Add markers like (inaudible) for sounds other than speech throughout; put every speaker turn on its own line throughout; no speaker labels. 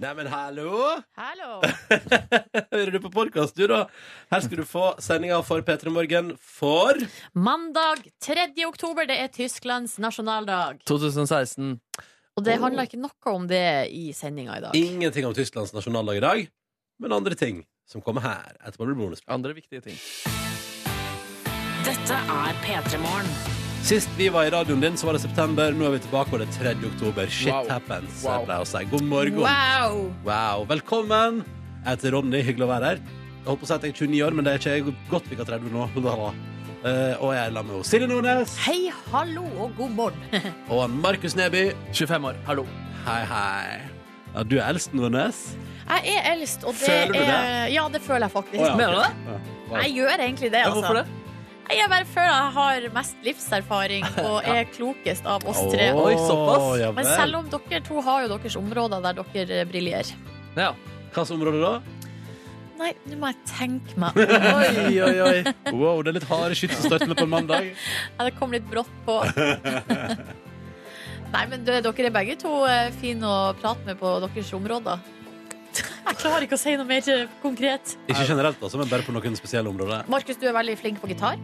Neimen, hallo! (laughs)
Hallo!
Hører du på podcast, du, da? Her skal du få sendinga for P3 Morgen for
Mandag 3. oktober, det er Tysklands nasjonaldag.
2016.
Og det handler ikke noe om det i sendinga i dag.
ingenting om Tysklands nasjonaldag i dag, men andre ting som kommer her. Etterpå blir det bonus.
Andre viktige ting.
Dette er P3 Morgen.
Sist vi var i radioen din, så var det september. Nå er vi tilbake, og det er 3. oktober. Shit
Wow.
happens.
Wow.
Jeg pleier å si. God morgen.
Wow!
Wow. Velkommen. Jeg heter Ronny. Hyggelig å være her. Jeg holdt på å si at jeg er 29 år, men det er ikke jeg godt vi kan 30 nå. (laughs) Eh, og jeg er sammen med Silje Nordnes
Hei, hallo og god morgen. (laughs)
og han Markus Neby.
25 år. Hallo.
Hei, hei. Ja, du er eldst, Nordnes.
Jeg er eldst, og det
Føler du
er Ja, det føler jeg faktisk.
Å, ja.
Mener du det?
Jeg gjør egentlig det,
Ja,
altså.
hvorfor det?
Nei, Jeg bare føler jeg har mest livserfaring og er klokest av oss tre.
Å,
Oi, såpass.
ja
Men
vel.
selv om dere to har jo deres områder der dere eh, briljerer.
Ja.
Hvilket område da?
Nei, nå må jeg tenke meg om.
Oi, oi, oi.
(laughs) Wow, det er litt harde skyts som starter med på en mandag.
Ja, Det kom litt brått (laughs) på. Nei, men dø- dere er begge to eh, fine å prate med på deres områder. Jeg klarer ikke å si noe mer eh, konkret.
Ikke generelt, altså, men bare på noen spesielle områder.
Markus, du er veldig flink på gitar.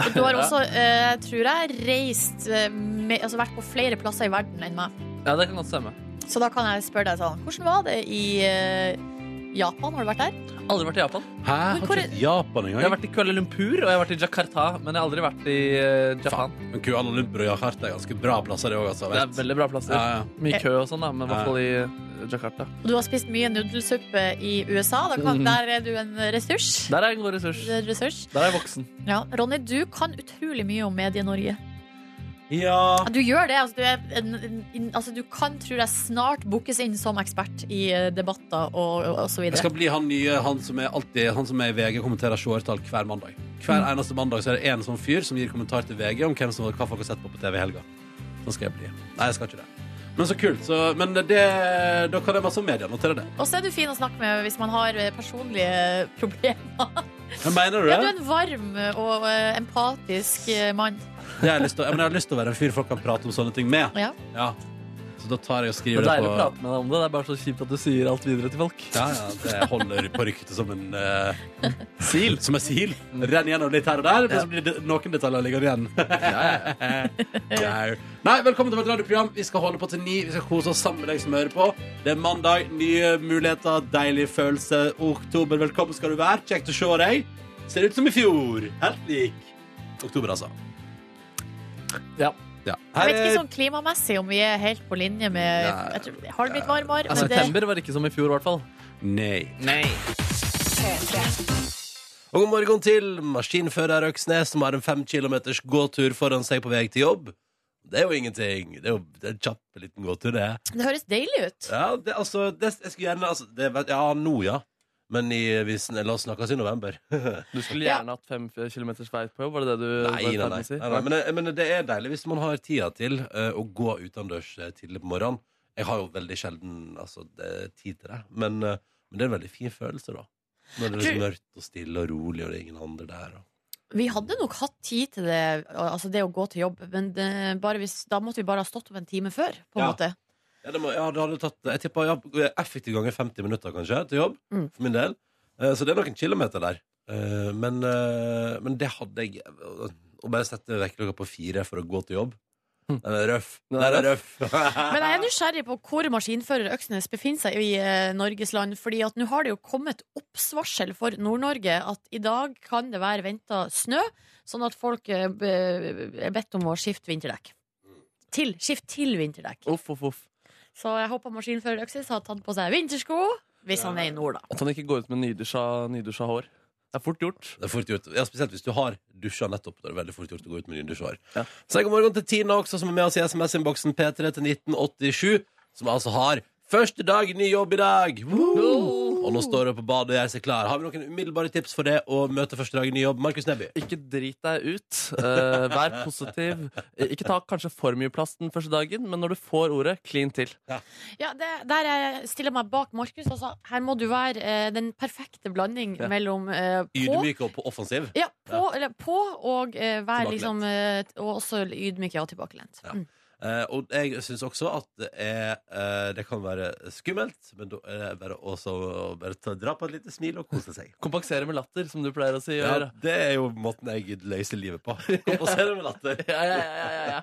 Og (laughs) Du har også, eh, tror jeg, reist eh, med, altså vært på flere plasser i verden enn meg.
Ja, det kan godt stemme.
Så da kan jeg spørre deg sånn, hvordan var det i eh, Japan? Har du vært der?
Aldri vært i Japan.
Hæ? Har
Men
ikke
hvor-
vært i Japan
Jeg har
engang?
vært i Kuala Lumpur og jeg har vært i Jakarta, men jeg har aldri vært i eh, Japan.
Men Kuala Lumpur og Jakarta er ganske bra plasser, det òg, altså.
Det er
vet.
veldig bra plasser.
Ja, ja.
Mye kø og sånn, da, men i hvert fall i eh, Jakarta.
Og Du har spist mye nudelsuppe i USA. Da kan,
Mhm.
Der er du en ressurs.
Der er en god ressurs.
Du er en ressurs.
Der er jeg voksen.
Ja. Ronny, du kan utrolig mye om Medie-Norge.
Ja.
Du gjør det. Altså, du, er en, en, en- altså, du kan, tror jeg, snart bookes inn som ekspert i eh, debatter og, og, og så
Jeg
videre.
skal bli han nye, han som er alltid Han som er i VG, kommenterer seertall hver mandag. Hver eneste mandag så er det en sånn fyr som gir kommentar til VG om hvem som, hva folk har sett på på TV i helga. Sånn skal jeg bli. Nei, jeg skal ikke det. Men så kult. Så, men det, da kan jeg masse om media. Notere det.
Og så er du fin å snakke med hvis man har eh, personlige (laughs) problemer.
Men mener du
Ja, du er
det?
en varm og eh, empatisk eh, mann.
Jeg har lyst til, å- ja, men jeg har lyst til å være en fyr folk kan prate om sånne ting med.
Ja.
Ja. Så da tar jeg og
Det
skriver
er
det,
deilig å
på
prate med deg om det. Det er bare så kjipt at du sier alt videre til folk.
ja, ja, Det holder på ryktet som en eh, sil. Som en sil. Renner gjennom litt her og der, men så blir det noen detaljer ligger igjen. (laughs) Jau. Nei, velkommen til vårt radioprogram. Vi skal holde på til ni. Vi skal kose oss sammen med deg som hører på. Det er mandag, nye muligheter, deilig følelse. Oktober, velkommen skal du være. Kjekt å se deg. Ser ut som i fjor. Helt lik. Oktober, altså.
Ja.
Ja.
Jeg vet ikke sånn klimamessig om vi er helt på linje med
Nei. Altså,
jeg tror, Har det blitt varmere?
Ja,
Men det,
Altså, september var ikke som i fjor, i hvert fall.
Nei.
Nei.
Og god morgen til maskinfører Øksnes, som har en fem kilometers gåtur foran seg på vei til jobb. Det er jo ingenting. Det er jo det er en kjapp liten gåtur, det.
det høres deilig ut.
Ja, det, altså, det, jeg skulle gjerne altså, det, vet- Ja, nå, ja. Men i, hvis, la oss snakkes i november.
Du skulle gjerne hatt fem kilometers vei på jobb, var det det du var i
Nei, nei, nei.
ferd med å si?
nei, nei men, det- men det er deilig hvis man har tida til eh, å gå utendørs eh, tidlig på morgenen. Jeg har jo veldig sjelden altså, det, tid til det, men, eh, men det er en veldig fin følelse, da. Når det er liksom mørkt og stille og rolig, og det er ingen andre der. Og.
Vi hadde nok hatt tid til det, altså det å gå til jobb, men det, bare hvis, da måtte vi bare ha stått opp en time før. På en
Ja.
måte.
Ja, det må, ja, det hadde tatt Jeg tipper ja, effektiv ganger 50 minutter, kanskje, til jobb.
Mm.
For min del. Eh, Så det er noen kilometer der. Eh, Men, eh, men det hadde jeg Å bare sette vekkerklokka på fire for å gå til jobb
Hm.
Den er røff.
Den
Den
er
er røff. (laughs)
Men jeg er nysgjerrig på hvor maskinfører Øksnes befinner seg i eh, Norges land. Fordi at nå har det jo kommet oppsvarsel for Nord-Norge at i dag kan det være venta snø, sånn at folk eh, be- er bedt om å skifte vinterdekk. Til, skift til vinterdekk.
Uff, uff, uff.
Så jeg håper maskinfører Øksnes har tatt på seg vintersko, hvis han er i nord, da.
At han ikke går ut med nydusja, nydusja hår. Det er fort gjort.
Det er fort gjort. Ja, Spesielt hvis du har dusja nettopp. Da er det veldig fort gjort å gå ut med nydusjår.
Ja.
Så god morgen til Tina også, som er med oss i SMS-innboksen P3 til 1987. Som altså har første dag i ny jobb i dag! Woo! Og nå står hun på badet og gjør seg klar. Har vi noen umiddelbare tips for det å møte første dag i ny jobb? Markus Neby.
Ikke drit deg ut. eh, vær positiv. Eh, Ikke ta kanskje for mye plass den første dagen, men når du får ordet, klin til.
Ja, det, der jeg stiller meg bak Markus. Altså, her må du være eh, den perfekte blanding
Ja.
mellom eh, på
Ydmyk og på offensiv.
Ja, på, Eller, på og eh, være
Tilbakelent.
liksom eh, Og også ydmyk, ja, tilbakelent.
Ja.
Mm.
Eh, og jeg syns også at det, er, eh, det kan være skummelt, men da er det bare også å bare ta, dra på et lite smil og kose seg.
Kompensere med latter, som du pleier å si.
Ja,
Gjør.
det er jo måten jeg løser livet på. (laughs) Kompensere med latter.
Ja, ja, ja, ja, ja.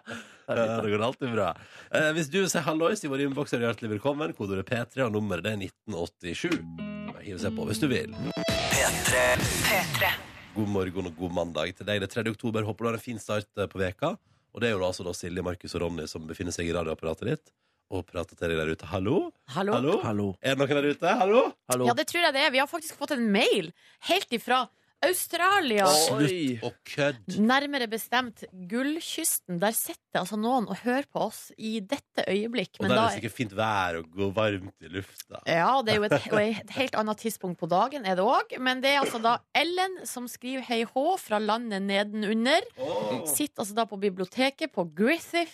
Ja,
Det er fint,
Det går alltid bra. Eh, hvis du sier hallois i vår innboks, er du hjertelig velkommen. Kodeordet P3 og nummeret det er 1987. Bare Hiv seg på hvis du vil. God morgen og god mandag til deg. Det er 3. oktober. Håper du har en fin start eh, på veka. Og det er jo da altså da Silje, Markus og Ronny som befinner seg i radioapparatet ditt og prater til deg der ute. Hallo?
Hallo?
Hallo?
da. Hallo.
Er det noen der ute? Hallo?
Hallo.
Ja, det tror jeg det er. Vi har faktisk fått en mail helt ifra Australia.
Oi.
Og kødd.
Nærmere bestemt Gullkysten. Der sitter altså noen og hører på oss i dette øyeblikk.
Og
Men
der er
da Eh,
det sikkert fint vær og går varmt i lufta.
ja, det er jo et, og et helt annet tidspunkt på dagen, er det òg. Men det er altså da Ellen som skriver Hei Hå fra landet nedenunder.
Åh.
Sitter altså da på biblioteket på Griffith,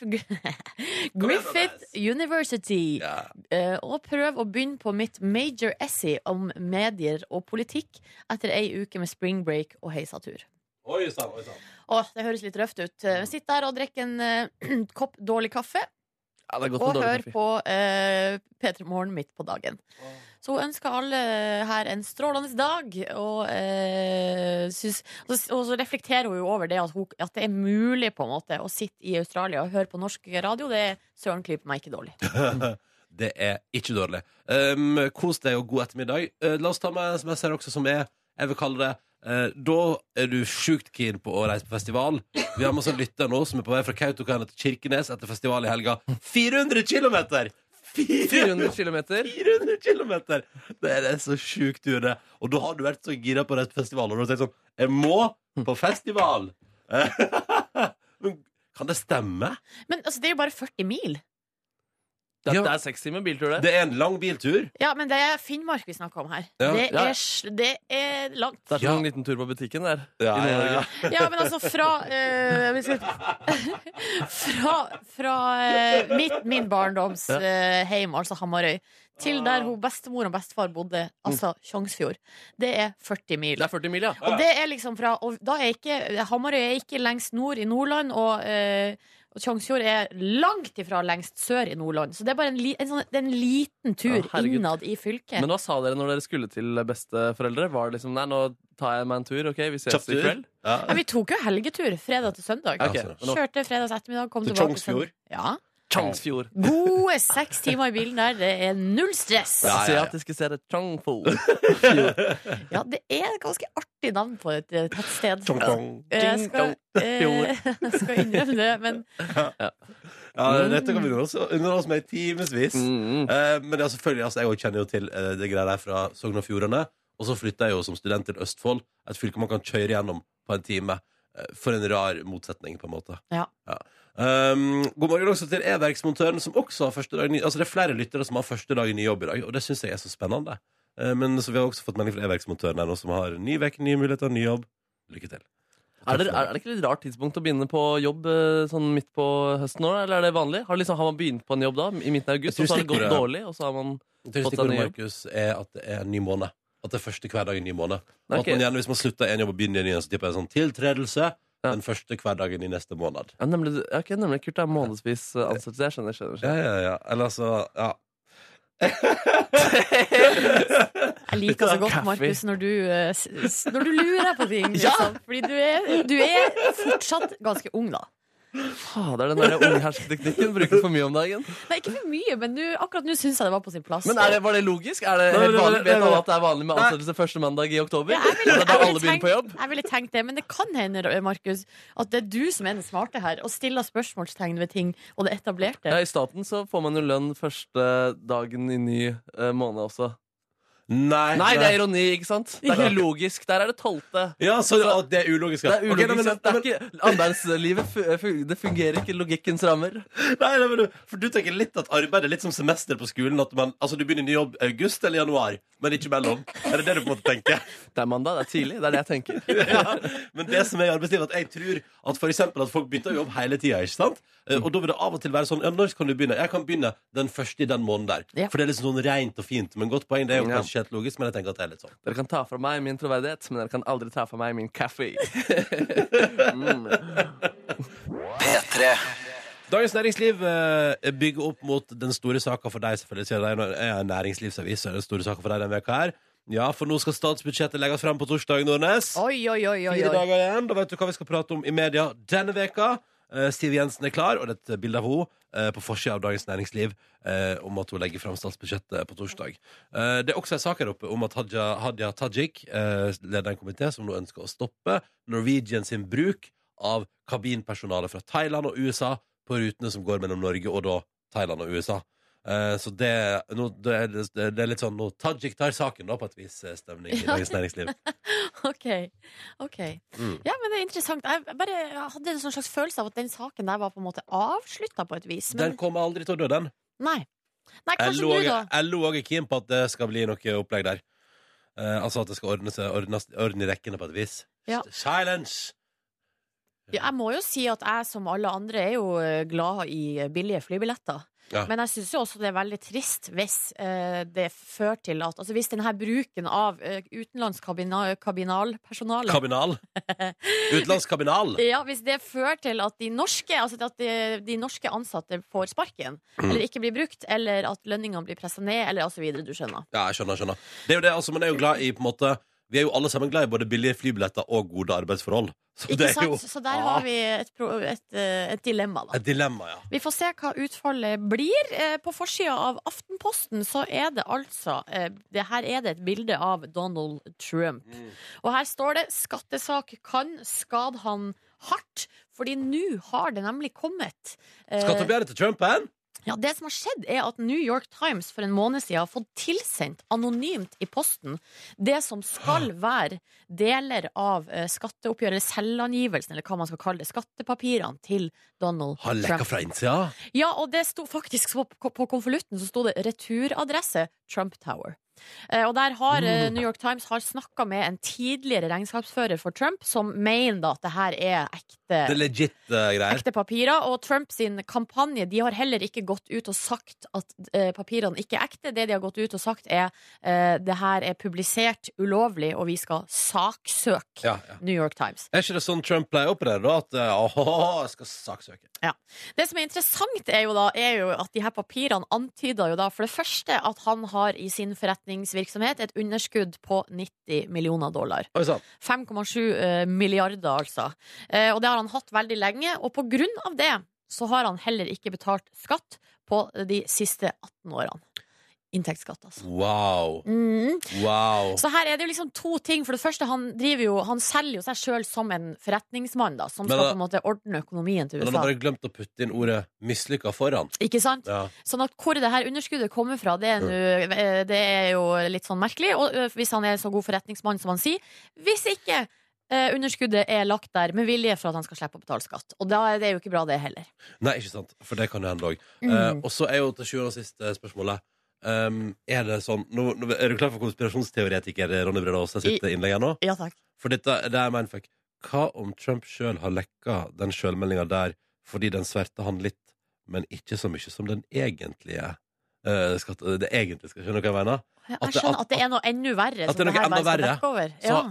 (laughs) Griffith University.
Ja.
Eh, og prøv å begynne på mitt major essay om medier og politikk etter ei uke med spring break og heisatur.
Oi sann, oi sann.
Åh, det høres litt røft ut. Eh, Sitt der og drikk en eh, (clears throat) kopp dårlig kaffe,
Ja, det er godt
og
med dårlig
hør
kaffe.
på eh, P3 Morgen midt på dagen. Så hun ønsker alle her en strålende dag, og, eh, syns, og, så- og så reflekterer hun jo over det at, hun, at det er mulig på en måte å sitte i Australia og høre på norsk radio. Det er søren klype meg ikke dårlig.
(laughs) Det er ikke dårlig. Um, kos deg og god ettermiddag. Uh, la oss ta med en SMS her også, som er Jeg vil kalle det uh, Da er du sjukt keen på å reise på festival. Vi har masse lyttere nå som er på vei fra Kautokeino til Kirkenes etter festival i helga. 400 km! 400
400 kilometer.
400 km! Det er det så sjukt du gjør det. Og da har du vært så gira på å reise på festival, og du har tenkt sånn Jeg må på festival! (laughs) Men kan det stemme?
Men altså, det er jo bare 40 mil.
Det,
Ja.
det er seks timer biltur, det.
Det er en lang biltur.
Ja, men det er Finnmark vi snakker om her.
Ja.
Det,
Ja.
er, sl- det er langt.
Det er
Ja.
som en liten tur på butikken der.
Ja,
I
ja,
Nord-Norge.
ja.
Ja, men altså fra eh, vi skal- (laughs) Fra, fra eh, mitt, min barndoms eh, heim, altså Hamarøy, til der hun bestemor og bestefar bodde, altså Tjongsfjord. Det er 40 mil.
Det er 40 mil, Mm. ja.
Og det er liksom fra Og da er ikke Hamarøy er ikke lengst nord i Nordland, og eh, og Tjongsfjord er langt ifra lengst sør i Nordland. Så det er bare en, li, en, sånn, det er en liten tur
Ja, herregud.
innad i fylket.
Men hva sa dere når dere skulle til besteforeldre? Var det liksom Nei, nå tar jeg meg en tur, OK? Vi ses
Kjapp
i
tur.
kveld.
Ja.
ja, vi tok jo helgetur fredag til søndag.
Ja,
Ok,
altså.
men nå-
Kjørte fredags ettermiddag, kom
Til
tilbake
Tjongsfjord?
søndag. Ja.
Tjongsfjord.
Gode seks timer i bilen der, det er null stress.
Ja,
Ja,
ja, ja.
Asiatiske steder. Tjongfo.
det er et ganske artig navn på et eh, tettsted.
Tjong, tjong.
Eh, (laughs) Jeg skal, eh, jeg (laughs) skal innrømme det, men
Ja, dette kan vi underholde oss- underholde oss med i timevis.
Mm.
Eh, men det er selvfølgelig, altså, jeg også kjenner jo til eh, det greia der fra Sogn og Fjordane. Og så flytta jeg jo som student til Østfold, et fylke man kan kjøre gjennom på en time. Eh, For en rar motsetning, på en måte.
Ja.
Um, god morgen også til e-verksmontøren, som også har første dag i ny Altså det er flere lyttere som har første dag i ny jobb i dag, og det syns jeg er så spennende. Eh, men så vi har også fått melding fra e-verksmontøren her nå, som har ny uke, nye muligheter, ny jobb. Lykke til.
Er, det, er, er det ikke litt rart tidspunkt å begynne på jobb eh, sånn midt på høsten nå, eller er det vanlig? Har, liksom, har man begynt på en jobb da, i midten av august,
Jeg
og så
tror
har det gått
stikkordet-
dårlig, og så har man
Jeg tror
Fått
stikkordet,
deg ny jobb?
Markus, er at det er en ny måned. At det er første hverdag i en ny måned. Og at
Ok.
man gjerne, Hvis man slutter en jobb og begynner i en ny, så tipper jeg sånn tiltredelse
Ja.
den første hverdagen i neste måned.
ja, nemlig, ja, ok, nemlig kult, det er månedsvis eh, ansettelse. Jeg skjønner, skjønner.
Ja,
skjønner.
ja, ja. Eller altså Ja.
jeg liker så godt,
Kaffe.
Markus, når du, eh, s- s- når du lurer på ting. Liksom. Fordi du er, du er fortsatt ganske ung, da.
Fader, Ah, den der unghersketeknikken brukes for mye om dagen.
Nei, ikke for mye, men nå- akkurat nå syns jeg det var på sin plass.
Men er det, var det logisk? Er det
Nei,
helt
nei,
vanlig?
nei,
Vet
nei,
alle
nei.
at det er vanlig med ansettelse første mandag i oktober?
Ja, jeg
Og
ville,
det er da
jeg,
alle
ville
begynner på jobb?
tenkt, jeg ville tenkt det, men det kan hende Markus, at det er du som er den smarte her og stiller spørsmålstegn ved ting og det etablerte.
Ja, I staten så får man jo lønn første dagen i ny eh, måned også.
Nei,
Nei, det er ironi, ikke sant? Det er
Ja.
ikke logisk. Der er det tolvte.
Ja, så det, at det er ulogisk.
Altså, Det
ja.
er
Ok, nei,
ulogisk.
men-
sant? det er ikke Arbeidslivet fu- fu- det fungerer ikke i logikkens rammer.
nei, nei, men du, for du tenker litt at arbeid er litt som semester på skolen. At man, altså, du begynner i ny jobb i august eller januar, men ikke mellom. Er det det du på en måte tenker?
Det er mandag, det er tidlig. Det er det jeg tenker.
(laughs) ja. Men det som er i arbeidslivet, at jeg tror at for eksempel at folk bytter jobb hele tida, ikke sant? Eh, Og da vil det av og til være sånn ja, Når kan du begynne? Jeg kan begynne den første i den måneden der.
Ja.
For det er liksom sånn rent og fint. Men godt poeng, det er jo
Ja.
kanskje ikke helt logisk, men jeg tenker at det er litt sånn.
Dere kan ta fra meg min troverdighet, men dere kan aldri ta fra meg min kaffe.
Dagens Næringsliv eh, bygger opp mot den store saka for deg, selvfølgelig. Siden det er en- er en næringslivsavis, så er det den store saka for deg denne veka her. Ja, for nå skal statsbudsjettet legges fram på torsdag, Nordnes.
Oi, oi, oi, oi,
Fire
oi.
dager igjen. Da vet du hva vi skal prate om i media denne veka. Eh, Siv Jensen er klar, og det er et bilde av henne eh, på forsida av Dagens Næringsliv eh, om at hun legger fram statsbudsjettet på torsdag. Eh, det er også en sak her oppe om at Hadia, Hadia Tajik eh, leder en komité som nå ønsker å stoppe Norwegian sin bruk av kabinpersonale fra Thailand og USA på rutene som går mellom Norge og da Thailand og USA. Eh, så det, nå, det, er, det det er litt sånn nå Tajik tar saken, da, på et vis, eh, stemning i
Ja.
Dagens Næringsliv.
(laughs) Ok. ok
Mm.
Ja, men det er interessant. Jeg jeg bare hadde en sånn slags følelse av at den saken der var på en måte avslutta på et vis.
Den
Men
kommer aldri til å dø, den.
nei. Nei,
Jeg
kanskje
lå
nå, da.
også- jeg lå også keen på at det skal bli noe opplegg der. Eh, altså at det skal ordne seg ordnes, ordne i rekkene på et vis.
Ja.
S- Silence!
Ja, jeg må jo si at jeg som alle andre er jo eh, glad i eh, billige flybilletter.
Ja.
Men jeg syns jo også det er veldig trist hvis eh, det fører til at Altså hvis denne bruken av eh, utenlandsk kabina- kabinalpersonale (laughs)
Kabinal. Utenlandskabinal.
ja, Hvis det fører til at de norske, altså at de, de norske ansatte får sparken,
Mm.
eller ikke blir brukt, eller at lønningene blir pressa ned, eller altså videre, du skjønner.
Ja, jeg skjønner. jeg skjønner Det er jo det, altså, Man er jo glad i på en måte Vi er jo alle sammen glad i både billige flybilletter og gode arbeidsforhold. Så
Ikke
det er
sant?
jo Ah.
Så der har vi et, pro et, eh, et dilemma, da.
et dilemma, ja.
Vi får se hva utfallet blir. Eh, På forsida av Aftenposten så er det altså eh, det Her er det et bilde av Donald Trump.
Mm.
Og her står det 'Skattesak kan skade han hardt', fordi nå har det nemlig kommet eh,
Skatteoppgjøret til Trump hen?
ja, Det som har skjedd, er at New York Times for en måned siden har fått tilsendt anonymt i posten det som skal være deler av eh, skatteoppgjøret, eller selvangivelsen, eller hva man skal kalle det, skattepapirene til Donald
Har
Trump.
lekka fra innsida.
Ja, og det sto faktisk så på, på konvolutten så sto det returadresse Trump Tower. Eh, og der har eh,
Mm.
New York Times har snakka med en tidligere regnskapsfører for Trump, som mener da at det her er ekte
Det er legit eh, greier.
Ekte papirer, og Trumps kampanje De har heller ikke gått ut og sagt at eh, papirene ikke er ekte. Det de har gått ut og sagt, er eh, det her er publisert ulovlig, og vi skal saksøke
Ja, ja.
New York Times.
Er ikke det sånn Trump pleier å operere, da? At eh, åhå, jeg skal saksøke.
Det som er interessant er jo da Er jo at de her papirene antyder jo da For det første at han har i sin forretningsvirksomhet Et underskudd på 90 millioner dollar
Oi sann.
5,7 eh, milliarder altså eh, Og det har han hatt veldig lenge Og på grunn av det så har han heller ikke betalt skatt På de siste 18 årene Inntektsskatt altså
Wow.
mm.
Wow.
Så her er det jo liksom to ting For det første, han, driver jo, han selger jo seg selv som en forretningsmann da, Som
Men
skal
da-
på en måte ordne økonomien til
Men han
USA
har bare glemt å putte inn ordet 'mislykka' foran.
Ikke sant?
Ja.
Sånn at hvor det her underskuddet kommer fra, det er, nu, eh, det er jo litt sånn merkelig. Og eh, hvis han er så god forretningsmann som han sier. Hvis ikke eh, underskuddet er lagt der med vilje for at han skal slippe å betale skatt. Og da er det jo ikke bra, det heller.
Nei, ikke sant, for det kan jo hende òg.
Mm.
og så er jo til sjuende og sist eh, spørsmålet ehm, Er det sånn nå, nå, Er du klar for konspirasjonsteoretiker Ronny Brede Aase sitt innlegg her nå?
Ja takk.
For dette det er mindfuck. Hva om Trump sjøl har lekka den sjølmeldinga der fordi den sverta han litt, men ikke så mye som den egentlige eh, skatt, det egentlig skal Skjønner du hva jeg mener?
Jeg
At det-
skjønner
at-
at det er noe enda verre.
at det er
som
noe
her
enda
bare skal
verre.
dekke over.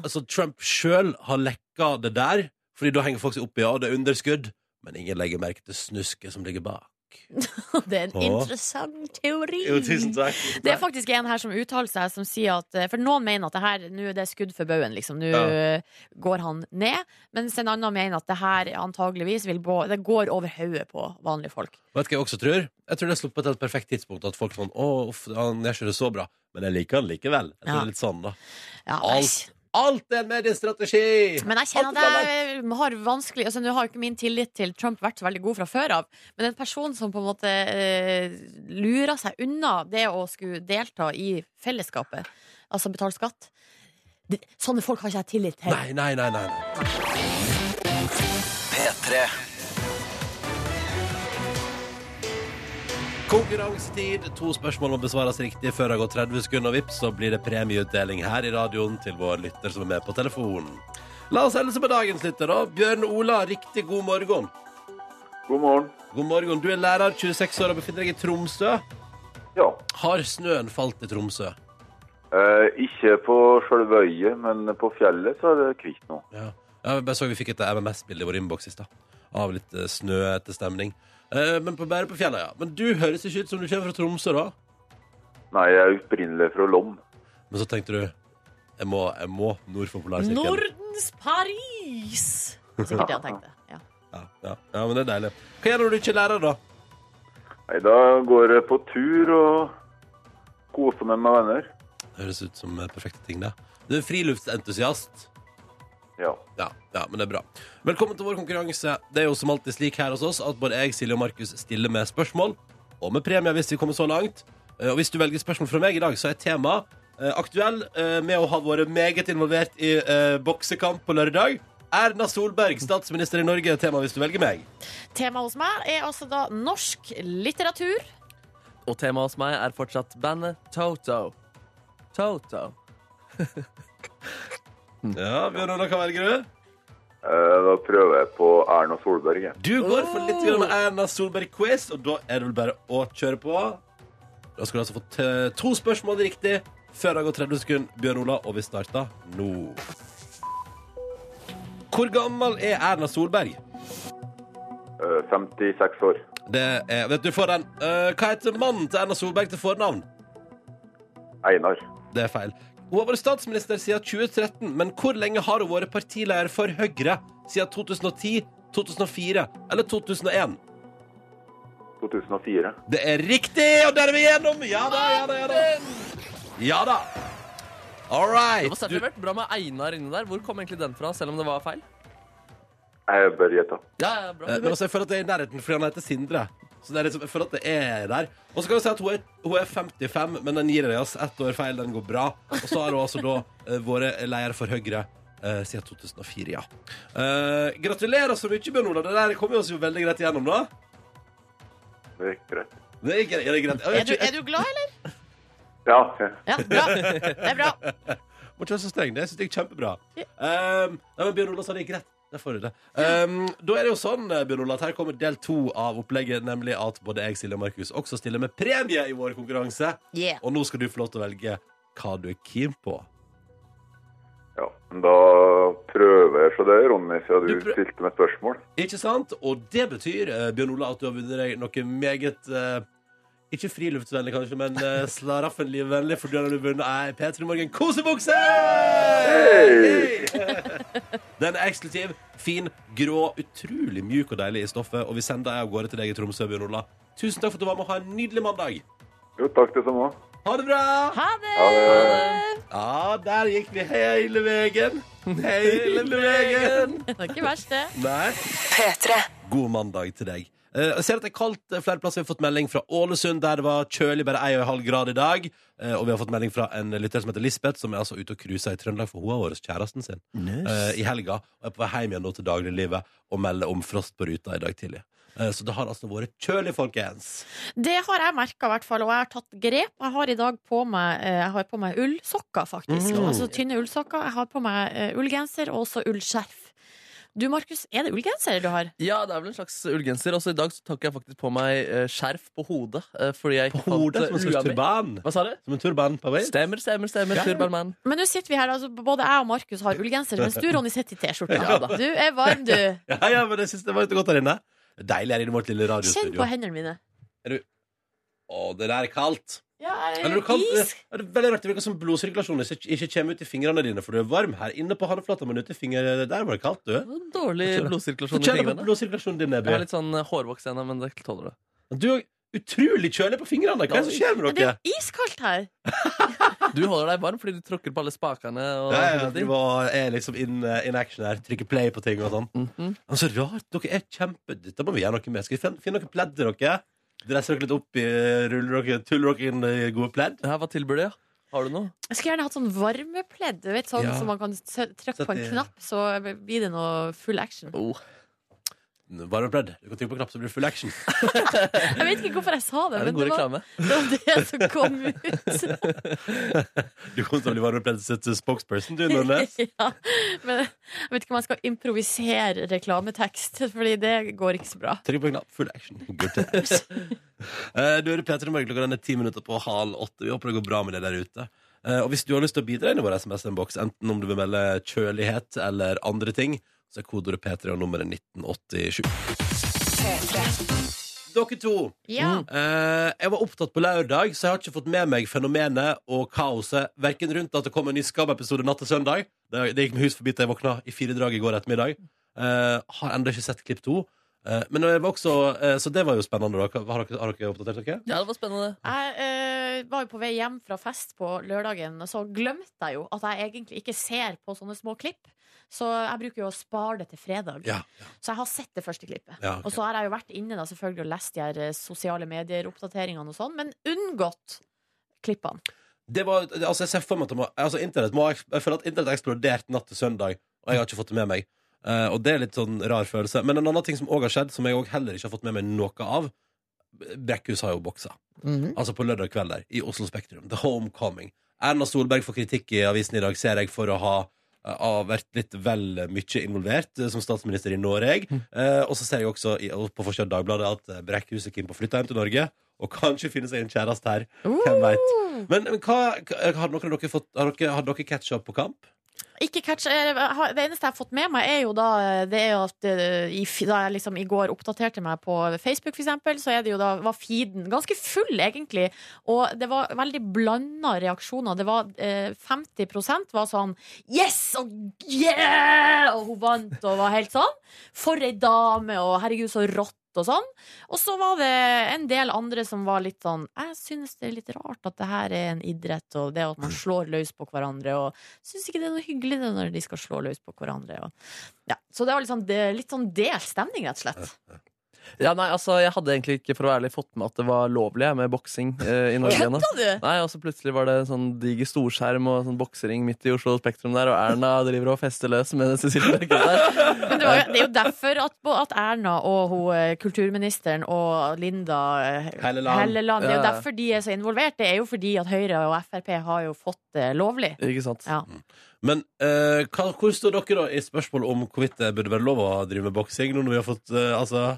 Så, så Trump sjøl har lekka det der, fordi da henger folk seg opp i ja, det er underskudd, men ingen legger merke til snusket som ligger bak.
Ja, (laughs) det er en
Å.
interessant teori.
Jo, tusen takk.
Det er faktisk en her som uttaler seg, som sier at eh, For noen mener at det her, nå er det skudd for baugen, liksom. Nå
Ja.
eh, går han ned. Mens en annen mener at det her antageligvis vil gå, det går over hodet på vanlige folk.
Vet du hva jeg også tror? Jeg tror det er sluppet til et perfekt tidspunkt. At folk sånn Å, uff, han gjør ikke det så bra. Men jeg liker han likevel. Jeg tror
Ja.
det er litt sånn, da.
Ja,
Alt,
æsj.
alt er en mediestrategi!
Men jeg kjenner at jeg har vanskelig altså, Nå har jo ikke min tillit til Trump vært så veldig god fra før av, men en person som på en måte eh, lurer seg unna det å skulle delta i fellesskapet, altså betale skatt det, Sånne folk har ikke jeg tillit til.
Nei, nei, nei, nei. nei. Konkurransetid. To spørsmål må besvares riktig før det har gått 30 sekunder. Og vips, så blir det premieutdeling her i radioen til vår lytter som er med på telefonen. La oss hilse på dagens lytter, da. Bjørn Ola, riktig god morgen.
God morgen.
God morgen. Du er lærer, 26 år og befinner deg i Tromsø.
Ja.
Har snøen falt i Tromsø?
Eh, ikke på selve øyet, men på fjellet så er det kvitt nå.
Ja. Jeg bare så vi fikk et MMS-bilde i vår innboks i stad. Av litt eh, snøete stemning. Eh, men på, bare på fjellet, ja. Men du høres ikke ut som du kommer fra Tromsø, da.
Nei, jeg er opprinnelig fra Lom.
Men så tenkte du jeg må, jeg må nord for polarsirkelen.
Nordens Paris! Det er Sikkert det han tenkte. Ja.
Ja, ja. ja, men det er deilig. Hva gjør du når du ikke er lærer, da?
Nei, da går jeg på tur og koser meg med venner.
Høres ut som eh, perfekte ting, det. Du er friluftsentusiast.
Ja.
Ja, ja, men det er bra. Velkommen til vår konkurranse. Det er jo som alltid slik her hos oss at både jeg, Silje og Markus stiller med spørsmål, og med premie hvis vi kommer så langt. Eh, Og hvis du velger spørsmål fra meg i dag, så er tema eh, aktuell eh, med å ha vært meget involvert i eh, boksekamp på lørdag. Erna Solberg, statsminister i Norge, er tema hvis du velger meg.
Temaet hos meg er altså da norsk litteratur.
Og temaet hos meg er fortsatt bandet Toto. Toto.
Ja, Bjørn Ola, hva velger du?
Eh, Da prøver jeg på Erna Solberg. jeg.
Du går for litt grann Erna Solberg-quiz, og da er det vel bare å kjøre på. Da skal du altså få t to spørsmål riktig før det har gått 30 sekunder, Bjørn Ola, og vi starter nå. Hvor gammel er Erna Solberg?
Eh, 56 år.
Det er, vet du, for den. Eh, hva heter mannen til Erna Solberg til fornavn?
Einar.
Det er feil. Hun har vært statsminister siden 2013, men hvor lenge har hun vært partileder for Høyre? Siden 2010, 2004 eller 2001?
2004.
Det er riktig, og der er vi gjennom! Ja da, ja da, ja da. Ja da. All
Det var
right.
sterkt
Du,
levert. Bra med Einar inni der. Hvor kom egentlig den fra, selv om det var feil?
Jeg bør gjette.
Ja, ja, bra.
eh, men altså, jeg føler at det er i nærheten fordi han heter Sindre. Så det er liksom, jeg føler at det er der. Og så kan vi si at hun er, hun er 55, men den gir deg oss ett år feil. Den går bra. Og så har hun altså da eh, vært leder for Høyre eh, siden 2004, ja. Eh, gratulerer så mye, Bjørn Olav. Det der kom vi oss jo veldig greit gjennom, da.
Det gikk greit.
Det er, gre- er det greit?
Er du, er du glad, eller?
Ja, jeg-
Ja, bra. Det er bra.
Må ikke være så streng. Det syns jeg er kjempebra.
Ja.
Um, nei, men Bjørn Olav sa det gikk rett. Der får du det. Um, da er det jo sånn, eh, Bjørn Olav, at her kommer del to av opplegget, nemlig at både jeg, Silje og Markus også stiller med premie i vår konkurranse.
Yeah.
Og nå skal du få lov til å velge hva du er keen på.
ja. Men Da prøver jeg så det, Ronny, siden
Du
du,
prø-
stilte meg spørsmål.
Ikke sant? Og det betyr, eh, Bjørn Olav, at du har vunnet deg noe meget eh, ikke friluftsvennlig, kanskje, men uh, slaraffenlivvennlig, for da har du vunnet ei P3 Morgen kosebukse!
Hey!
Den er eksklusiv, fin, grå, utrolig mjuk og deilig i stoffet. Og vi sender deg av gårde til deg i Tromsø, Bjørn Ola. Tusen takk for at du var med, og ha en nydelig mandag.
Jo, takk det samme.
Ha det bra!
Ha det!
Ha det.
Ja, der gikk vi hele veien. Hele veien.
Det er ikke verst, det.
Nei. God mandag til deg. Eh, Jeg ser at det er kaldt eh, flere plasser. Vi har fått melding fra Ålesund, der det var kjølig bare 1,5 grad i dag. Eh, Og vi har fått melding fra en lytter som heter Lisbeth, som er altså ute og cruiser i Trøndelag, for hun har vært hos kjæresten sin eh, i helga. Og er på vei hjem igjen nå til dagliglivet og melder om frost på ruta i dag tidlig. Eh, Så det har altså vært kjølig, folkens.
Det har jeg merka, i hvert fall. Og jeg har tatt grep. Jeg har i dag på meg, eh, jeg har på meg ullsokker, faktisk.
Mm.
Altså tynne ullsokker. Jeg har på meg eh, ullgenser og også ullskjerf. Du, Markus, er det ullgenser du har?
Ja, det er vel en slags ullgenser. Også i dag så tok jeg faktisk på meg eh, skjerf på hodet. eh, Fordi jeg
På
ikke fant,
hodet
eh,
som en slags
ua mi.
turban.
Hva sa du?
Som en turban på vei.
Stemmer, stemmer, stemmer.
Ja.
Turbanman.
Men nå sitter vi her, altså både jeg og Markus har ullgenser, mens du, Ronny, sitter i T-skjorta.
Ja da.
du er varm, du.
Ja, ja, men jeg synes det var litt godt her inne. Det er Deilig her inne i vårt lille
Kjenn på
radiostudio.
hendene mine.
Å, det der er kaldt.
Ja,
Eller du kan,
Eh,
eh,
is.
er det veldig rart det virker som blodsirkulasjonen ikke ikke kommer ut i fingrene dine, for du er varm her inne på håndflata, men ute i fingrene eh, der var det kaldt, du.
Dårlig
Hva skjer da? Få
blodsirkulasjon i
kjenne på
fingrene.
blodsirkulasjonen din,
Jeg har
Nebby.
litt sånn eh, hårvoks igjen, men det tåler det.
Du er utrolig kjølig på fingrene. Hva er det som skjer med
Men det
dere?
er jo iskaldt her.
Du holder deg varm fordi du tråkker på alle spakene. Og
Ja, ja,
sånne
du
ting.
var- er liksom in, in action her. Trykker play på ting og sånn.
Mhm.
Men Så rart. Dere er kjempe Dette må vi gjøre noe med. Skal vi fin- finne noen pledd til dere? Dresser dere litt opp i Ruller dere Tuller dere inn i gode pledd?
Ja, Hva tilbyr du? Ja? Har du noe?
Jeg skulle gjerne hatt sånn varmepledd, du vet, sånn
Ja.
som man kan sø- trykke
Sett
på en
i-
knapp, så blir det noe full action.
Oh.
Varmepledd. Du kan trykke på knapp, så blir det full action.
Jeg vet ikke hvorfor jeg sa det,
Er det
men det
god
var
reklame?
det, var det som kom ut.
Du kommer til å bli varmepledd sitt spokesperson,
(laughs)
du, (laughs) Nordnes.
ja. Men jeg vet ikke om jeg skal improvisere reklametekst, Fordi det går ikke så bra.
Trykk på en knapp. Full action. Good times. Eh, du hører Peter i morgen klokka den er ti minutter på halv åtte. Vi håper det går bra med det der ute. Eh, og hvis du har lyst til å bidra inn i vår SMS-innboks, enten om du vil melde kjølighet eller andre ting, så er kodeordet P3 og nummeret 1987. dere to.
Ja.
Eh, jeg var opptatt på lørdag, så jeg har ikke fått med meg fenomenet og kaoset. Verken rundt at det kom en ny Skam-episode natt til søndag. Det, det gikk med hus forbi til jeg våkna i fire drag i går ettermiddag. Eh, har ennå ikke sett klipp to. Eh, men det var også, eh, så det var jo spennende. Da. Hva- Har dere, har dere oppdatert dere?
Ja, det var spennende.
Jeg eh, var jo på vei hjem fra fest på lørdagen, og så glemte jeg jo at jeg egentlig ikke ser på sånne små klipp. Så jeg bruker jo å spare det til fredag.
Ja.
Så jeg har sett det første klippet.
Ja, ok.
Og så har jeg jo vært inne da selvfølgelig og lest de her eh, sosiale medier-oppdateringene og sånn, men unngått klippene.
Det var, altså jeg ser for meg at det må, altså internett må, Jeg føler at internett eksploderte natt til søndag, og jeg har ikke fått det med meg. Eh, og det er litt sånn rar følelse. Men en annen ting som òg har skjedd, som jeg også heller ikke har fått med meg noe av Brekkhus har jo boksa. Altså på lørdag kveld der, i Oslo Spektrum. The Homecoming. Erna Solberg får kritikk i avisen i dag, ser jeg, for å ha eh, ha vært litt vel mye involvert eh, som statsminister i Norge. Eh, og så ser jeg også i, og på forsiden av Dagbladet at eh, Brekkhus er keen på å flytte hjem til Norge. Og kanskje finne seg en kjæreste her. Hvem veit. Men, men hva, hva- har dere, dere fått har dere, har dere catch up på kamp?
Ikke catch, eh, ha- det eneste jeg har fått med meg, er jo da eh, Det er jo at eh, i, f- da jeg liksom i går oppdaterte meg på Facebook, for eksempel, så er det jo da, var feeden ganske full, egentlig. Og det var veldig blanda reaksjoner. Det var eh, 50 var sånn Yes! Og yeah! Og hun vant, og var helt sånn. For ei dame, og herregud, så rått. Og sånn Og så var det en del andre som var litt sånn Jeg synes det er litt rart at det her er en idrett, og det at man slår løs på hverandre, og Syns ikke det er noe hyggelig det når de skal slå løs på hverandre. Og. Ja, så det var litt sånn, det, litt sånn delt stemning, rett og slett.
Ja, nei, altså, jeg hadde egentlig ikke for å være ærlig fått med at det var lovlig jeg, med boksing eh, i Norge ennå.
Kødda du?!
Nei, og så plutselig var det sånn diger storskjerm og sånn boksering midt i Oslo Spektrum der, og Erna driver og fester løs med Cecilie Brekkhus der.
Men det, var, jo- det er jo derfor at, bo- at Erna og hun, eh, kulturministeren og Linda eh,
Helleland.
Helleland Det er jo
Ja.
derfor de er så involvert. Det er jo fordi at Høyre og Frp har jo fått det lovlig.
Ikke sant?
Ja.
Men eh, hva, hvor står dere da i spørsmålet om hvorvidt det burde være lov å drive med boksing? Nå når vi har fått eh, altså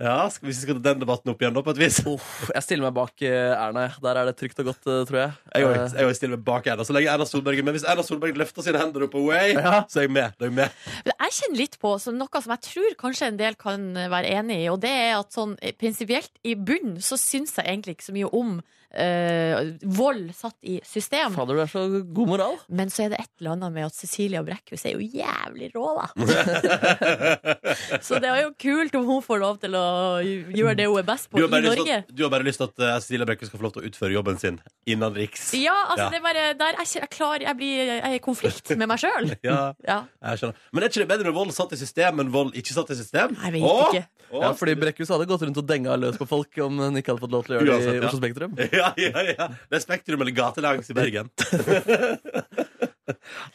Ja, skal, hvis vi skal ta den debatten opp igjen, da, på et vis.
Uff, jeg stiller meg bak eh, Erna. jeg. Der er det trygt og godt, eh, tror jeg.
Jeg går, jeg går stille meg bak Erna så lenge Erna Solberg er med. Hvis Erna Solberg løfter sine hender opp og away, så er jeg med. Da er jeg med.
Men Jeg kjenner litt på som noe som jeg tror kanskje en del kan være enig i, og det er at sånn eh, prinsipielt i bunnen så syns jeg egentlig ikke så mye om eh, vold satt i
Eh,
system.
Fader, du er så god moral.
Men så er det et eller annet med at Cecilia Brekkhus er jo jævlig rå,
(laughs)
da. så det er jo kult om hun får lov til å gjøre det hun er best
Du
på
har,
i
bare lyst til
Norge.
at, du har bare lyst til at eh, Cecilia Brekke skal få lov til å utføre jobben sin innenriks.
Ja, altså
sånn- Ja.
det er bare der jeg, kjen- jeg klarer Jeg blir jeg er i konflikt med meg sjøl.
Ja,
Ja.
jeg skjønner. Men er ikke det bedre med vold satt i system enn vold ikke satt i system?
Jeg vet
Åh!
ikke.
Åh!
Ja, fordi Brekkhus hadde gått rundt og denga løs på folk om hun ikke hadde fått lov til å gjøre det
Uansett,
i
ja.
Oslo Spektrum.
(laughs) Ja, ja, ja. Det er Spektrum eller gatelangs i Bergen. (laughs)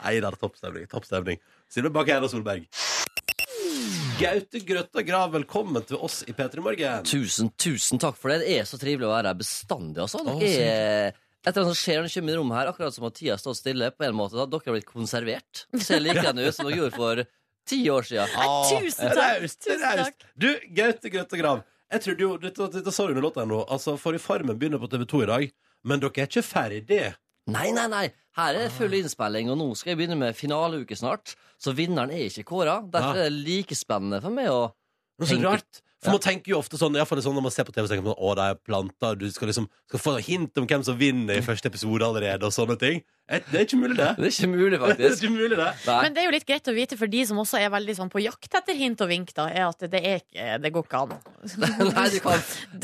Nei, det er toppstemning. Toppstemning. Silve Bakke Erna Solberg. Gaute Grøtta Grav, velkommen til oss i P3 Morgen.
Tusen, tusen takk for det. Det er så trivelig å være her bestandig, altså. Dere er etter at det skjer når det kommer i rommet her, akkurat som Mathias står stille, på en måte, da dere har blitt konservert. Ser likende ut som dere gjorde for ti år siden.
Nei, tusen takk.
Raust,
Tusen
raust.
takk.
Du, Gaute Grøtta Grav. Jeg trodde jo, dette, dette sa du under låta her nå. Altså, for i Farmen begynner på TV2 i dag. Men dere er ikke ferdig.
Nei, nei, nei. Her er det full innspilling, og nå skal jeg begynne med finaleuke snart. Så vinneren er ikke kåra. Derfor er det like spennende for meg å
Men Ah. så
Tenker-
rart. For man tenker jo ofte sånn, i hvert fall sånn når man ser på TV, så tenker man sånn, å, det er planter, du skal liksom skal få hint om hvem som vinner i første episode allerede, og sånne ting. Eh, Det er ikke mulig, det.
Det er ikke mulig,
(laughs) Det er
faktisk.
ikke mulig, det.
Nei.
Men det er jo litt greit å vite for de som også er veldig sånn på jakt etter hint og vink, da, er at det, er ikke, det går ikke an.
(laughs) Nei, du kan,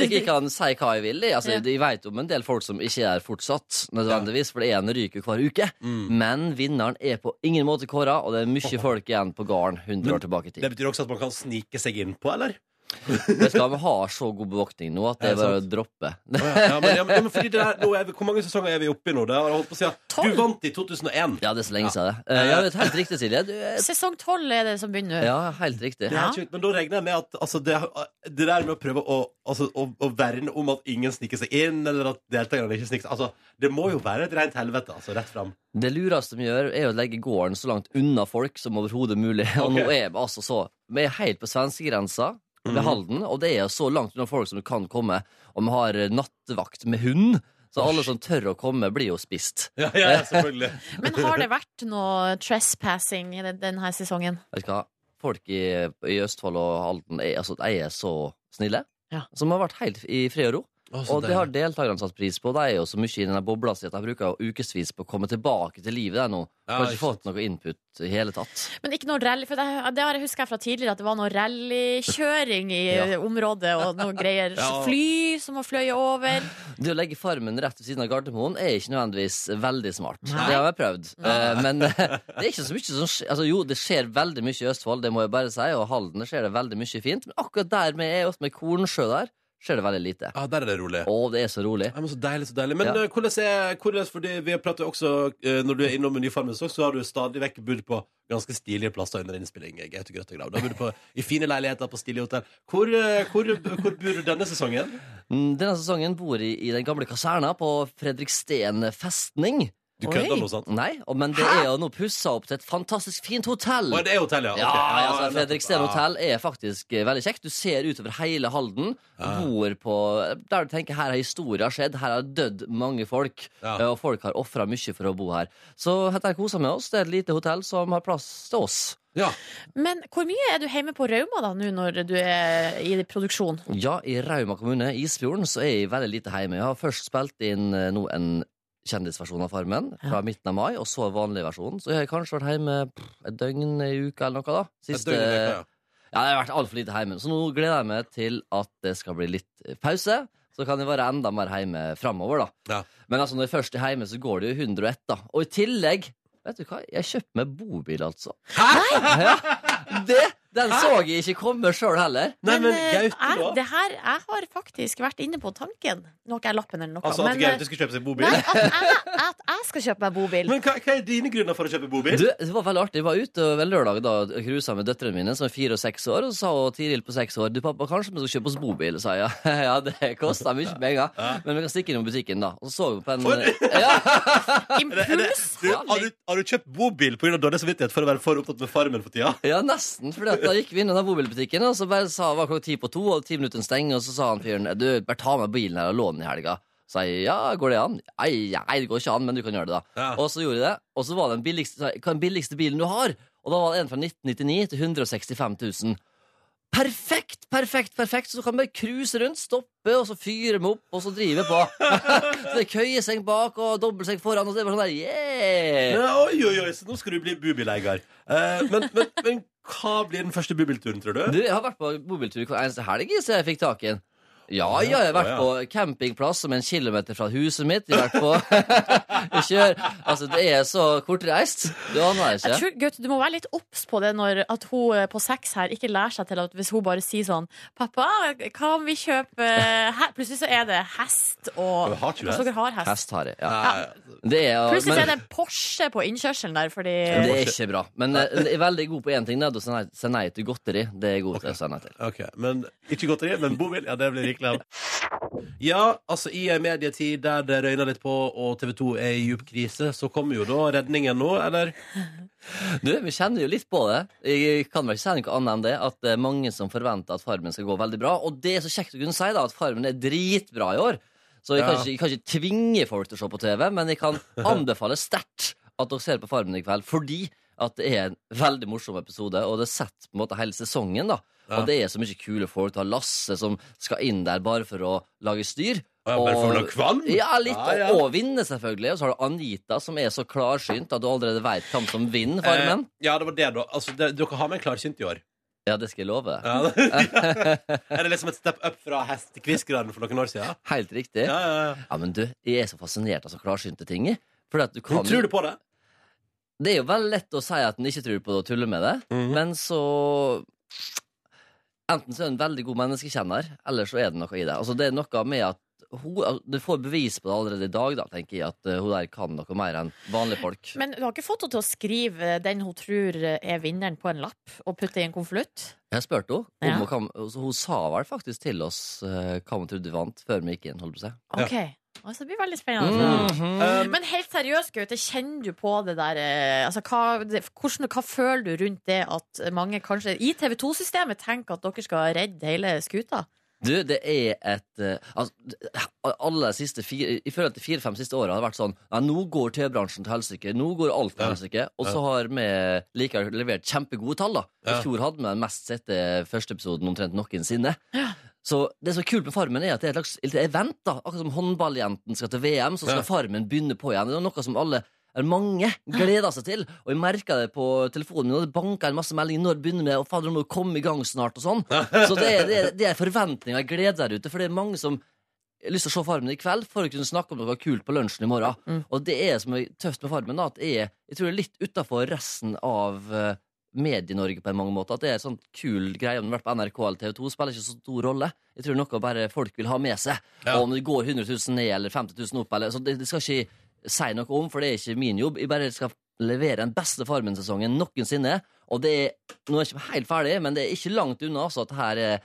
jeg kan si hva jeg vil. jeg. Altså,
Ja.
Jeg vet om en del folk som ikke er her fortsatt, nødvendigvis, for det er en ryker hver uke. Men vinneren er på ingen måte kåra, og det er (laughs) mye folk igjen på gården 100 år tilbake i
Det
tid.
betyr også at man kan snike seg inn på, eller?
Vet du hva, vi har så god bevoktning nå at
Er
det
det
er bare å
sant?
droppe.
Ja, men, ja, men, ja, men fordi det der, nå er vi, Hvor mange sesonger er vi oppe i nå? Det har jeg holdt på å si. ja. Du vant i 2001.
Ja, det er så lenge siden det. Eh, Ja, det er helt riktig, Silje. Du, er-
Sesong tolv er det som begynner nå.
(laughs) ja, helt riktig.
Det er ikke ut, men da regner jeg med at altså, det, det der med å prøve å, altså, å, å verne om at ingen sniker seg inn, eller at deltakerne ikke sniker seg altså, Det må jo være et rent helvete, altså. Rett fram.
Det lureste vi gjør, er å legge gården så langt unna folk som overhodet mulig. (laughs) Og nå er vi altså så Vi er helt på svenskegrensa
Mhm.
ved Halden, og det er så langt unna folk som du kan komme. Og vi har eh, nattevakt med hund, så alle som tør å komme, blir jo spist.
Ja, ja, ja, selvfølgelig.
Men har det vært noe trespassing i den- denne sesongen?
Vet du hva? Folk i, i Østfold og Halden er, altså, de er så snille.
Ja.
Som har vært helt i fred og ro.
(laughs) Å, så
Og det
deilig.
har deltakerne satt pris på. De er jo så mye i denne bobla si at de bruker jo ukevis på å komme tilbake til livet. Der nå.
Ja,
Har
ikke
ikke fått noe input i hele tatt.
Men ikke noe rally, for det, det har jeg husker jeg fra tidligere at det var noe rallykjøring i
Ja.
området og noe greier.
(laughs) Ja.
Fly som har fløyet over.
Det å legge farmen rett ved siden av Gardermoen er ikke nødvendigvis veldig smart.
Nei.
Det har jeg prøvd. Eh, men det er ikke så mye som skjer. Altså, jo, det skjer veldig mye i Østfold, det må jeg bare si, og Halden det skjer det veldig mye fint. Men akkurat der vi er, også med Kornsjø der, skjer det veldig lite.
Ja, der er det rolig.
Å, det er så rolig.
Ja, men så deilig, så deilig. Men
Ja.
eh, hvordan er hvordan, fordi vi har pratet også, eh, Når du er innom Nyfarmen, så, så har du stadig vekk bodd på ganske stilige plasser under innspilling. eh, Gaute Grøttegrav. Du har bodd på- I fine leiligheter på stilige hotell. Hvor, eh, hvor, hvor bor du denne sesongen?
Mm, Denne sesongen bor jeg i den gamle kaserna på Fredriksten festning.
Du
Oi.
kødder nå, sant?
Nei, og- men det er jo nå pussa opp til et fantastisk fint hotell.
Å, det er hotell, ja. ok.
Ja, altså,
nettopp.
Fredriksten
Ja.
hotell er faktisk eh, veldig kjekt. Du ser utover hele Halden.
Ja.
Bor på Der du tenker her har historia skjedd, her har dødd mange folk.
Ja.
eh, Og folk har ofra mye for å bo her. Så dette koser med oss. Det er et lite hotell som har plass til oss.
Ja.
Men hvor mye er du hjemme på Rauma da nå når du er i produksjon?
Ja, i Rauma kommune, Isfjorden, så er jeg veldig lite hjemme. Jeg har først spilt inn eh, nå en kjendisversjon av Farmen fra midten av mai, og så vanlig versjon. Så jeg har kanskje vært hjemme pff, et døgn i uka eller noe, da.
Et døgn i veka, ja.
Ja, jeg har vært altfor lite hjemme, så nå gleder jeg meg til at det skal bli litt eh, pause. Så kan jeg være enda mer hjemme framover, da.
Ja.
Men altså, når jeg først er hjemme, så går det jo 101, da. Og i tillegg, vet du hva, jeg kjøpte meg bobil, altså. Hæ?! Ja. Det, den så jeg ikke komme sjøl heller.
Nei, men
eh,
Gaute,
jeg,
da?
det her, jeg har faktisk vært inne på tanken. Nå har ikke jeg lappen eller noe.
Altså at
men, eh,
Gaute skulle kjøpe seg bobil?
nei, at, jeg, at jeg skal kjøpe meg bobil.
(laughs) Men hva, hva er dine grunner for å kjøpe bobil?
Du, det var veldig artig. Jeg var ute ved lørdag da og cruisa med døtrene mine, som er fire og seks år, og så sa hun Tiril på seks år Du, pappa, kanskje vi skal kjøpe oss bobil? sa jeg. (laughs) Ja, ja det koster mye penger, men vi kan stikke innom butikken, da. Og så så vi på en ja,
Du, har, du,
Impulshandling.
har du kjøpt bobil pga. dårlig samvittighet for å være for opptatt med Farmen for tida?
ja, nesten. For da gikk vi innom den bobilbutikken, og så bare sa var klokka ti på to, og ti minutter stenger, og så sa han fyren Du, bare ta med bilen her og lån den i helga. Sa jeg ja, går det an? Nei, nei, det går ikke an, men du kan gjøre det, da.
Ja.
Og så gjorde jeg det, og så var det den billigste, sa jeg, hva er den billigste bilen du har. Og da var det en fra 1999 til 165 000. Perfekt, perfekt, perfekt! Så du kan bare cruise rundt, stoppe, og så fyre vi opp, og så drive på. (laughs) så det er køyeseng bak og dobbeltseng foran, og så er det bare sånn der yeah!
Ja, oi, oi, oi, så nå skal du bli bobileier. Eh, men, men, men hva blir den første bobilturen, tror du?
Du, jeg har vært på bobiltur hver eneste helg så jeg fikk tak i en. Ja, ja, jeg har vært
Å, ja.
på campingplass som er en kilometer fra huset mitt. Jeg har vært på (laughs) jeg kjør. Altså, det er så kortreist. Du aner
Jeg
ikke.
tror, Gaute, du må være litt obs på det når at hun eh, på seks her ikke lærer seg til at hvis hun bare sier sånn 'Pappa, kan vi kjøpe eh, he-" Plutselig så er det hest og
Men har ikke du
Altså,
hest?
Dere har hest.
Hest har jeg. Ja.
Nei,
Det er,
Plutselig så
men-
er det en Porsche på innkjørselen der, fordi
Det er ikke bra. Men eh, jeg er veldig god på én ting. Det er å si nei- si nei til godteri. Det er jeg god til å si nei til.
Ok, men Ikke godteri, men bobil. Ja, det blir rikelig. Ja, altså I en medietid der det røyner litt på, og TV 2 er i djup krise, så kommer jo da redningen nå, eller?
Du, Vi kjenner jo litt på det. Jeg kan vel ikke si noe annet enn det at det er mange som forventer at Farmen skal gå veldig bra. Og det er så kjekt å kunne si da at Farmen er dritbra i år. Så jeg kan,
Ja.
ikke, jeg kan ikke tvinge folk til å se på TV, men
(laughs)
jeg kan anbefale sterkt at dere ser på Farmen i kveld. Fordi at det er en veldig morsom episode, og det setter på en måte hele sesongen. da
Ja.
Og det er så mye kule folk. Du har Lasse som skal inn der bare for å lage styr.
Ja, bare for å lage kvalm?
Ja, litt.
Ja, ja.
Og, og vinne, selvfølgelig. Og så har du Anita, som er så klarsynt at du allerede veit hvem som vinner
Eh,
Farmen.
ja, det var det, da. Altså, det, Dere har med en klarsynt i år.
Ja, det skal jeg love. deg.
Ja. (laughs) er det liksom et step up fra hestekvistgraden for noen år siden?
Helt riktig.
Ja,
Ja.
ja, ja.
men du, jeg er så fascinert av så klarsynte ting. Fordi at du kan
Tror du på det?
Det er jo veldig lett å si at en ikke tror på det og tuller med det,
Mm.
men så Enten så er hun en veldig god menneskekjenner, eller så er det noe i det. Altså, det er noe med at hun, altså, Du får bevis på det allerede i dag, da, tenker jeg, at eh, hun der kan noe mer enn vanlige folk.
Men du har ikke fått henne til å skrive den hun tror er vinneren, på en lapp og putte i en konvolutt?
Jeg spurte henne, om
Ja.
hun, kom, så hun sa vel faktisk til oss eh, hva hun trodde vi vant, før vi gikk inn, holdt på å si.
OK. Altså, det blir veldig spennende.
Mhm.
Um, ehm,
Men helt seriøst, Gaute, kjenner du på det der eh, altså, hva, det, hvordan, hva føler du rundt det at mange kanskje i TV 2-systemet tenker at dere skal redde hele skuta?
Du, det er et eh, altså, Alle de siste fire I forhold til fire-fem siste åra har det vært sånn Nei, nå går TV-bransjen til helsike. Nå går alt til
Ja.
helsike. Og
Ja.
så har vi likevel levert kjempegode tall, da.
Ja.
eh, I fjor hadde vi den mest sette første episoden omtrent noensinne. Så det som er kult med Farmen, er at det er et slags et event. da Akkurat som håndballjentene skal til VM, så skal
Ja.
Farmen begynne på igjen. Det er noe som alle eller mange gleder seg til, og jeg merka det på telefonen min. Og det banka en masse meldinger når det begynner med, og fader, nå må du komme i gang snart, og sånn. Så det er, det er, det er forventninger og glede der ute, for det er mange som har lyst til å se Farmen i kveld for å kunne snakke om noe kult på lunsjen i morgen.
Mm.
Og det er som er tøft med Farmen, da, at jeg, er- jeg tror det er litt utafor resten av eh, Medie-Norge på mange måter. At det er en sånn kul greie om det har vært på NRK eller TV 2, spiller ikke så stor rolle. Jeg tror noe bare folk vil ha med seg.
Ja.
Og om det går 100 000 ned eller 50 000 opp, eller, så det, det skal ikke si noe om, for det er ikke min jobb. Jeg bare skal levere den beste Farmen-sesongen noensinne. Og det er, nå er jeg ikke helt ferdig, men det er ikke langt unna altså, at det her er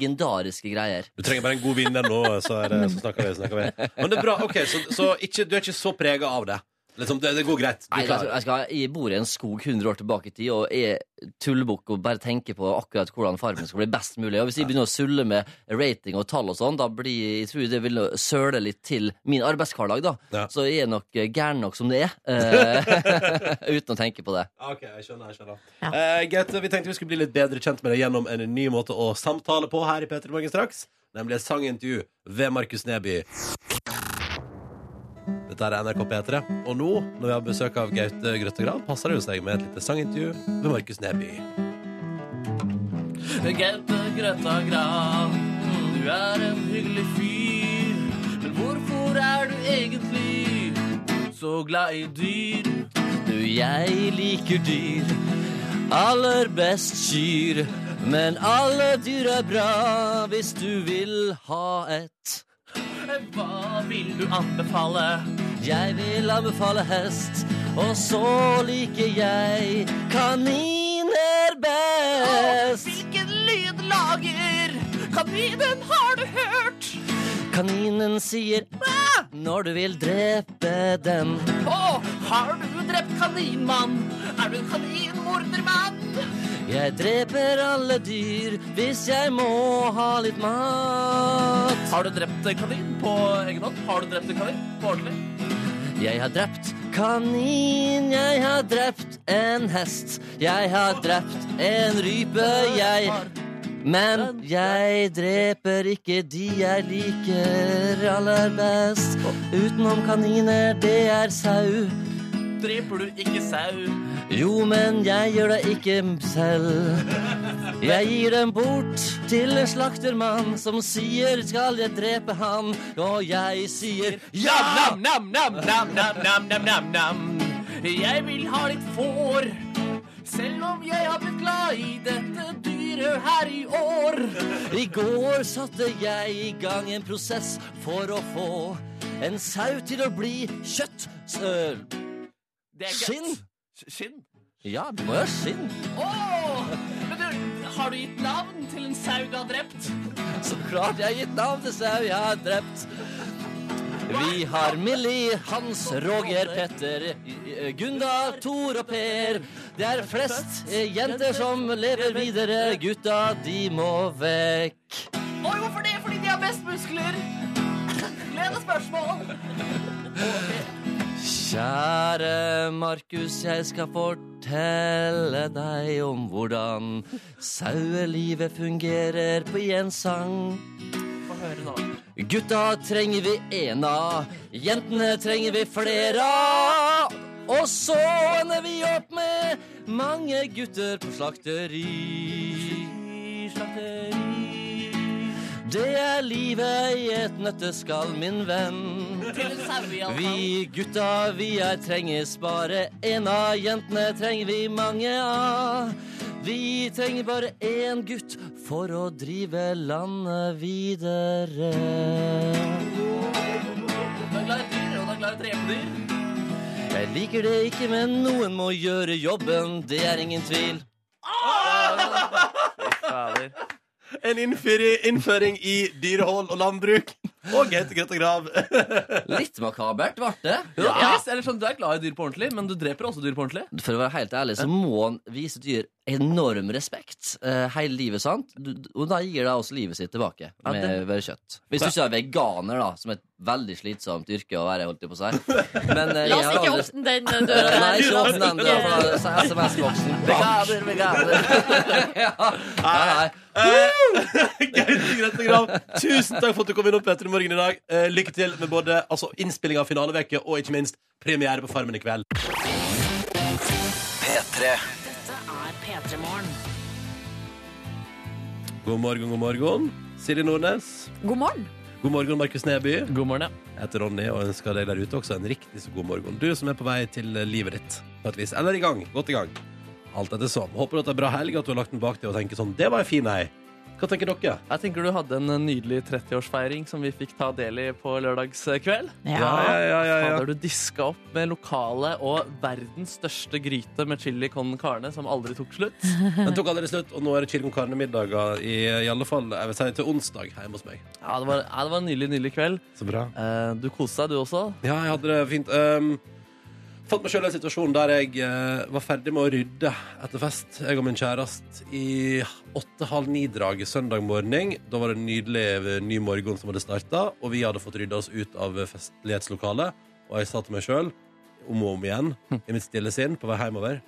legendariske greier.
Du trenger bare en god vinner nå, så, er det, så snakker vi. så snakker vi Men det er bra. ok, Så, så ikke, du er ikke så prega av det? Liksom, det, det går greit? Du
Nei, altså,
er
jeg,
klar?
jeg, skal, jeg bor i en skog 100 år tilbake i tid og er tullebukk og bare tenker på akkurat hvordan farmen skal bli best mulig. Og Hvis jeg begynner å sulle med rating og tall og sånn, da blir jeg tror det vil søle litt til min arbeidshverdag, da.
Ja.
Så jeg er nok eh, gæren nok som det er, eh, (laughs) uten å tenke på det.
Ah, Ok, jeg skjønner, jeg skjønner.
Ja.
Eh, Gaute, vi tenkte vi skulle bli litt bedre kjent med deg gjennom en ny måte å samtale på her i P3 Morgen straks. Nemlig et sangintervju ved Markus Neby. Dette er NRK P3, og nå, når vi har besøk av Gaute Grøttegrav, passer det jo seg med et lite sangintervju ved Markus Neby.
Gaute Grøtta Grav, du er en hyggelig fyr. Men hvorfor er du egentlig så glad i dyr? Du, jeg liker dyr. Aller best kyr. Men alle dyr er bra hvis du vil ha et. Hva vil du anbefale? Jeg vil anbefale hest. Og så liker jeg kaniner best. hvilken lyd lager kaninen? Har du hørt? Kaninen sier mæ når du vil drepe den. Å, har du drept kaninmann? Er du en kaninmordermann? Jeg dreper alle dyr hvis jeg må ha litt mat.
Har du drept en kanin på egen hånd? Har du drept en kanin på ordentlig?
Jeg har drept kanin, jeg har drept en hest. Jeg har drept en rype, jeg Men jeg dreper ikke de jeg liker aller best. Utenom kaniner, det er sau.
Dreper du ikke sau?
Jo, men jeg gjør det ikke selv. Jeg gir dem bort til en slaktermann som sier 'skal jeg drepe han', og jeg sier
Ja! Nam, nam, nam, nam, nam, nam, nam, nam, nam. Jeg vil ha litt får, selv om jeg har blitt glad i dette dyret her i år.
I går satte jeg i gang en prosess for å få en sau til å bli kjøtt. Søl.
Det er
Skinn?
godt. Sk- Skinn?
Ja, det må jo ha skinn.
Åh! Men du, har du gitt navn til en sau du har drept?
Så klart jeg har gitt navn til sau jeg har drept. Vi har Millie, Hans, Roger, Petter, Gunda, Tor og Per. Det er flest eh, jenter som lever videre. Gutta, de må vekk.
Oi, hvorfor det? Fordi de har best muskler. Glede spørsmål.
Kjære Markus, jeg skal fortelle deg om hvordan sauelivet fungerer på en sang. Gutta trenger vi én av, jentene trenger vi flere av. Og så ender vi opp med mange gutter på slakteri. Slakteri. Det er livet i et nøtteskall, min venn.
Til en sau, i alle fall.
Vi gutta, vi er trenges bare én av jentene trenger vi mange av. Vi trenger bare én gutt for å drive landet videre.
Du er glad i dyr, og du er glad i drepedyr.
Jeg liker det ikke, men noen må gjøre jobben, det er ingen tvil.
En innføring, innføring i dyrehold og landbruk. Og Gaute Grøttegrav.
Litt makabert, ble det.
Ja. Yes, eller sånn, du er glad i dyr på ordentlig, men du dreper også dyr på ordentlig.
For å være helt ærlig så må han vise dyr enorm respekt eh, hele livet, sant? Du, du- og da gir de også livet sitt tilbake
Ja,
med
det-
bare kjøtt. Hvis du ikke er veganer, da, som er et veldig slitsomt yrke å være, holdt jeg på å si. Men
La
eh,
oss
jeg har
ikke
aldri-
åpne den eh, døra
Nei,
der.
ikke
La oss
åpne den, da,
ikke-
for da er SMS-boksen bak.
Veganer, veganer.
(laughs) ja. Nei, nei.
Gaute Grete Grav, tusen takk for at du kom innom Petter i morgen i dag. Eh, lykke til med både altså, innspilling av finaleveke og ikke minst premiere på Farmen i kveld. God morgen, god morgen. Silje Nordnes.
God morgen.
God morgen, Markus Neby.
God morgen, ja.
Jeg heter Ronny og ønsker deg der ute også en riktig så god morgen. Du som er på vei til eh, livet ditt, på et vis. Eller i gang. Godt i gang. Alt etter sånn. Håper du at det er bra helg, at du har lagt den bak deg og tenker sånn Det var en fin ei. Hva tenker dere?
Jeg tenker du hadde en nydelig 30-årsfeiring som vi fikk ta del i på lørdagskveld.
Ja.
ja,
Fader, du diska opp med lokale og verdens største gryte med chili con carne som aldri tok slutt.
(laughs)
Den tok allerede slutt, og nå er det Kirken Karne-middager i, i alle fall jeg vil si, til onsdag hjemme hos meg.
Ja, det var, ja, det var en nydelig, nydelig kveld.
Så bra.
Eh, Du koste deg, du også.
Ja, jeg hadde det fint. Um, fant meg sjøl i en situasjon der jeg eh, var ferdig med å rydde etter fest. Jeg og min kjæreste i åtte-halv ni-draget søndag morgen. Da var det en nydelig eh, ny morgen som hadde starta, og vi hadde fått rydda oss ut av festlighetslokalet. Og jeg sa til meg sjøl, om og om igjen, i mitt stille sinn på vei hjemover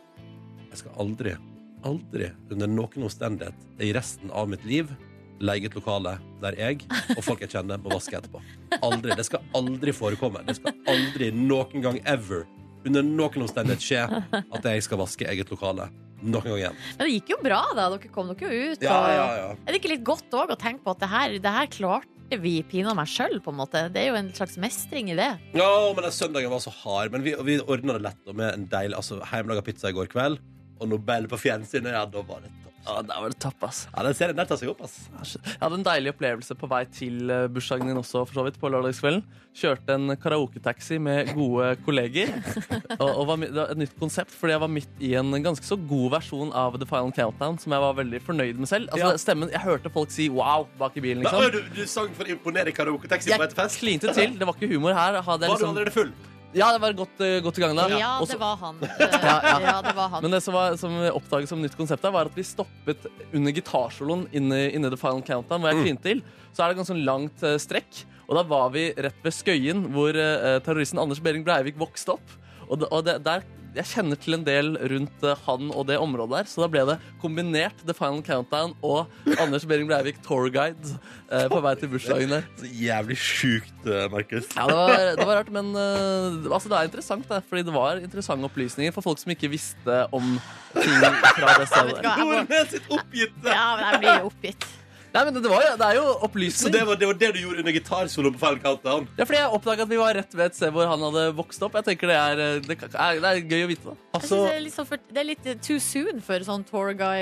Jeg skal aldri, aldri under noen omstendighet i resten av mitt liv leie et lokale der jeg og folk jeg kjenner, må vaske etterpå. Aldri. Det skal aldri forekomme. Det skal aldri noen gang ever under noen omstendighet skje at jeg skal vaske eget lokale. Noen gang igjen.
Men det gikk jo bra, da. Dere kom dere jo ut.
Ja,
og-
ja, ja.
Er det ikke litt godt òg å tenke på at det her, det her klarte vi pinadø meg sjøl, på en måte? Det er jo en slags mestring i det.
Ja, men den søndagen var så hard. Men vi, vi ordna det lett og med en deilig altså, hjemmelaga pizza i går kveld. Og Nobel på fjernsynet, ja, da var det topp.
Ja, der var det tapp, ass.
Ja, den serien der tar seg opp, ass.
Jeg hadde en deilig opplevelse på vei til eh, bursdagen din også, for så vidt, på lørdagskvelden. Kjørte en karaoketaxi med gode
(laughs)
kolleger. Og, og var, mi- det var et nytt konsept, fordi jeg var midt i en ganske så god versjon av The Final Countdown, som jeg var veldig fornøyd med selv. Altså,
Ja.
stemmen, Jeg hørte folk si 'wow' bak i bilen,
Ja, oi,
liksom.
du, du sang for å imponere karaoketaxi på
Jeg
etter fest.
klinte til. Det var ikke humor her. Hadde jeg
Var du
liksom,
allerede full?
ja, det var godt, eh, godt i gang da.
Ja,
Og så-
det var han. Eh,
ja.
Ja, det var han.
Men det som, var, som oppdaget som nytt konsept her, var at vi stoppet under gitarsoloen inne, inne i The Final Countdown, hvor jeg klinte til. Så er det ganske sånn langt eh, strekk. Og da var vi rett ved Skøyen, hvor eh, terroristen Anders Behring Breivik vokste opp. Og, det, og det, der, jeg kjenner til en del rundt eh, han og det området der, så da ble det kombinert The Final Countdown og Anders Behring Breivik tourguide eh, på vei til bursdagen der.
Så jævlig sjukt, eh, Markus.
Ja, det var, det var rart, men eh, altså, det er interessant, da, fordi det var interessante opplysninger for folk som ikke visste om ting fra det
(laughs) Vet
stedet.
du hva, jeg må,
Nordnes sitt oppgitte!
altså- ja, men jeg blir oppgitt.
Nei, men det, var, jo- det er jo
Så
opplysning.
det var, det var det du gjorde under gitarsoloen på Final Countdown?
Ja, fordi jeg oppdaga at vi var rett ved et sted hvor han hadde vokst opp. Jeg tenker Det er, eh, det, er, det er gøy å vite, da.
Jeg synes
Altså-
det, er litt sånn for, det er litt eh, too soon for sånn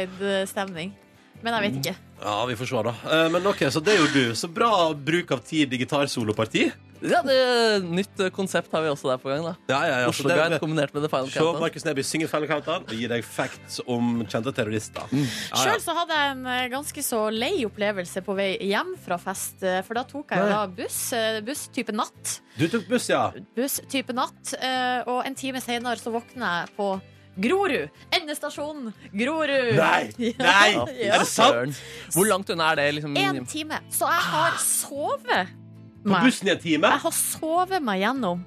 tourguide-stemning. Men jeg vet ikke.
Mm. Ja, vi får se, da. Eh, Men ok, så det gjorde du. Så bra bruk av tid i gitarsoloparti.
Ja, det, nytt eh, konsept har vi også der på gang. da
Ja, ja, ja. så det-
Oslo-guide kombinert med The Final
Se
Countdown.
Markus Neby synge Final Countdown og gi deg facts om kjente terrorister. Ja, ja.
Sjøl så hadde jeg en eh, ganske så lei opplevelse på vei hjem fra fest, eh, for da tok jeg jo da buss. eh, Buss type natt.
Du tok buss, ja.
buss type natt, eh, og en time senere så våkner jeg på Grorud. Endestasjonen Grorud. (laughs)
Nei! Nei! Er det sant?
Søren. Hvor langt unna er det? liksom
Én time. Så jeg har sovet
På
meg.
bussen i en time?
Jeg har sovet meg gjennom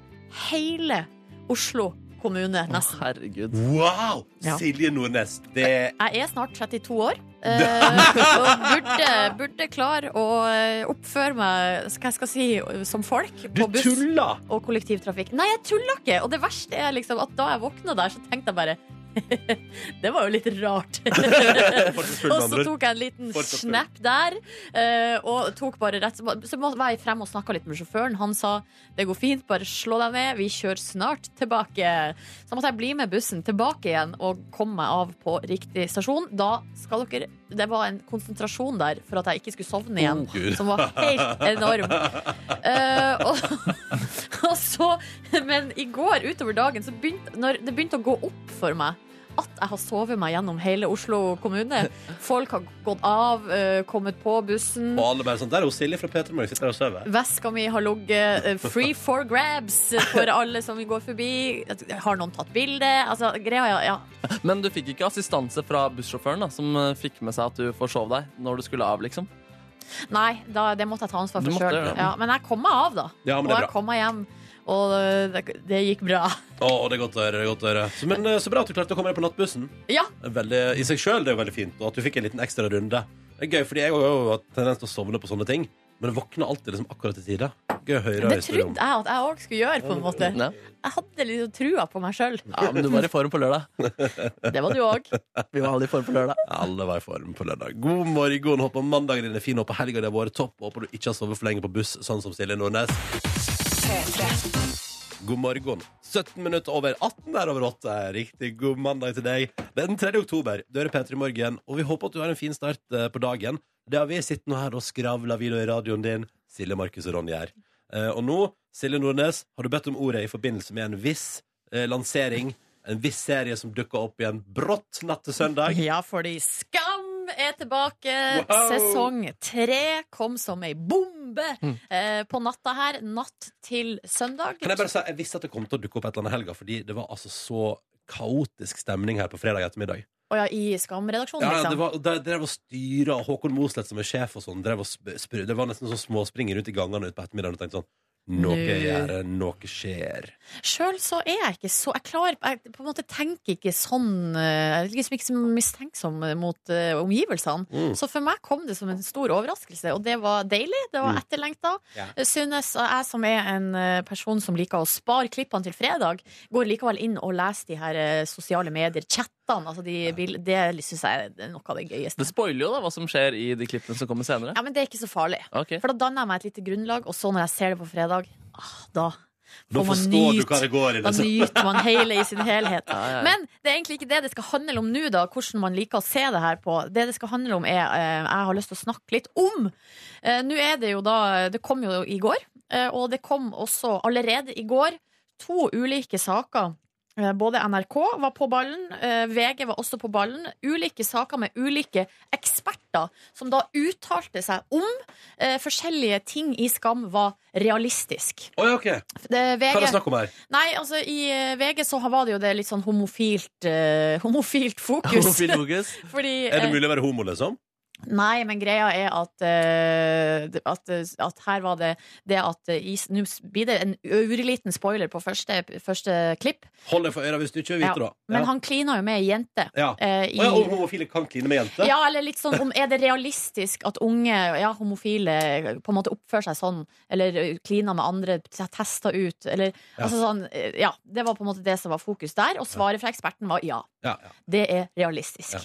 hele Oslo kommune,
Å,
nesten.
herregud.
Wow!
Ja.
Silje Nordnes. Det
Jeg er snart 32 år. eh, og burde, burde klare å eh, oppføre meg hva jeg skal si, som folk
Du
på buss
tuller!
og kollektivtrafikk. Nei, jeg tuller ikke! Og det verste er liksom at da jeg våkna der, så tenkte jeg bare (laughs) Det var jo litt rart.
Fortsatt
og
full, med andre
så
ord.
tok jeg en liten
Fortsatt full.
snap der. eh, og tok bare rett Så må- var jeg frem og snakka litt med sjåføren. Han sa det går fint, bare slå deg ned, vi kjører snart tilbake. Så måtte jeg bli med bussen tilbake igjen og komme meg av på riktig stasjon. Da skal dere Det var en konsentrasjon der for at jeg ikke skulle sovne igjen,
Gud.
som var helt enorm. Eh, og, (laughs) og så Men i går utover dagen så begynte når det begynte å gå opp for meg at jeg har sovet meg gjennom hele Oslo kommune. Folk har gått av, eh, kommet på bussen.
Og alle bare sånn, der er hun Silje fra Peter Morgen, sitter der og sover.
Veska mi har ligget eh, free for grabs for alle som går forbi. Har noen tatt bilde? Altså, greia, ja, ja.
Men du fikk ikke assistanse fra bussjåføren, da, som eh, fikk med seg at du forsov deg når du skulle av, liksom?
Nei, da, det måtte jeg ta ansvar
Du
for
måtte
sjøl.
det, ja.
Ja, men jeg kom meg av, da.
Ja, men
og
det er
jeg
bra.
kom meg hjem. Og eh, det, det gikk bra.
Å, det er godt å høre. det er godt å høre. Så, men eh, så bra at du klarte å komme deg på nattbussen.
Ja,
Det er Veldig, I seg sjøl er jo veldig fint, og at du fikk en liten ekstra runde. Det er gøy, fordi jeg har jo hatt tendens til å sovne på sånne ting, men jeg våkner alltid liksom akkurat i tide. Gøy å høre
det
historier om.
trodde jeg at jeg òg skulle gjøre, på en måte.
Ja.
Jeg hadde liksom trua på meg sjøl.
ja, men du var i form på lørdag.
Det var du òg.
(laughs)
Vi var alle i form på lørdag.
Alle var i form på lørdag. God morgen, håper mandagen din er fin, håper helga di har vært topp, håper du ikke har sovet for lenge på buss, sånn som Silje Nordnes. God morgen. 17 minutter over 18 der over 8. Riktig god mandag til deg. Det er den 3. oktober. Du hører P3 Morgen, og vi håper at du har en fin start eh, på dagen. Det har vi sittet nå her og skravla videre i radioen din, Silje, Markus og Ronny her. Eh, Og nå, Silje Nordnes, har du bedt om ordet i forbindelse med en viss eh, lansering. En viss serie som dukka opp igjen brått natt til søndag.
Ja, fordi Skam er tilbake.
Wow.
Sesong tre kom som ei bombe eh, på natta her. Natt til søndag.
Kan jeg bare si, jeg visste at det kom til å dukke opp et eller annet i helga, fordi det var altså så kaotisk stemning her på fredag ettermiddag.
Å ja, I Skam-redaksjonen,
Ja, ja, det
liksom.
var, de drev og styra, og Håkon Mosleth som er sjef og sånn, drev og sp spr- det var nesten sånn småspringer rundt i gangene ut på ettermiddagen og tenkte sånn noe
Nå.
gjør, jeg, noe skjer.
Sjøl så er jeg ikke så Jeg klarer jeg på en måte tenker ikke sånn eh, Jeg er liksom ikke så mistenksom mot eh, omgivelsene.
Mm.
Så for meg kom det som en stor overraskelse, og det var deilig. Det var
Mm.
etterlengta.
Ja.
Synes og jeg som er en eh, person som liker å spare klippene til fredag, går likevel inn og leser de her eh, sosiale medier, chattene, altså de bil- Det syns jeg er noe av det
Det
gøyeste.
spoiler jo da hva som skjer i de klippene som kommer senere.
Ja, men det er ikke så farlig.
Ok. (laughs)
For da danner jeg meg et lite grunnlag, og så når jeg ser det på fredag, ah, da
Da
får man
forstår du
nyt.
hva det går i.
da
Liksom.
nyter man hele i sin helhet.
Ja, ja, ja.
Men det er egentlig ikke det det skal handle om nå, da, hvordan man liker å se det her på. Det det skal handle om, er eh, Jeg har lyst til å snakke litt om. Eh, nå er det jo da Det kom jo i går, eh, og det kom også allerede i går to ulike saker. Eh, Både NRK var på ballen, eh, VG var også på ballen. Ulike saker med ulike eksperter som da uttalte seg om eh, forskjellige ting i Skam var realistisk.
Oi, ok.
Det,
Hva er
VG,
det snakk om her?
Nei, altså i eh, VG så var det jo det litt sånn homofilt eh, (laughs) Homofilt fokus.
Homofil fokus.
(laughs) Fordi
Er det
eh,
mulig å være homo, liksom?
Nei, men greia er at, eh, det- at, eh, at her var det det at eh, is, Nå blir det en ørliten spoiler på første, første klipp.
Hold deg for øra hvis du ikke vil
Ja,
vite,
Men
da.
han klina jo med ei jente.
Ja. Ja.
eh,
Å ja, og
i,
homofile kan kline med jenter?
ja, eller litt sånn om Er det realistisk at unge, ja, homofile, eh, på en måte oppfører seg sånn? Eller eh, kliner med andre, tester ut, eller
Ja.
Altså sånn eh, Ja. Det var på en måte det som var fokus der, og svaret fra eksperten var ja.
Ja, ja.
Det er realistisk.
Ja.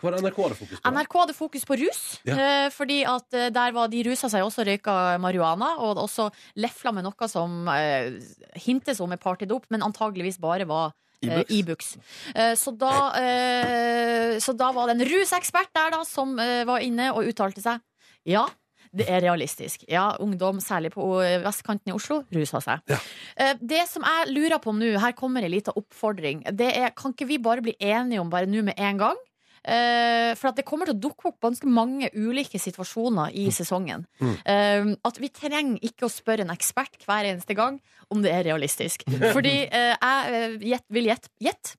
Hva var det NRK hadde fokus på?
NRK hadde fokus på rus,
Ja.
eh, fordi at eh, der var de rusa seg også røyka marihuana, og også lefla med noe som eh, hintes om er partydop, men antageligvis bare var eh,
Ibux.
Ibux. Eh, så, da, eh, så da var det en rusekspert der da som eh, var inne og uttalte seg. Ja, det er realistisk. Ja, ungdom, særlig på eh, vestkanten i Oslo, rusa seg. Eh, Det som jeg lurer på nå, her kommer en liten oppfordring. Det er, kan ikke vi bare bli enige om bare nå med en gang? Eh, for at det kommer til å dukke opp ganske mange ulike situasjoner
Mm.
i sesongen. Eh, at vi trenger ikke å spørre en ekspert hver eneste gang om det er
(laughs)
realistisk. Fordi eh, jeg eh, gjett- vil gjette Gjett!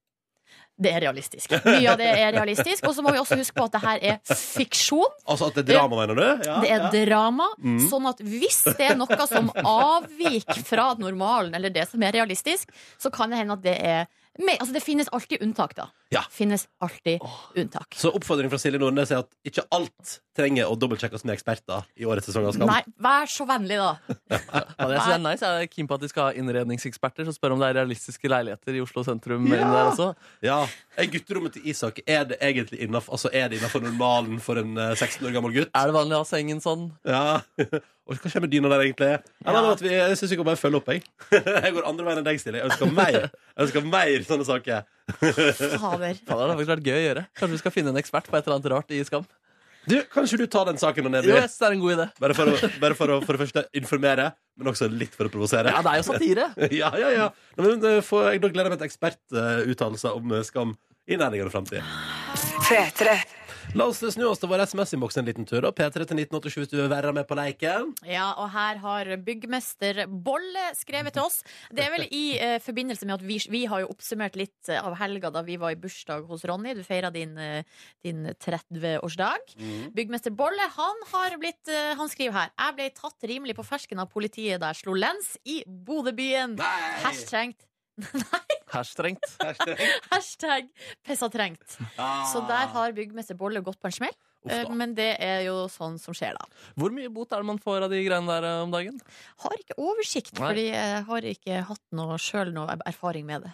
Det er realistisk. Mye av det er realistisk. Og så må vi også huske på at det her er fiksjon.
Altså at det er drama, mener du? Ja,
Det er
ja. Mm.
drama. Sånn at hvis det er noe som avviker fra normalen, eller det som er realistisk, så kan det hende at det er me- Altså, det finnes alltid unntak, da.
Ja.
Finnes alltid unntak.
Så oppfordringen fra Silje Nordnes er at ikke alt trenger å dobbeltsjekkes med eksperter i årets sesong av Skam.
Nei, vær så vennlig, da.
Ja, det jeg synes er nice. Jeg er keen på at de skal ha innredningseksperter som spør om det er realistiske leiligheter i Oslo sentrum.
Ja.
Inn der også.
Ja, er Gutterommet til Isak Er det egentlig innenfor, altså er det innenfor normalen for en eh, 16 år gammel gutt?
Er det vanlig å ha sengen sånn?
Ja. (laughs) Og hva skjer med dyna der, egentlig? Ja. Nei, vet vi, jeg syns vi kan bare følge opp, jeg. (laughs) Jeg går andre veien enn deg, Silje. Jeg ønsker mer Jeg ønsker mer sånne saker.
Fader.
Ja, det hadde faktisk vært gøy å gjøre. Kanskje vi skal finne en ekspert på et eller annet rart i Skam.
Du, Kanskje du tar den saken og ned
Jo,
i
jeg synes det er en god idé.
Bare, for å, bare for, å, for det første informere, men også litt for å provosere.
Ja, det er jo satire.
(laughs) Ja, ja, ja. Nå, men, eh, får jeg da gleder jeg meg til ekspertuttalelser om eh, Skam i nærliggende framtid. La oss eh, snu oss til vår SMS-innboks en liten tur. da. P3 til 1987 hvis du vil være med på leiken.
(laughs) Ja, og her har byggmester Bolle skrevet til oss. Det er vel i eh, forbindelse med at vi, vi har jo oppsummert litt eh, av helga da vi var i bursdag hos Ronny. Du feira din, eh, din 30-årsdag. Byggmester Bolle han har blitt, eh, han skriver her Jeg ble tatt rimelig på fersken av politiet der jeg slo lens i Bodøbyen. Hashtrengt.
Her strengt.
(laughs) Hashtag pissa trengt. Så der har byggmester Bolle gått på en smell. eh, Men det er jo sånn som skjer, da.
Hvor mye bot er det man får av de greiene der eh, om dagen?
Har ikke oversikt,
Nei.
fordi jeg har ikke hatt noe sjøl noe erfaring med det.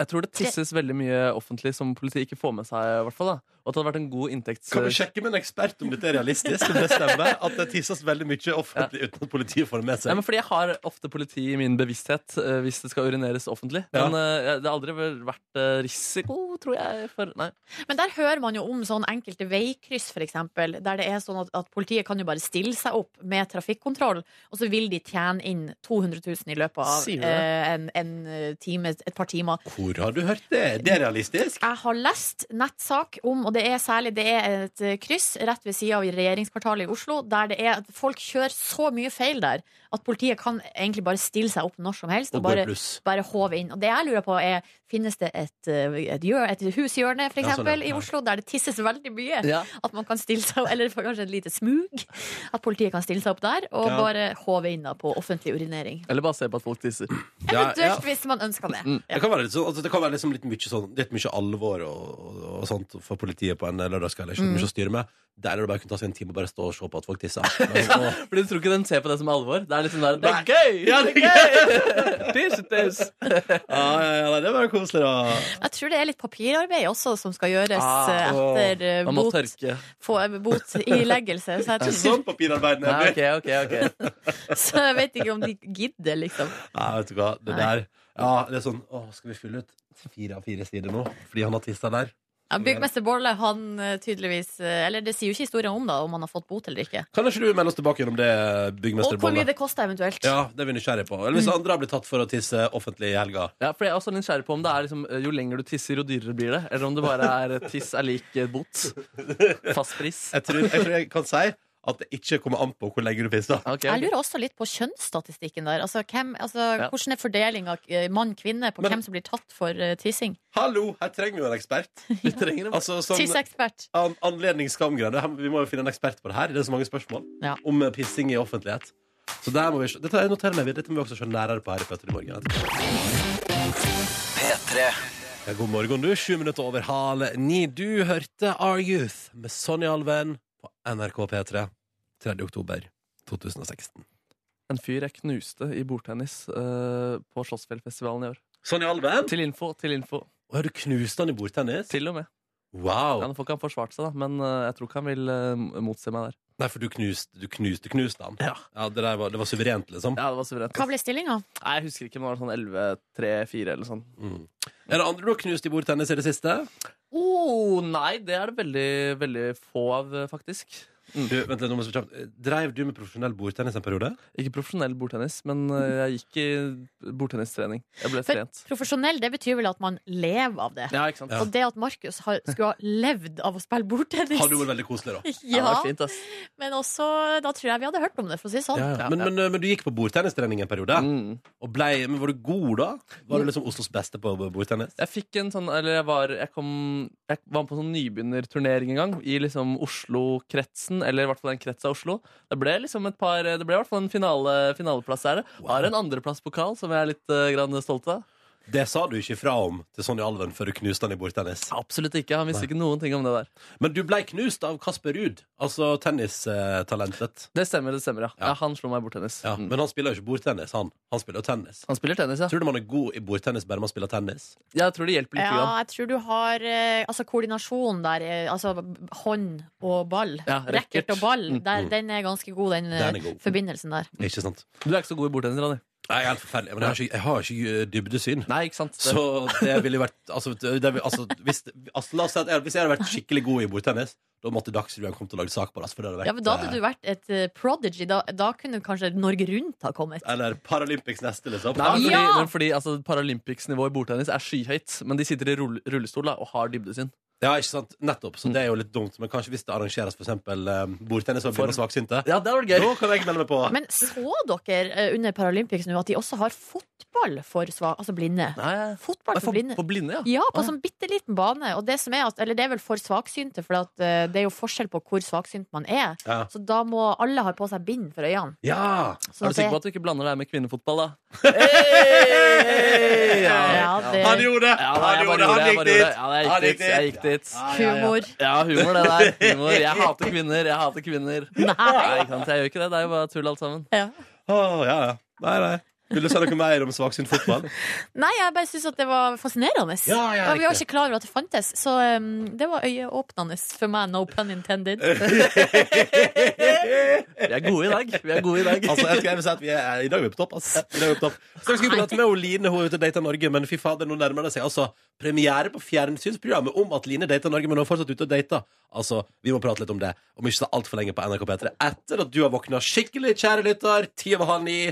Jeg tror det tisses veldig mye offentlig som politiet ikke får med seg. i hvert fall da. Og at det hadde vært en god inntekts...
Kan vi sjekke med en ekspert om dette er realistisk? Om det stemmer at det tisses veldig mye offentlig uten at politiet får det med
Nei,
seg?
men fordi Jeg har ofte politi i min bevissthet eh, hvis det skal urineres offentlig.
Ja.
Men eh, det har aldri vel vært eh, risiko, tror jeg. For, nei.
Men der hører man jo om sånn enkelte veikryss, f.eks., der det er sånn at, at politiet kan jo bare stille seg opp med trafikkontroll, og så vil de tjene inn 200 000 i løpet av
Sier du det?
eh, en, en time, et par timer.
Hvor har du hørt det? Det er realistisk.
Jeg har lest nettsak om, og det er særlig det er et eh, kryss rett ved sida av i regjeringskvartalet i Oslo, der det er at folk kjører så mye feil der at politiet kan egentlig bare stille seg opp når som helst og,
Og går
bare,
i pluss.
bare håve inn. Og det jeg lurer på er, finnes det et, eh, et, hjør, et hushjørne for
Ja, sånn,
eksempel,
ja.
i Oslo der det tisses veldig mye?
Ja.
At man kan stille seg opp, eller kanskje et lite smug, at politiet kan stille seg opp der og
Ja.
bare håve inn da på offentlig urinering.
Eller bare se på at folk tisser.
Ja, ja.
Eventuelt hvis man ønsker det.
Det kan være litt, sånn, altså det kan være liksom litt, mye sånn, litt mye alvor og, og, og sånt for politiet på en lørdagskveld. Ikke mye å styre med. Der er det bare å kunne ta seg en time og bare stå og se på at folk tisser. Men
(laughs)
så-
Fordi du tror ikke den ser på det som alvor? Det er litt sånn der, det
Nei.
er gøy!
Ja, det er
(laughs) gøy! tiss, tiss.
ja, ja, ja, nei, det var koselig, da.
Jeg tror det er litt papirarbeid også som skal gjøres
Ah,
eh,
åh.
etter eh,
Man må
bot,
tørke.
få, eh, botileggelse. Så
(laughs)
jeg, tror,
Sånn papirarbeid.
Nei,
nemlig.
ok, ok, ok.
(laughs) så jeg vet ikke om de gidder, liksom.
Nei, vet du hva. Det
Nei.
der ja, det er sånn, å, Skal vi fylle ut fire av fire sider nå fordi han har tissa der?
Ja, Byggmester Bolle, han eh, tydeligvis eh, Eller det sier jo ikke historien om, da, om han har fått bot eller ikke.
Kan ikke du melde oss tilbake gjennom det, byggmester
Og hvor mye
Bolle?
det Mm. koster eventuelt.
Ja, det er vi nysgjerrige på. Eller hvis andre har blitt tatt for å tisse offentlig i helga.
Ja, for jeg er også nysgjerrig på om det er liksom, eh, jo lenger du tisser, jo dyrere blir det. Eller om det bare er eh, tiss er lik eh, bot. Fast pris.
Jeg tror jeg, tror jeg kan si at det ikke kommer an på hvor lenge du pisser.
Ok, ok.
Jeg lurer også litt på kjønnsstatistikken der. Altså, hvem, altså,
Ja.
Hvordan er fordelinga mann-kvinne på
Men-
hvem som blir tatt for eh, tissing?
Hallo, her trenger vi jo en ekspert.
(laughs)
Vi trenger en
Altså, sånn-
Tisseekspert.
An anledning skamgreiene. Her- Vi må jo finne en ekspert på det her. Det er så mange spørsmål
Ja.
om eh, pissing i offentlighet. Så der må vi se- Dette har jeg notert meg. Dette må vi også se nærere på her i Petter i morgen. etterpå. Ja, god morgen, du. Sju minutter over halv ni. Du hørte Our Youth med Sonja Alven på NRK P3 3. oktober 2016.
En fyr jeg knuste i bordtennis eh, på Slottsfjellfestivalen i år.
Sonja Alven?
Til info, til info.
Å, ja, du knuste han i bordtennis?
Til og med. Ja,
Wow.
Nå får ikke han forsvart seg, da, men eh, jeg tror ikke han vil eh, motse meg der.
Nei, for du knuste, du knuste, knuste han. Ja. det, der var, det var suverent, liksom.
Ja, det var suverent.
Hva ble stillinga?
Nei, jeg husker ikke, men det var sånn 11-3-4 eller sånn.
Mm. Er det andre du har knust i bordtennis i det siste?
Oh, nei, det er det veldig, veldig få av, eh, faktisk.
Du, vent litt, nå må jeg spørre kjapt. Dreiv du med profesjonell bordtennis en periode?
Ikke profesjonell bordtennis, men eh, jeg gikk i bordtennistrening. Jeg ble
For-
trent.
Profesjonell, det betyr vel at man lever av det.
Ja, ikke sant?
Ja.
Og det at Markus har, skulle ha levd av å spille bordtennis (laughs)
Hadde jo vært veldig koselig, da.
det
Ja,
var fint, ass.
men også Da tror jeg vi hadde hørt om det, for å si det sånn.
Ja,
Men,
ja.
men, eh, men du gikk på bordtennistrening en periode,
Mm.
og ble, men var du god da? Var du liksom Oslos beste på bordtennis?
Jeg fikk en sånn, eller jeg var Jeg, kom, jeg var på en sånn nybegynnerturnering en gang I liksom Oslo-kretsen Eller i hvert fall en krets av Oslo Det ble liksom et par, det ble i hvert fall en finale, finaleplass der Har en andreplasspokal som jeg er litt eh, grann stolt av
Det sa du ikke ifra om til Sonja Alven før du knuste han i bordtennis.
Absolutt ikke, han visste ikke noen ting om det der
Men du ble knust av Kasper Ruud, altså tennistalentet.
Det stemmer, det stemmer, ja, ja. Han slo meg bort tennis
Ja,
mm.
Men han spiller jo ikke bordtennis, han. Han spiller jo tennis.
Han spiller tennis, ja
Tror du man er god i bordtennis bare man spiller tennis?
Jeg tror det hjelper litt
Ja,
grann.
jeg tror du har eh, altså, koordinasjon der. eh, Altså hånd og ball.
Ja, racket.
Racket og ball.
Mm.
Der, den er ganske god, den, eh,
Den er god.
forbindelsen der.
Ikke sant?
Du er ikke så god i bordtennis, Ronny
Nei, helt forferdelig. Men jeg har ikke, jeg har ikke eh, dybdesyn.
Nei, ikke sant? Det,
Så det ville jo vært altså, det, vil- altså, hvis, altså, La oss si at jeg, hvis jeg hadde vært skikkelig god i bordtennis, da måtte Dagsrevyen kommet og lagd sak på det. altså, For det hadde vært,
Ja, men Da hadde du vært et eh, prodigy. Da, da kunne kanskje Norge Rundt ha kommet.
eh, Eller Paralympics neste, liksom.
Nei, men fordi,
Ja!
men fordi altså, Paralympics-nivået i bordtennis er skyhøyt, men de sitter i rull rullestol da, og har dybdesyn.
Ja, ikke sant? Nettopp. Så det er jo litt dumt. Men kanskje hvis det arrangeres for eksempel eh, bordtennis for blinde og svaksynte,
Ja, det hadde vært
da
gøy.
kan jeg melde meg på.
Men så dere eh, under Paralympics nå at de også har fotball for sva, altså blinde?
Nei,
Fotball for
for,
blinde.
på blinde, ja.
Ja, på en sånn bitte liten bane. Og det, som er at, eller det er vel for svaksynte, for at, eh, det er jo forskjell på hvor svaksynt man er.
Ja.
Så da må alle ha på seg bind for øynene.
Ja!
Sånn
Er
at
du sikker
det-
på at du ikke blander det her med kvinnefotball, da?
Ja, det-
Han gjorde det!
Ja, nei,
han
jeg
gjorde
bare
det!
gjorde
Han
det. jeg
gikk dit!
bare gjorde det. Ja, jeg
Han
gikk
gikk
dit. Jeg gikk dit.
Humor.
Ja, humor, det der. Humor. (laughs) Jeg hater kvinner. Jeg hater kvinner. Nei, ikke sant? Jeg gjør ikke det. Det er jo bare tull, alt sammen.
Ja.
Å, ja, ja. Nei, nei. Vil du si noe mer om svaksynt fotball?
Nei, jeg bare syns at det var fascinerende.
Ja, ja,
Og vi var
riktig.
ikke klar over at det fantes, så um, det var øyeåpnende for meg. No pun intended.
Vi er gode i dag. Vi er gode i dag.
Altså, jeg skal jeg vil si at vi er, I dag er vi på topp. ass. I dag er vi på topp. Så jeg skulle prate med hun Line, hun er ute og dater Norge, men fy fader, nå nærmer det seg altså premiere på fjernsynsprogrammet om at Line dater Norge, men hun er fortsatt ute og dater. Altså, vi må prate litt om det, om ikke så altfor lenge på NRK P3. Etter at du har våkna skikkelig, kjære lytter, ti over halv ni.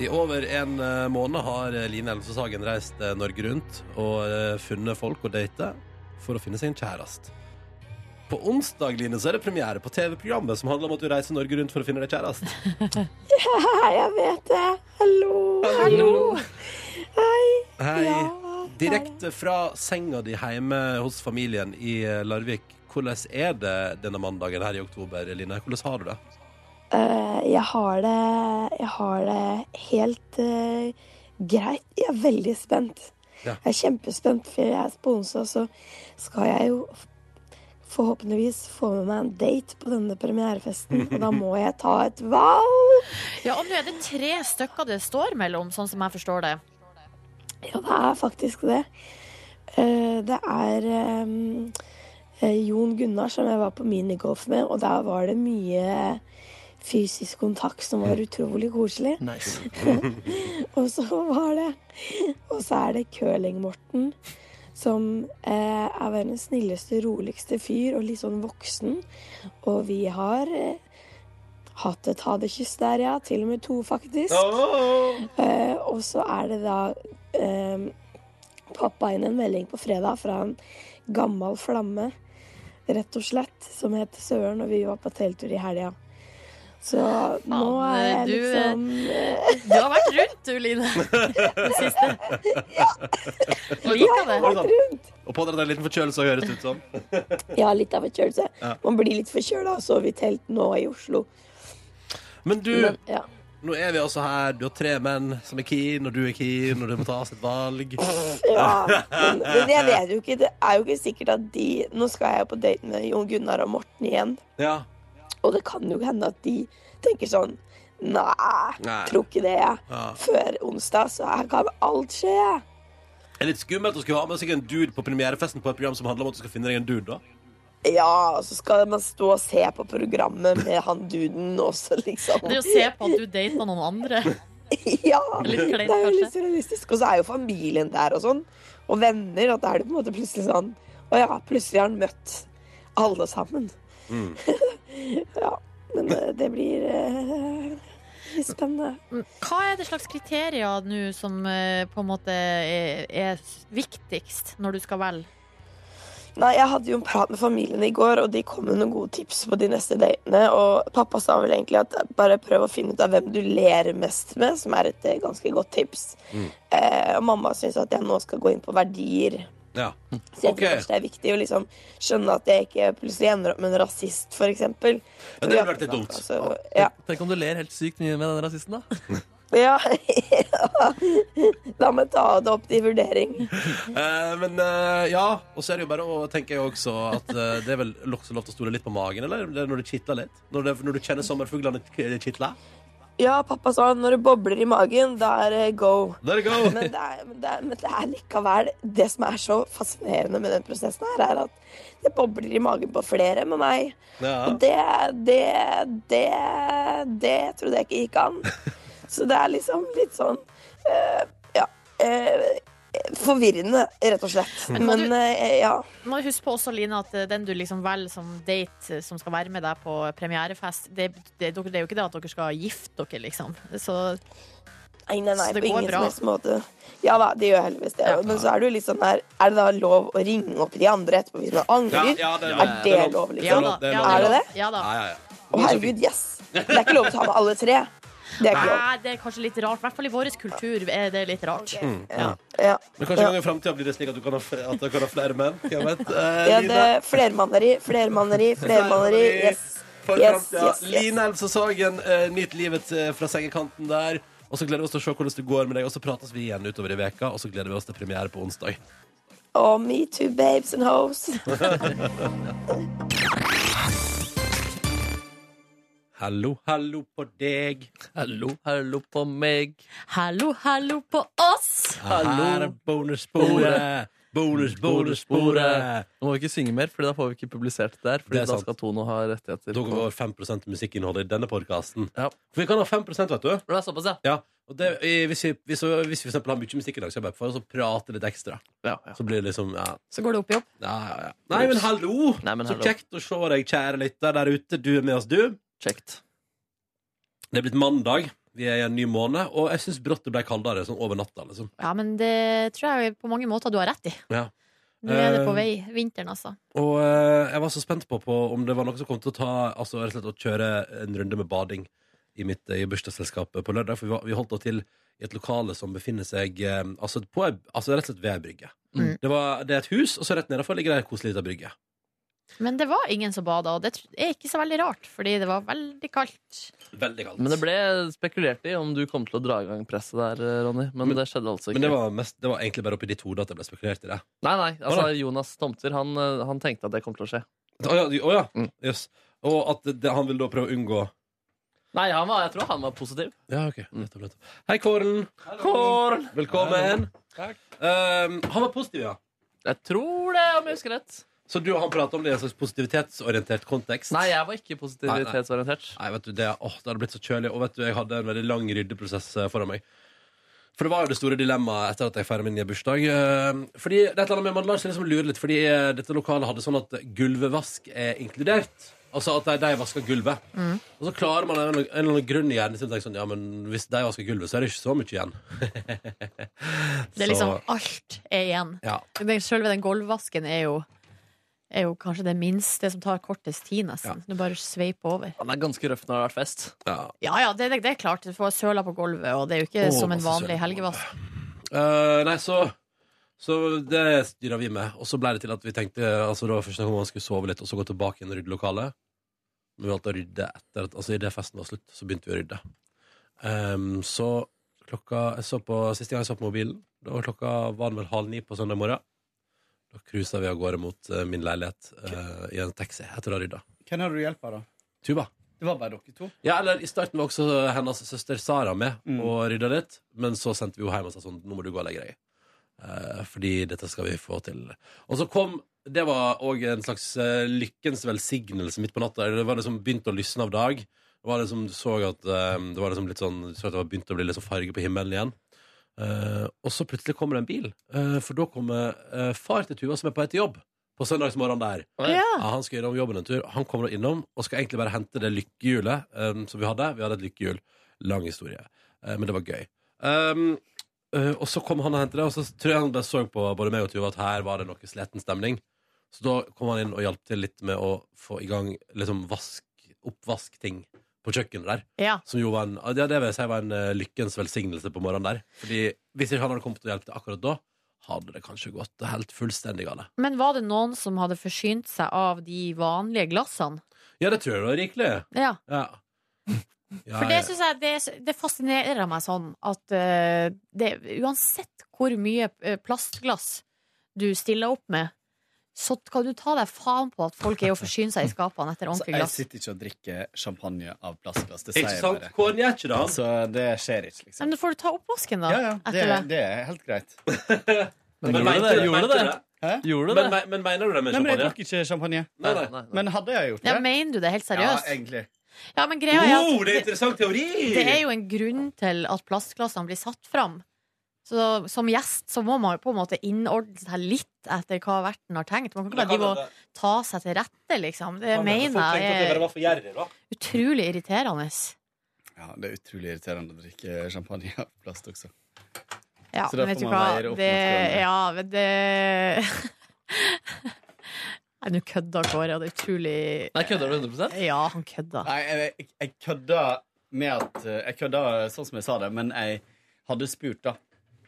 I over en eh, måned har eh, Line Elvsås Hagen reist eh, Norge rundt og eh, funnet folk å date for å finne sin kjæreste. På onsdag Line, så er det premiere på TV-programmet som handler om at du reiser Norge rundt for å finne deg kjæreste.
Hei, jeg vet det. Hallo. Hallo. Hei.
Hei.
Ja,
Direkte fra senga di hjemme hos familien i eh, Larvik. Hvordan er det denne mandagen her i oktober, Line? Hvordan har du det?
Eh, jeg har det Jeg har det helt eh, greit. Jeg er veldig spent.
Ja.
Jeg er kjempespent, for jeg er sponsa, så skal jeg jo f- forhåpentligvis få med meg en date på denne premierefesten. Og da må jeg ta et valg!
Ja, og nå er det tre stykker det står mellom, sånn som jeg forstår det.
Ja, det er faktisk det. Eh, det er ehm, eh, Jon Gunnar som jeg var på minigolf med, og der var det mye fysisk kontakt som var utrolig koselig.
Nice.
Og så var det Og så er det curling-Morten, som eh, er verdens snilleste, roligste fyr og litt sånn voksen. Og vi har eh, hatt et ha det-kyss der, ja. Til og med to, faktisk. Eh, og så er det da eh, pappa inn en melding på fredag fra en gammel flamme, rett og slett, som heter Søren, og vi var på telttur i helga. Så nå er jeg
du, eh,
liksom eh,
Du har vært rundt, du, Line. Det siste. Liker det.
Oi, sant. Og pådratt deg en liten forkjølelse, høres det ut som.
Ja, litt av forkjølelse.
Ja.
Man blir litt forkjøla av å sove i telt nå i Oslo.
(laughs) Men du,
Men, ja.
nå er vi altså her. Du har tre menn som er keen, og du er keen, og det må tas et valg.
Ja, men, men jeg vet jo ikke. Det er jo ikke sikkert at de Nå skal jeg jo på date med Jon Gunnar og Morten igjen.
(laughs) Ja.
Og det kan jo hende at de tenker sånn Nei,
Nei.
tror ikke det. jeg.
Ja.
Før onsdag så her kan alt skje. jeg.
Det er litt skummelt å skulle ha med seg en dude på premierefesten på et program som handler om at du skal finne deg en dude, da.
Ja, og så skal man stå og se på programmet med han duden også, liksom.
Det å se på at du dater noen andre.
(laughs) Ja,
Litt kleint,
det er jo
kanskje.
litt surrealistisk. Og så er jo familien der og sånn, og venner, at da er det på en måte plutselig sånn Å ja, plutselig har han møtt alle sammen. (laughs) ja, men eh, det blir eh, litt spennende.
Mm, Hva er det slags kriterier nå som eh, på en måte er, er viktigst når du skal velge?
Nei, jeg hadde jo en prat med familien i går, og de kom med noen gode tips på de neste datene. Og pappa sa vel egentlig at bare prøv å finne ut av hvem du ler mest med, som er et eh, ganske godt tips. Eh, og mamma syns at jeg nå skal gå inn på verdier.
Ja.
Så jeg
Ok.
tror kanskje det er viktig å liksom skjønne at jeg ikke plutselig ender opp med en rasist, for eksempel.
Ja, det hadde vært litt dumt.
Altså, ja.
Tenk om du ler helt sykt mye med den rasisten, da.
ja. (laughs) La meg ta det opp til vurdering.
(laughs) Eh, men eh, ja, og så er det jo bare å tenke jeg også at eh, det er vel også lov til å stole litt på magen, eller? Det er når det kitler litt? Når, det, når du kjenner sommerfuglene k- kitle?
Ja, pappa sa når det bobler i magen, da er det go.
There you go!
Men det, er, men, det er, men det er likevel Det som er så fascinerende med den prosessen her, er at det bobler i magen på flere med meg.
Ja.
Og det, det, det, det trodde jeg ikke gikk
(laughs)
an. Så det er liksom litt sånn eh, Ja. eh, forvirrende, rett og slett.
Mm.
må
Men
du-
eh, ja.
Må huske på også, Line, at eh, den du liksom velger som date eh, som skal være med deg på premierefest, det, det, dere- det er jo ikke det at dere skal gifte dere, liksom. Så
Nei, nei, nei,
Så det går
på ingen
bra.
som helst måte. Ja da, det gjør heldigvis det.
Ja.
Men så er det jo litt sånn her Er det da lov å ringe opp de andre etterpå hvis man
Ja,
angrer?
ja, det er
er det
lov.
lov,
ja
liksom?
da.
det er
ja
lov.
da,
Er det det?
Ja da.
Ja, ja, ja.
Å, herregud, yes! Det er ikke lov å ta med alle tre. Det er ikke lov.
Nei, det er kanskje litt rart. I hvert fall i vår kultur er det litt rart.
Ja, ja.
Men kanskje en gang i framtida blir det slik at du kan ha, f- at du kan ha flere menn? Hvem vet? Eh,
ja det
Line,
Flermanneri, flermanneri, flermanneri. Yes.
for
Yes,
framtida.
yes, yes.
Line Elvsås Hagen, eh, nyt livet eh, fra sengekanten der. Og så gleder vi oss til å se hvordan det går med deg, og så prates vi igjen utover i veka, og så gleder vi oss til premiere på onsdag.
Oh, me too, babes and hoes. (laughs)
Hallo, hallo på deg.
Hallo, hallo på meg.
Hallo, hallo på oss!
Her er bonussporet. Bonus, bonussporet.
Nå må vi ikke synge mer, for da får vi ikke publisert det her. Fordi
Det er
da
sant.
skal Tono ha rettigheter.
Da går vi
på-
over 5 musikkinnholdet i denne podkasten.
Ja.
For vi kan ha 5 vet du.
Det er såpass, ja.
Ja. Og det, eh, hvis, vi, hvis, vi- hvis vi for eksempel har mye musikk i dag, så, er jeg bare for, så prater litt ekstra.
Ja, ja.
Så blir det liksom ja,
Så går det opp i opp.
ja, ja, ja. Nei, men hallo!
Nei, men
så
hallo.
kjekt å se deg, kjære lytter der ute. Du er med oss, du.
Kjekt.
Det er blitt mandag. Vi er i en ny måned, og jeg syns brått det ble kaldere sånn over natta. Liksom.
Ja, men det tror jeg på mange måter du har rett i.
Ja.
Nå er det på vei.
Eh,
Vinteren, altså.
Og eh, jeg var så spent på, på om det var noe som kom til å ta Altså rett og slett å kjøre en runde med bading i mitt eh, i bursdagsselskap på lørdag. For vi, var, vi holdt da til i et lokale som befinner seg eh, altså, på, ei- altså rett og slett ved ei brygge.
Mm.
Det, var, det er et hus, og så rett nedenfor ligger det ei koselig lita brygge.
Men det var ingen som bada, og det tr- er ikke så veldig rart, fordi det var veldig kaldt.
Veldig kaldt.
Men det ble spekulert i om du kom til å dra i gang presset der, eh, Ronny. Men,
Men-
det skjedde altså ikke.
Men det var, mest, det var egentlig bare oppi ditt hode at det ble spekulert i det.
Nei, nei, altså
Hva da?
Jonas Tomter han, eh, han tenkte at det kom til å skje.
Å ja, å ja.
Mm.
Jøss. Og at det, han vil da prøve å unngå
Nei, han var, jeg tror han var positiv.
Ja, ok.
Mm.
Nettopp, nettopp. Hei, Kåren. Velkommen. Um, han var positiv, ja.
Jeg tror det, om jeg husker rett.
Så du og han prater om det i en slags positivitetsorientert kontekst?
Nei, jeg var ikke positivitetsorientert.
Nei, vet du, det, åh, det hadde blitt så kjølig. Og vet du, jeg hadde en veldig lang ryddeprosess eh, foran meg. For det var jo det store dilemmaet etter at jeg feiret min bursdag. Eh, Fordi det er et eller annet med Man lar seg liksom lure litt, fordi eh, dette lokalet hadde sånn at gulvevask er inkludert. Altså at de, de vasker gulvet.
Mm.
Og så klarer man av en, en eller annen grunn i hjernen sin å tenke sånn Ja, men hvis de vasker gulvet, så er det ikke så mye igjen.
Det er liksom alt er igjen.
Ja.
Den- Selve den gulvvasken er jo er jo kanskje det minste som tar kortest tid, nesten. Du bare sveiper over.
Han er ganske røff når det har vært fest.
ja.
Ja ja, det, det er klart. Du får søla på gulvet, og det er jo ikke
Å,
som en
masse
vanlig
søl på
helgevask.
Eh, nei, så Så det styra vi med. Og så ble det til at vi tenkte Altså det var første gang man skulle sove litt, og så gå tilbake inn og rydde lokalet. Men vi valgte å rydde etter at Altså idet festen var slutt, så begynte vi å rydde. Ehm, så klokka jeg så på, Siste gang jeg så på mobilen, da var klokka var den vel halv ni på søndag morgen. Da cruisa vi av gårde mot eh, min leilighet eh, i en taxi etter å ha rydda.
Hvem hadde du hjelp av, da?
Tuba.
Det var bare dere to.
Ja, eller I starten var også hennes søster Sara med og rydda litt. Men så sendte vi henne hjem og sa sånn Nå må du gå og legge deg. Eh, fordi dette skal vi få til. Og så kom Det var òg en slags eh, lykkens velsignelse midt på natta. Det var liksom begynt å lysne av dag. Det var liksom, du så at eh, det var liksom litt sånn du så at det var begynt å bli litt sånn farge på himmelen igjen. Eh, og så plutselig kommer det en bil. Eh, for da kommer eh, far til Tuva, som er på vei til jobb, på søndagsmorgenen der.
Ja.
Ja, han skal innom jobben en tur. Han kommer da innom og skal egentlig bare hente det lykkehjulet um, som vi hadde. Vi hadde et lykkehjul. Lang historie. Eh, men det var gøy. Um, eh, og så kom han og hentet det, og så tror jeg han bare så på både meg og Tuva at her var det noe sliten stemning. Så da kom han inn og hjalp til litt med å få i gang liksom vask, oppvaskting på kjøkkenet der.
ja.
Som jo var en, ja, det vil jeg si var en eh, lykkens velsignelse på morgenen der. Fordi hvis ikke han hadde kommet og hjulpet til akkurat da, hadde det kanskje gått helt fullstendig galt.
Men var det noen som hadde forsynt seg av de vanlige glassene?
Ja, det tror jeg det var rikelig.
Ja.
Ja. Ja,
For
ja.
det synes jeg det, det fascinerer meg sånn at eh, det, uansett hvor mye eh, plastglass du stiller opp med, så kan du ta deg faen på at folk er jo forsyner seg i skapene etter
(laughs) Så
ordentlig
jeg
glass.
sitter ikke og drikker champagne av plastglass. Det sier
Ikke
jeg
sant?
bare.
Kåren gjør ikke det. han.
Så det skjer ikke,
Nei, Men
liksom.
da får du ta oppvasken, da.
Ja, ja. Det,
Etter det.
det er helt greit.
Men
Men
gjorde
mente
det?
du-
Gjorde
mente
det?
du
Hæ?
Gjorde
Men,
det?
me- men mener du det med
Nei, men jeg
champagne?
drakk ikke champagne.
Nei, nei.
nei.
Men hadde jeg gjort
Ja,
det?
mener du det helt
ja,
seriøst?
egentlig.
Ja, men greia er
Oh,
at
det er interessant teori!
det er jo en grunn til at plastglassene blir satt fram. Så som gjest så må man jo på en måte innordne seg litt etter hva verten har tenkt. Man kan
Men
ikke bare drive
da kan
og
det-
ta seg til rette, liksom. Det
kan det- for folk
mener
tenkte at det
jeg
bare var for gjerrig, da.
er utrolig irriterende.
Ja, det er utrolig irriterende å drikke champagne av plast også.
Ja,
Så da
men vet
får
du
man
hva,
veier opp mot
det
hverandre.
Ja, men det (laughs) Nei, nå kødda Kåre, og det er utrolig
Nei, kødder du 100
Ja, han kødda.
Nei, jeg, jeg, jeg kødda med at Jeg kødda sånn som jeg sa det, men jeg hadde spurt, da.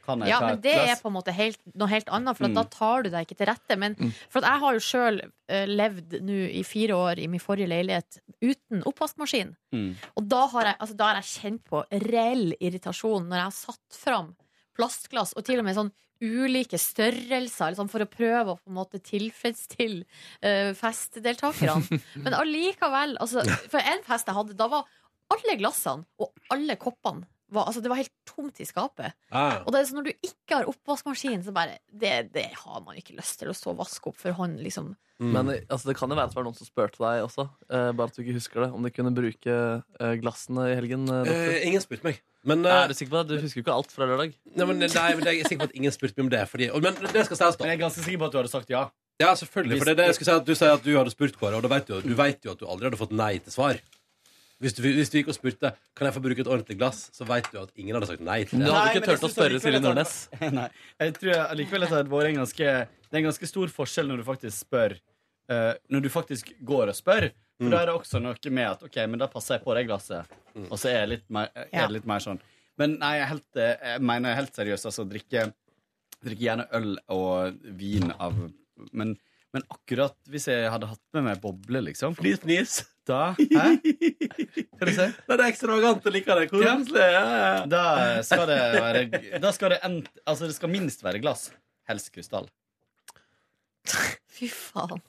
Kan jeg
Ja,
ta
men
et
det er
glass?
på en måte helt, noe helt annet, for at
Mm.
da tar du deg ikke til rette. Men for at jeg har jo sjøl eh, levd nå i fire år i min forrige leilighet uten oppvaskmaskin.
Mm.
Og da har, jeg, altså, da har jeg kjent på reell irritasjon når jeg har satt fram plastglass, og til og med sånn ulike størrelser, liksom, for å prøve å på en måte tilfredsstille eh,
(laughs)
festdeltakerne. Men allikevel altså, For en fest jeg hadde, da var alle glassene og alle koppene var, altså, Det var helt tomt i skapet.
Ah.
Og det er sånn når du ikke har oppvaskmaskin, så bare det, det har man ikke lyst til å stå og vaske opp for hånd, liksom.
Men altså, det kan jo være at det var noen som spurte deg også, eh, bare at du ikke husker det, om du kunne bruke eh, glassene i helgen. eh, doktor.
Eh, ingen spurte meg. Men, eh,
Nei, er du sikker på det? Du husker jo ikke alt fra lørdag.
nei, men, nei, men jeg er sikker på at ingen spurte meg om det. Fordi, og- men det skal sies,
Men
da.
jeg er ganske sikker på at du hadde sagt ja.
Ja, selvfølgelig. For det er det jeg skulle si at du sier at du hadde spurt Kåre, og da vet du, du vet jo at du aldri hadde fått nei til svar. Hvis du, hvis du gikk og spurte Kan jeg få bruke et ordentlig glass, så vet du at ingen hadde sagt nei til
Du
det.
Nei,
hadde ikke
men jeg
turt å
synes
spørre
allikevel
Silje
at han-
Nordnes.
(laughs) Nei, jeg tror jeg allikevel at det hadde vært en ganske Det er en ganske stor forskjell når du faktisk spør eh, Når du faktisk går og spør. For da er det også noe med at OK, men da passer jeg på det glasset. Og så er det litt mer, er
Ja.
det litt mer sånn. Men nei, jeg, er helt, eh, jeg mener jeg er helt seriøst, altså drikke Drikke gjerne øl og vin av Men, men akkurat hvis jeg hadde hatt med meg boble, liksom
Fnis, fnis.
Da Hæ? Hva du sier?
Nei, det er ekstravagant. Jeg liker det.
Ja.
Koselig. Ja, ja.
Da skal det være Da skal det ent, Altså, det skal minst være glass. Helst krystall.
Fy faen.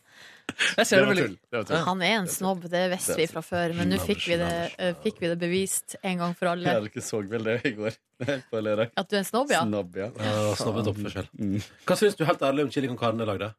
Jeg ser det veldig
Det var
tull.
Han er en snobb, det visste vi fra før, men nå fikk vi det, eh, fikk vi det bevist en gang for alle.
Ja, dere så vel det i går. (laughs) På lørdag.
At du er en snobb, ja?
Snobb, ja.
Ja, Mm. Snobbet oppførsel. Hva syns du helt ærlig om chili con carne lagde?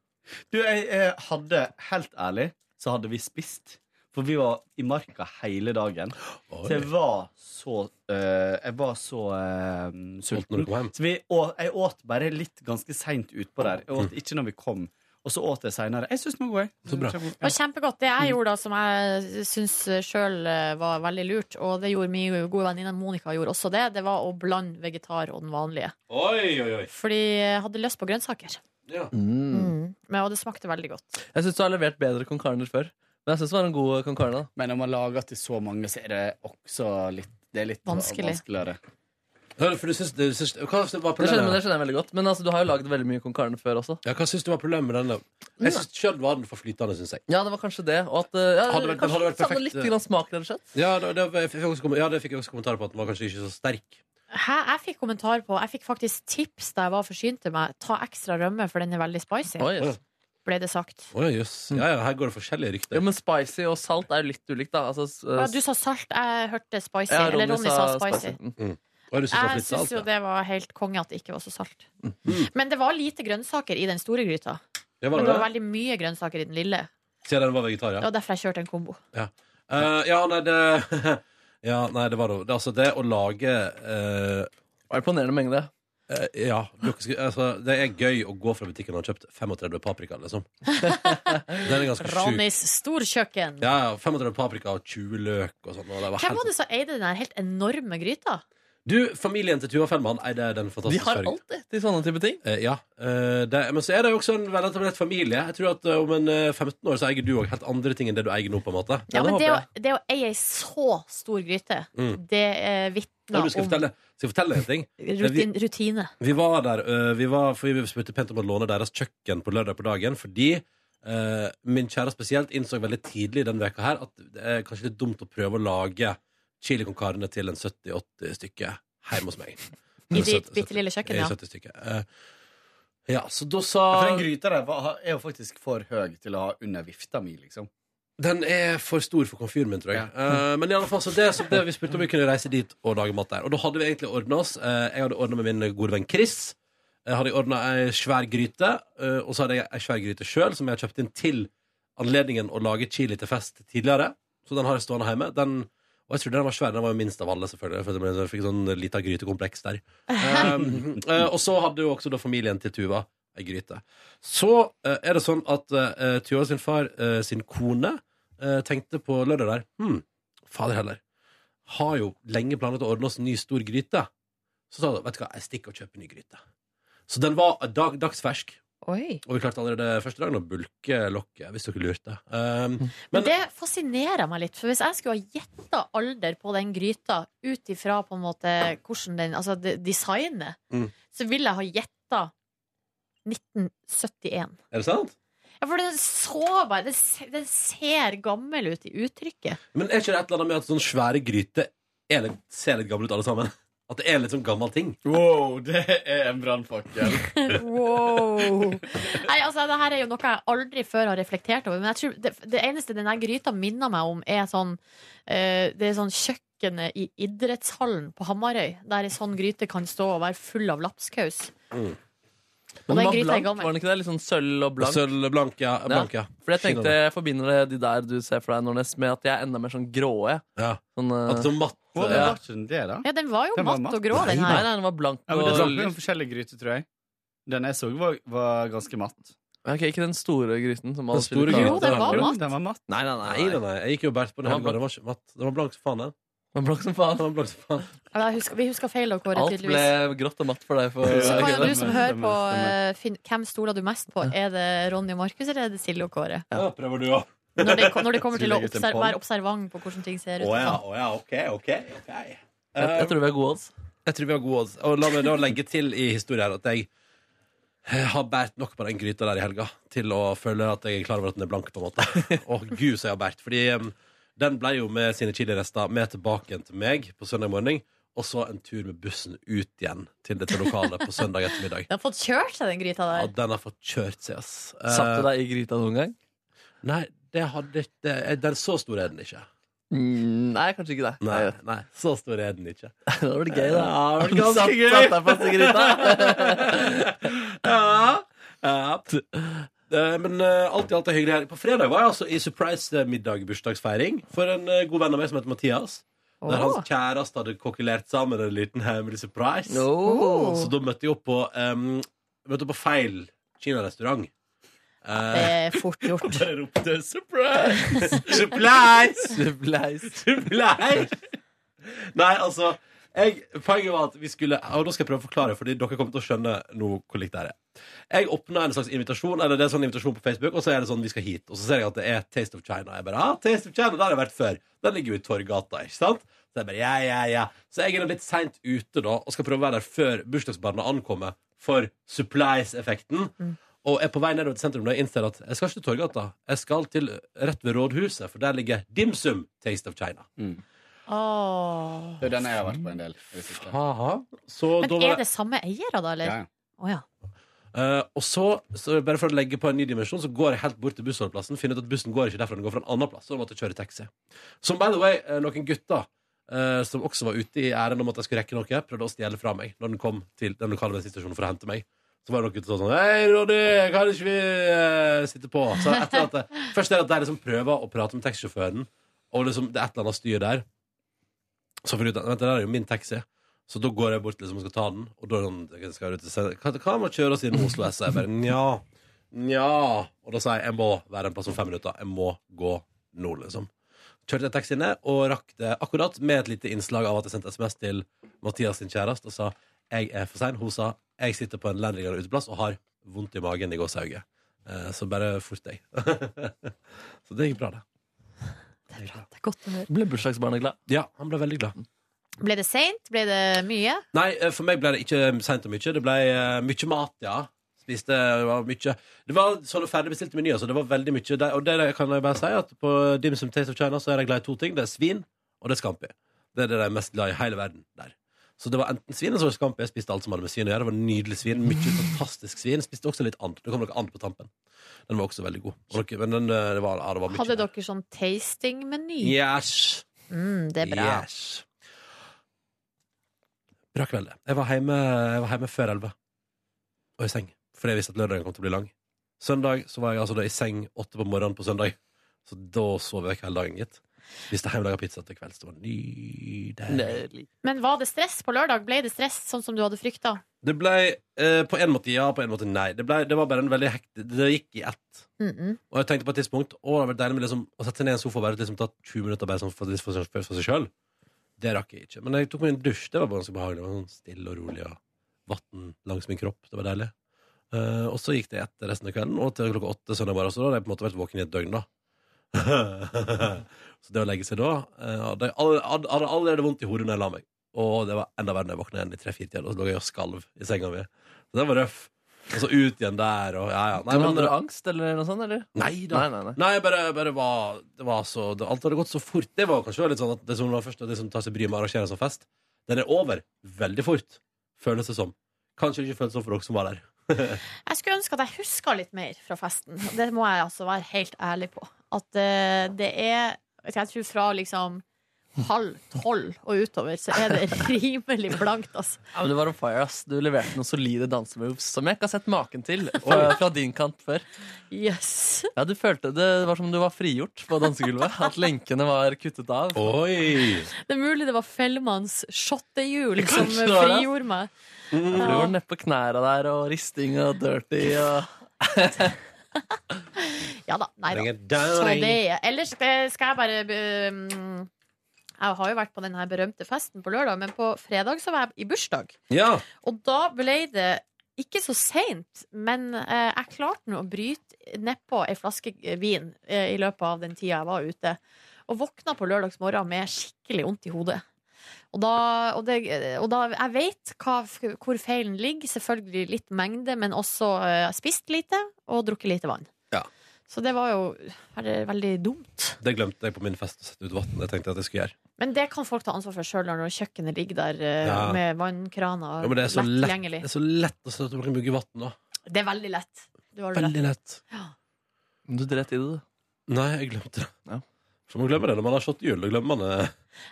Du, jeg, eh, hadde Helt ærlig så hadde vi spist. For vi var i marka hele dagen. Så jeg var så eh, Jeg var så eh,
Sulten når du
sulten.
kom hjem?
Så vi, å- jeg åt bare litt ganske seint utpå der. Jeg åt ikke når vi kom. Og så åt jeg seinere. Jeg syns den var god, jeg.
Så bra.
Det var kjempegodt. Det jeg gjorde da, som jeg syns sjøl var veldig lurt, og det gjorde min gode venninne Monica gjorde også det, det var å blande vegetar og den vanlige.
Oi, oi, oi.
Fordi jeg hadde lyst på grønnsaker.
Ja.
Mm. Men, og det smakte veldig godt.
Jeg syns du har levert bedre con carner før. Men jeg syns det var en god con carne. da.
Men når man lager til så mange, så er det også litt det er litt
Vanskelig.
vanskeligere.
Hør, For du syns, du syns, hva var
Det skjønner, men det
problemet?
skjønner jeg veldig godt. Men altså, du har jo lagd veldig mye con carne før også.
Ja, hva syns du var problemet med denne? Jeg syns selv var den for flytende, syns jeg.
Ja, det var kanskje det. Og at eh, ja,
Hadde vært-
kanskje
hadde vært
savner
perfekt,
litt
eh.
grann smak, rett og slett.
Ja, det, det, jeg fikk også, kom- ja, det fikk jeg også kommentar på at den var kanskje ikke så sterk.
Hæ? Jeg fikk kommentar på Jeg fikk faktisk tips da jeg var forsynt til meg. Ta ekstra rømme, for den er veldig spicy,
Oi, yes.
ble det sagt.
Å, jøss. Ja, Mm. ja, her går det forskjellige
Jo,
rykter.
men spicy og salt er jo litt ulikt, da. Altså, s-
Ja, du sa salt, jeg hørte spicy.
ja,
eller Ronny sa spicy.
Mm.
Å, du syns det var
Jeg
litt
syns
salt?
jo
ja.
det var helt konge at det ikke var så salt. Men det var lite grønnsaker i den store gryta. Men
Det var
det var
det.
veldig mye grønnsaker i den lille.
Siden den var vegetar,
Det
ja.
var derfor jeg kjørte en kombo.
Eh, ja, nei, det (laughs) Ja, nei, det var det. det. Altså, det å lage eh,
Det var Imponerende mengde.
Eh, ja. Dere skulle, altså, det er gøy å gå fra butikken og ha kjøpt 35 paprika,
(laughs)
liksom. Den er ganske sjuk.
Ronnys storkjøkken.
Ja, ja, 35 paprika og 20 løk og sånn. Og det var
Hvem var
helt...
det som eide den her helt enorme gryta?
Du, familien til Tuva Fellmann eide den
De
fantastiske
har
Sverige.
alt det, til sånne type ting.
Eh, ja. eh, det, men så er det jo også en veletablert familie. Jeg tror at eh, om en eh, 15 år så eier du òg helt andre ting enn det du eier nå, på en måte.
Ja,
det
men det å,
håper
det å eie ei så stor gryte,
Mm.
det eh,
Og
vitner
du skal
om
fortelle, skal jeg fortelle deg en ting.
rutin, rutine.
Vi var der, øh, vi var, for vi spurte pent om å låne deres kjøkken på lørdag på dagen, fordi øh, min kjære spesielt innså veldig tidlig den veka her at det er kanskje litt dumt å prøve å lage chili con carne til en 70-80 stykke hjemme hos meg.
I ditt bitte lille kjøkken, ja.
ja. Eh, Ja, så da sa
For den gryta der var- er jo faktisk for høy til å ha under vifta mi, liksom.
Den er for stor for komfyren min, tror jeg. Eh, men i alle fall, så det, så det vi spurte om vi kunne reise dit og lage mat der. Og da hadde vi egentlig ordna oss. Eh, jeg hadde ordna med min gode venn Chris. Jeg hadde ordna ei svær gryte, eh, og så hadde jeg ei svær gryte sjøl som jeg har kjøpt inn til anledningen å lage chili til fest tidligere. Så den har jeg stående hjemme. Den, og jeg tror den var svær. Den var jo minst av alle, selvfølgelig. For jeg fikk sånn lita grytekompleks der. Um, eh, og så hadde jo også da familien til Tuva ei gryte. Så eh, er det sånn at eh, Tuva sin far eh, sin kone eh, tenkte på lørdag der Hm, fader heller. Har jo lenge planlagt å ordne oss en ny stor gryte. Så sa hun vet du hva, jeg stikker og kjøper en ny gryte. Så den var dag, dagsfersk,
Oi.
og vi klarte allerede første dagen å bulke lokket, hvis dere lurte. Um,
Men det fascinerer meg litt, for hvis jeg skulle ha gjetta alder på den gryta ut ifra på en måte hvordan den Altså de- designet,
Mm.
så ville jeg ha gjetta 1971.
er det sant?
Ja, for den så bare Den, se- den ser gammel ut i uttrykket.
Men er ikke det et eller annet med at sånne svære gryter er litt, ser litt gamle ut, alle sammen? At det er litt sånn gammel ting?
Wow, det er en brannfakkel.
Wow. (laughs) Nei, altså, det her er jo noe jeg aldri før har reflektert over. Men jeg tror det, det eneste denne gryta minner meg om, er sånn eh, Det er sånn kjøkkenet i idrettshallen på Hamarøy, der ei sånn gryte kan stå og være full av lapskaus. Og
Mm. Men
den
den var
gryta er
blank,
gammel.
var den ikke det? Litt sånn sølv og blank.
Sølv, blank, ja. Blank, ja.
For jeg tenkte jeg forbinder det- de der du ser for deg, Nordnes, med at jeg er enda mer sånn grå. jeg.
Ja.
Sånn, eh,
At sånn matt
Hva
ja.
var ikke den det, da?
Ja, den var jo
Den var
matt,
matt.
og grå, den
Nei,
her.
nei, den var blank
Ja, men det
og
er snakk om
lys.
forskjellige gryter, tror jeg. Den jeg så, var, var ganske matt.
Ok, ikke den store gryten. Som
Den store
Jo,
gryten.
den var
Jo,
matt.
den var matt.
Nei, nei, nei.
Nei, nei, nei. Jeg gikk jo bært på den
Den
hele gården.
var
Den var ikke matt. Den var blank som faen, den.
Den var blank som faen.
Den var blank som faen.
Ja, jeg husker, vi husker feil av Kåre,
Alt ble
tydeligvis.
grått og matt for (laughs) deg. For,
Så
Ja,
kan jo
stemmer,
du som hører på,
stemmer,
eh, finne hvem stoler du mest på? Er det Ronny og Markus, eller er det Silje og Kåre?
Ja, prøver du òg?
Når det, når det kommer til å
Skulle legge ut en
obser
poll.
være observant på hvordan ting ser ut. og sånn.
å ja, OK, OK. okay.
jeg, jeg tror vi er gode odds.
Jeg tror vi har gode odds. Og la meg da legge til i historien her at jeg eh, har båret nok på den gryta der i helga til å føle at jeg er klar over at den er blank, på en måte. (laughs) Og gud, så jeg har båret. Fordi um, den ble jo med sine chilirester med tilbake igjen til meg på søndag morgen. Og så en tur med bussen ut igjen til dette lokalet på søndag ettermiddag.
Den har fått kjørt seg, den gryta
Ja,
der.
den har fått kjørt seg, ass. Eh,
Satt du deg i gryta noen gang?
Nei, det hadde ikke det- Den så stor er den ikke.
Mm, nei, kanskje ikke det.
Nei, nei, så stor er den ikke.
(laughs) Det var det gøy, da.
Ja, det var
Du
ganske
satt,
gøy.
satt deg fast i gryta.
ja, ja. Eh, Men eh, alt i alt er hyggelig her. På fredag var jeg altså i surprise-middag-bursdagsfeiring for en eh, god venn av meg som heter Mathias. Der
Åh.
hans kjæreste hadde kokkelert sammen en liten hemmelig surprise.
Oh.
Så da møtte jeg opp på, em, møtte opp på feil kinarestaurant.
Det
Uh,
er fort gjort.
Bare ropte 'surprise'!
surprise!
Supleis.
Nei. Nei, altså jeg, Poenget var at vi skulle Og da skal jeg prøve å forklare, Fordi dere kommer til å skjønne nå hvor likt det her er. Jeg åpna en slags invitasjon, Eller det er en sånn invitasjon på Facebook, og så er det sånn vi skal hit. Og så ser jeg at det er Taste of China. Jeg bare, ah, Taste of China, Der har jeg vært før. Den ligger jo i Torgata. ikke sant? Så jeg bare, ja, ja, ja Så jeg er da litt seint ute da og skal prøve å være der før bursdagsbarna ankommer for supplies-effekten.
Mm.
Og er på vei nedover til sentrum da jeg innser at jeg skal ikke til Torgata. Jeg skal til rett ved rådhuset, for der ligger Dimsum Taste of China.
Åh.
Det er den jeg har vært på en del. i det siste.
Så da
Men
var
er det samme eiere, da, eller?
Ja.
Å ja.
Eh, og så, så, bare for å legge på en ny dimensjon, så går jeg helt bort til bussholdeplassen. Finner ut at bussen går ikke derfra, den går fra en annen plass. Så da måtte jeg kjøre taxi. Som by the way, eh, noen gutter eh, som også var ute i æren om at jeg skulle rekke noe, prøvde å stjele fra meg når den kom til den lokale bensinstasjonen for å hente meg. Så var det noen gutter som sa sånn Hei, Ronny, kan ikke vi eh, sitte på? Så etter at det, (laughs) først er det at de liksom prøver å prate med taxisjåføren, og liksom, det er et eller annet styr der. Så finner jeg ut at vent, det der er jo min taxi. Så da går jeg bort liksom, og skal ta den. Og da er han, «Jeg skal ut til sentrum. Hva, hva må jeg kjøre oss gjennom Oslo S? Og jeg bare nja. Nja. Og da sa jeg jeg må være en plass om fem minutter. Jeg må gå nå, liksom. Kjørte jeg taxi ned og rakk det akkurat med et lite innslag av at jeg sendte SMS til Mathias sin kjæreste og sa jeg er for sein. Hun sa jeg sitter på en landringer uteplass og har vondt i magen i gåsehauget. Eh, Så bare fort deg. (laughs) så det gikk bra, det.
Det er bra. Det er godt å høre.
Ble bursdagsbarnet glad?
Ja, han ble veldig glad.
Ble det seint? Ble det mye?
Nei, eh, for meg ble det ikke sent og mye. Det ble eh, mye mat, ja. Spiste det var mye. Det var sånne ferdigbestilte menyer, så det var veldig mye. Det, og det kan jeg bare si, at på Dim Sum Taste of China så er jeg glad i to ting. Det er svin, og det er scampi. Det er det jeg er mest glad i i hele verden der. Så det var enten svin eller så var det scampi. Jeg spiste alt som hadde med svin å gjøre. Det var nydelig svin. Mye fantastisk svin. Spiste også litt and. Det kom noe and på tampen. Den var også veldig god. Og dere- Men den, eh, det var, ja, det var mye.
Hadde dere sånn tasting-meny?
Yes!
Mm, det er bra.
Yes. Bra kveld. det. Jeg var hjemme, jeg var hjemme før elleve. Og i seng. Fordi jeg visste at lørdagen kom til å bli lang. Søndag så var jeg altså da i seng åtte på morgenen på søndag. Så da sov jeg hele dagen, gitt. Spiste hjemmelaga pizza til kvelds. Det var nydelig.
Men var det stress på lørdag? Ble det stress sånn som du hadde frykta?
Det ble eh, på en måte ja, på en måte nei. Det, ble, det var bare en veldig hektisk Det gikk i ett.
Mm -mm.
Og jeg tenkte på et tidspunkt Å, det hadde vært deilig med liksom, å sette seg ned i en sofa og bare liksom, ta 20 minutter bare sånn for, for, for, for seg sjøl. Det rakk jeg ikke. Men jeg tok meg en dusj. Det var ganske behagelig. Det var sånn Stille og rolig og vann langs min kropp. Det var deilig. Eh, og så gikk det etter resten av kvelden, og til klokka åtte søndag morgen. Så da hadde jeg på en måte vært våken i et døgn, da. (laughs) så det å legge seg da eh, hadde Jeg all- hadde hadde allerede vondt i hodet når jeg la meg. Og det var enda verre når jeg våkna igjen i tre-fire-tida. Da lå jeg og skalv i senga mi. Så den var røff. Og så ut igjen der, og ja, ja. Nei,
Men
men-
Hadde du angst eller noe sånt? eller?
Nei da.
Nei, nei, nei.
Nei, jeg bare, bare var, det var så det, Alt hadde gått så fort. Det var kanskje litt sånn at det som var først, det som tar seg bryet med å arrangere en sånn fest, den er over veldig fort, føles det som. Kanskje det ikke føles sånn for dere som var der.
Jeg skulle ønske at jeg huska litt mer fra festen. Det må jeg altså være helt ærlig på. At eh, det er Jeg tror fra liksom halv tolv og utover, så er det (laughs) rimelig blankt, altså.
Ja, men Du var on fire, ass. Du leverte noen solide dansemoves som jeg ikke har sett maken til eh, fra, fra din kant før.
Yes.
Ja, du følte Det var som om du var frigjort på dansegulvet. At lenkene var kuttet av.
Oi!
Det er mulig det var Fellmanns shottehjul som
Kanskje det var det.
frigjorde meg.
Du
Ja.
var nedpå knærne der og risting og dirty og
Ja da. Nei da. Så det
Downing.
er Ellers eh, skal jeg bare eh, mm, Jeg har jo vært på den her berømte festen på lørdag, men på fredag så var jeg i bursdag.
Ja.
Og da ble det ikke så seint, men eh, jeg klarte nå å bryte nedpå ei flaske vin eh, i løpet av den tida jeg var ute. Og våkna på lørdags morgen med skikkelig vondt i hodet. Og da, og det, og da Jeg vet hva, hvor feilen ligger. Selvfølgelig litt mengde, men også eh, spist lite og drukket lite vann.
Ja.
Så det var jo veldig, veldig dumt.
Det glemte jeg på min fest å sette ut vann. Jeg tenkte at jeg skulle gjøre.
Men det kan folk ta ansvar for sjøl når kjøkkenet ligger der eh,
Ja.
med vannkrana
Ja, men det er så
lett
lett,
tilgjengelig.
det er så lett å sette opp en mugge vann da.
Det er veldig lett. Du har det
Veldig lett.
Du dreit i det, du.
Nei, jeg glemte det.
Ja.
For man glemmer det når man har shot Da glemmer man det.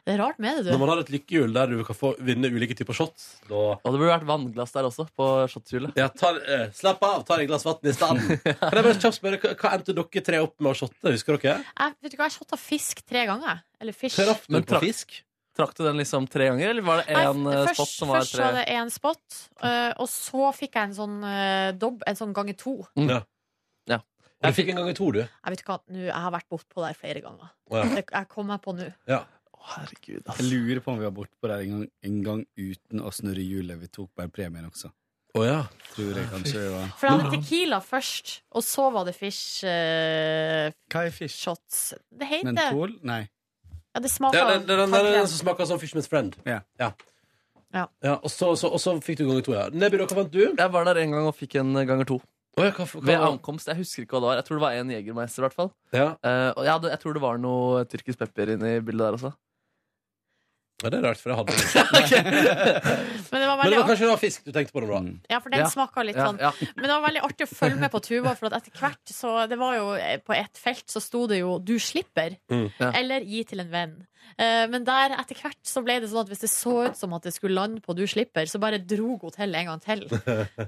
Det er rart med det,
Når
du.
man har et lykkehjul der du kan få vinne ulike typer shots, da
Og det burde vært vannglass der også, på shotshjulet.
Ja, tar, eh, slapp av, tar et glass vann i
(laughs)
stedet. Kan jeg bare kjapt spørre, hva, hva endte dere tre opp med å shotte? Husker dere?
Jeg, vet du hva, jeg shotta fisk tre ganger. jeg. Eller fish.
Traff du
Men
på
trakk-
fisk?
Trakk du den liksom tre ganger, eller var det
Nei,
én eh,
først-
spot som var
Først var
tre?
det én spot, eh, og så fikk jeg en sånn eh, dobb, en sånn ganger to.
Jeg fikk en gang i to, du.
Jeg vet ikke hva, nå, jeg har vært bortpå der flere ganger.
Å, ja.
Det, jeg kom meg på nå.
Å, herregud, ass.
Jeg lurer på om vi var bortpå der en gang, en gang uten å snurre hjulet. Vi tok bare premien også.
Å, ja.
Tror jeg kanskje det var
For jeg hadde tequila først, og så var det fish eh,
Hva er fish?
shots. Det heter
Mentol? Nei.
Ja, det
Det
smaker
er den, den, den, den,
tannkrem.
som smaker som Fishman's Friend.
Ja.
Ja.
Ja.
Ja, og, så, så, og så fikk du gang i to, ja. Nebby, da, hva vant du?
Jeg var der en gang og fikk en ganger to.
Å, ja, hva, hva,
Ved ankomst. Jeg husker ikke hva det var. Jeg tror det var en jegermeister, i hvert fall.
ja.
Eh, og jeg, hadde, jeg tror det var noe tyrkisk pepper inni bildet der også.
ja, det er rart, for jeg hadde det.
Men det var
Men
veldig
det var
artig.
kanskje det var fisk du tenkte på nå, da.
Mm.
Ja, for den
Ja.
smaker litt
Ja,
sånn
ja.
Men det var veldig artig å følge med på tuba, for at etter hvert så Det var jo eh, på ett felt så sto det jo 'du slipper',
Mm.
Ja.
eller 'gi til en venn'. Eh, Men der etter hvert så ble det sånn at hvis det så ut som at det skulle lande på 'du slipper', så bare drog hun til en gang til.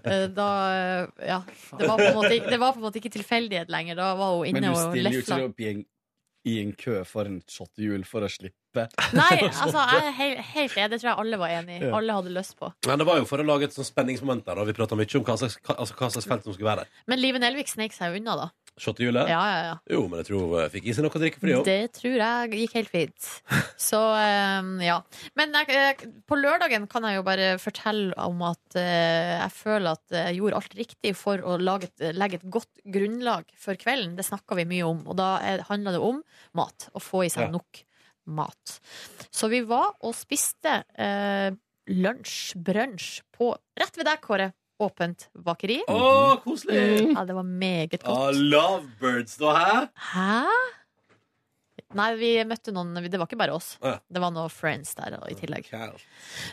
Eh, Da eh, Ja. Det var på en måte, det var på en måte ikke tilfeldighet lenger. Da var hun
Men
inne
du
og
stiller jo ikke
lefla.
deg opp i en, i en kø foran et shottehjul for å slippe.
Nei, altså, jeg er helt, helt enig. Det tror jeg alle var enig i.
Ja.
Alle hadde lyst på.
Men det var jo for å lage et sånt spenningsmoment der, og vi prata mye om hva slags, hva, altså, hva slags felt som skulle være der.
Men Live Nelvik snek seg unna, da.
Shottehjulet?
Ja, ja, ja.
Jo, men jeg tror hun eh, fikk i seg noe å drikke for det òg.
Det tror jeg gikk helt fint. Så eh, ja. Men jeg, eh, på lørdagen kan jeg jo bare fortelle om at eh, jeg føler at jeg gjorde alt riktig for å lage et, legge et godt grunnlag for kvelden. Det snakka vi mye om, og da eh, handla det om mat. Å få i seg
Ja.
nok mat. Så vi var og spiste eh, lunsj, brunsj, på rett ved deg, Kåre. Åpent bakeri.
Å, koselig!
Mm. Ja, det var meget
Ah,
godt.
lovebirds, da, hæ?
Hæ? Nei, vi møtte noen Det var ikke bare oss.
Ja.
Det var noen friends der og i tillegg.
Kjæl.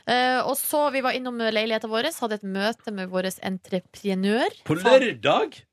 Eh, og så vi var innom leiligheten vår, hadde et møte med vår entreprenør.
På lørdag?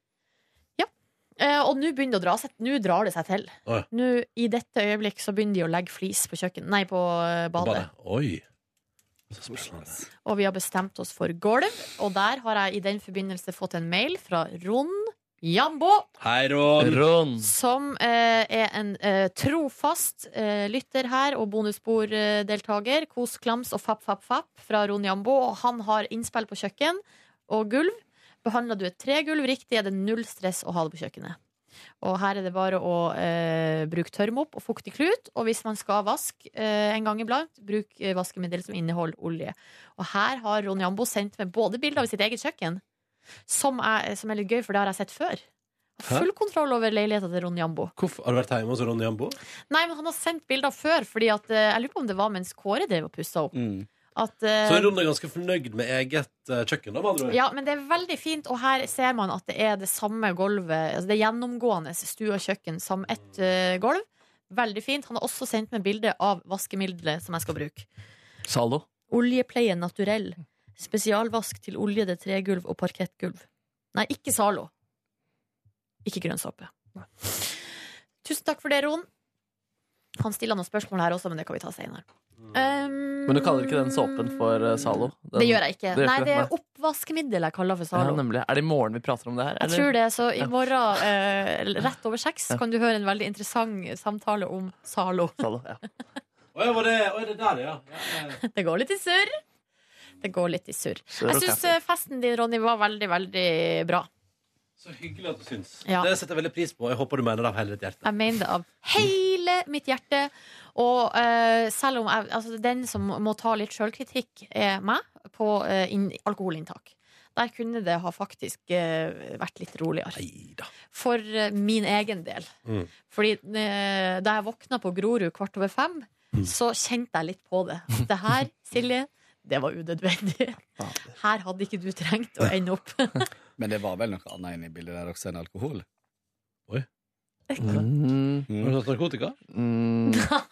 Eh, og nå begynner det å dra seg Nå drar det seg til.
Å, ja.
Nå, I dette øyeblikk så begynner de å legge flis på kjøkken Nei, på eh,
På
badet.
badet. Oi. Så spennende.
Og vi har bestemt oss for gulv. Og der har jeg i den forbindelse fått en mail fra Ron Jambo.
Hei, Ron.
Ron.
Som eh, er en eh, trofast eh, lytter her og bonusborddeltaker. Kos, klams og fapp, fapp, fapp fra Ron Jambo. Og han har innspill på kjøkken og gulv. Behandler du et tregulv riktig, er det null stress å ha det på kjøkkenet. Og her er det bare å eh, bruke tørrmopp og fuktig klut. Og hvis man skal vaske eh, en gang iblant, bruk eh, vaskemiddel som inneholder olje. Og her har Ron Jambo sendt meg både bilder av sitt eget kjøkken, som er, som er litt gøy, for det har jeg sett før.
Hæ?
Full kontroll over leiligheta til Ron Jambo.
Hvorfor har du vært hjemme hos Ronny Jambo?
Nei, men han har sendt bilder før, fordi at eh, Jeg lurer på om det var mens Kåre drev og pussa opp.
Mm.
At, eh,
Så er Ron ganske fornøyd med eget eh, kjøkken, da, med andre ord.
ja, men det er veldig fint, og her ser man at det er det samme gulvet. Altså det er gjennomgående stue og kjøkken som ett eh, gulv. Veldig fint. Han har også sendt meg bilde av vaskemiddelet som jeg skal bruke.
Zalo.
Oljepleie naturell. Spesialvask til oljede tregulv og parkettgulv. Nei, ikke Zalo. Ikke grønnsåpe. Tusen takk for det, Ron. Han stiller noen spørsmål her også, men det kan vi ta senere. Um,
Mm. Men du kaller ikke den såpen for eh, Zalo? Den-
Det gjør jeg ikke.
det gjør
Nei,
ikke
det
det,
er oppvaskemiddel jeg kaller for
Ja,
Zalo.
nemlig. Er det i morgen vi prater om det her?
Jeg
eller?
tror det, så i morgen eh, rett over seks kan du høre en veldig interessant samtale om Zalo.
Zalo, ja.
Å, ja, var det, å, er det der, ja. ja.
(laughs) Det går litt i surr. Det går litt i surr. Jeg syns eh, festen din, Ronny, var veldig, veldig bra.
Så hyggelig at du syns.
Ja.
Det setter jeg veldig pris på. Jeg håper du mener det av hele ditt hjerte.
Jeg mener det av hele mitt hjerte. Og eh, selv om jeg, altså, den som må ta litt sjølkritikk, er meg på eh, inn, alkoholinntak. Der kunne det ha faktisk eh, vært litt roligere.
Neida.
For eh, min egen del.
Mm.
Fordi eh, da jeg våkna på Grorud kvart over fem,
Mm.
så kjente jeg litt på det. At det her, Silje, det var unødvendig. Her hadde ikke du trengt å ende opp.
Men det var vel noe annet inne i bildet der også enn alkohol?
Mm,
Mm.
Har du tatt narkotika?
mm.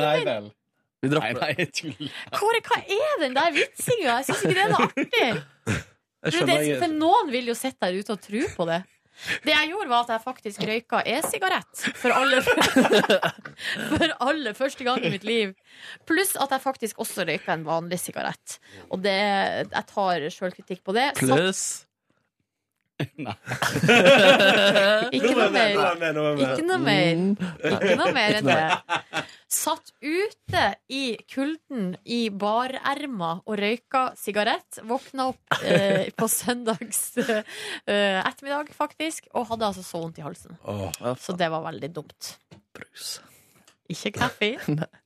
Nei vel.
Vi
Nei,
dropper det.
nei, jeg tuller.
Kåre, hva er den der vitsinga? Jeg syns ikke det er noe artig.
Jeg
Du, det,
skjønner jeg,
for noen vil jo sitte der ute og tro på det. Det jeg gjorde, var at jeg faktisk røyka e-sigarett for aller, (laughs) for aller første gang i mitt liv. Pluss at jeg faktisk også røyka en vanlig sigarett. Og det, jeg tar sjølkritikk på det. Så
Pluss
ikke noe mer. Ikke noe mer. Ikke noe mer enn det. Satt ute i kulden i barerma og røyka sigarett. Våkna opp eh, på søndags eh, ettermiddag, faktisk, og hadde altså så vondt i halsen.
Åh.
Så det var veldig dumt.
brus.
Ikke (laughs) kaffe.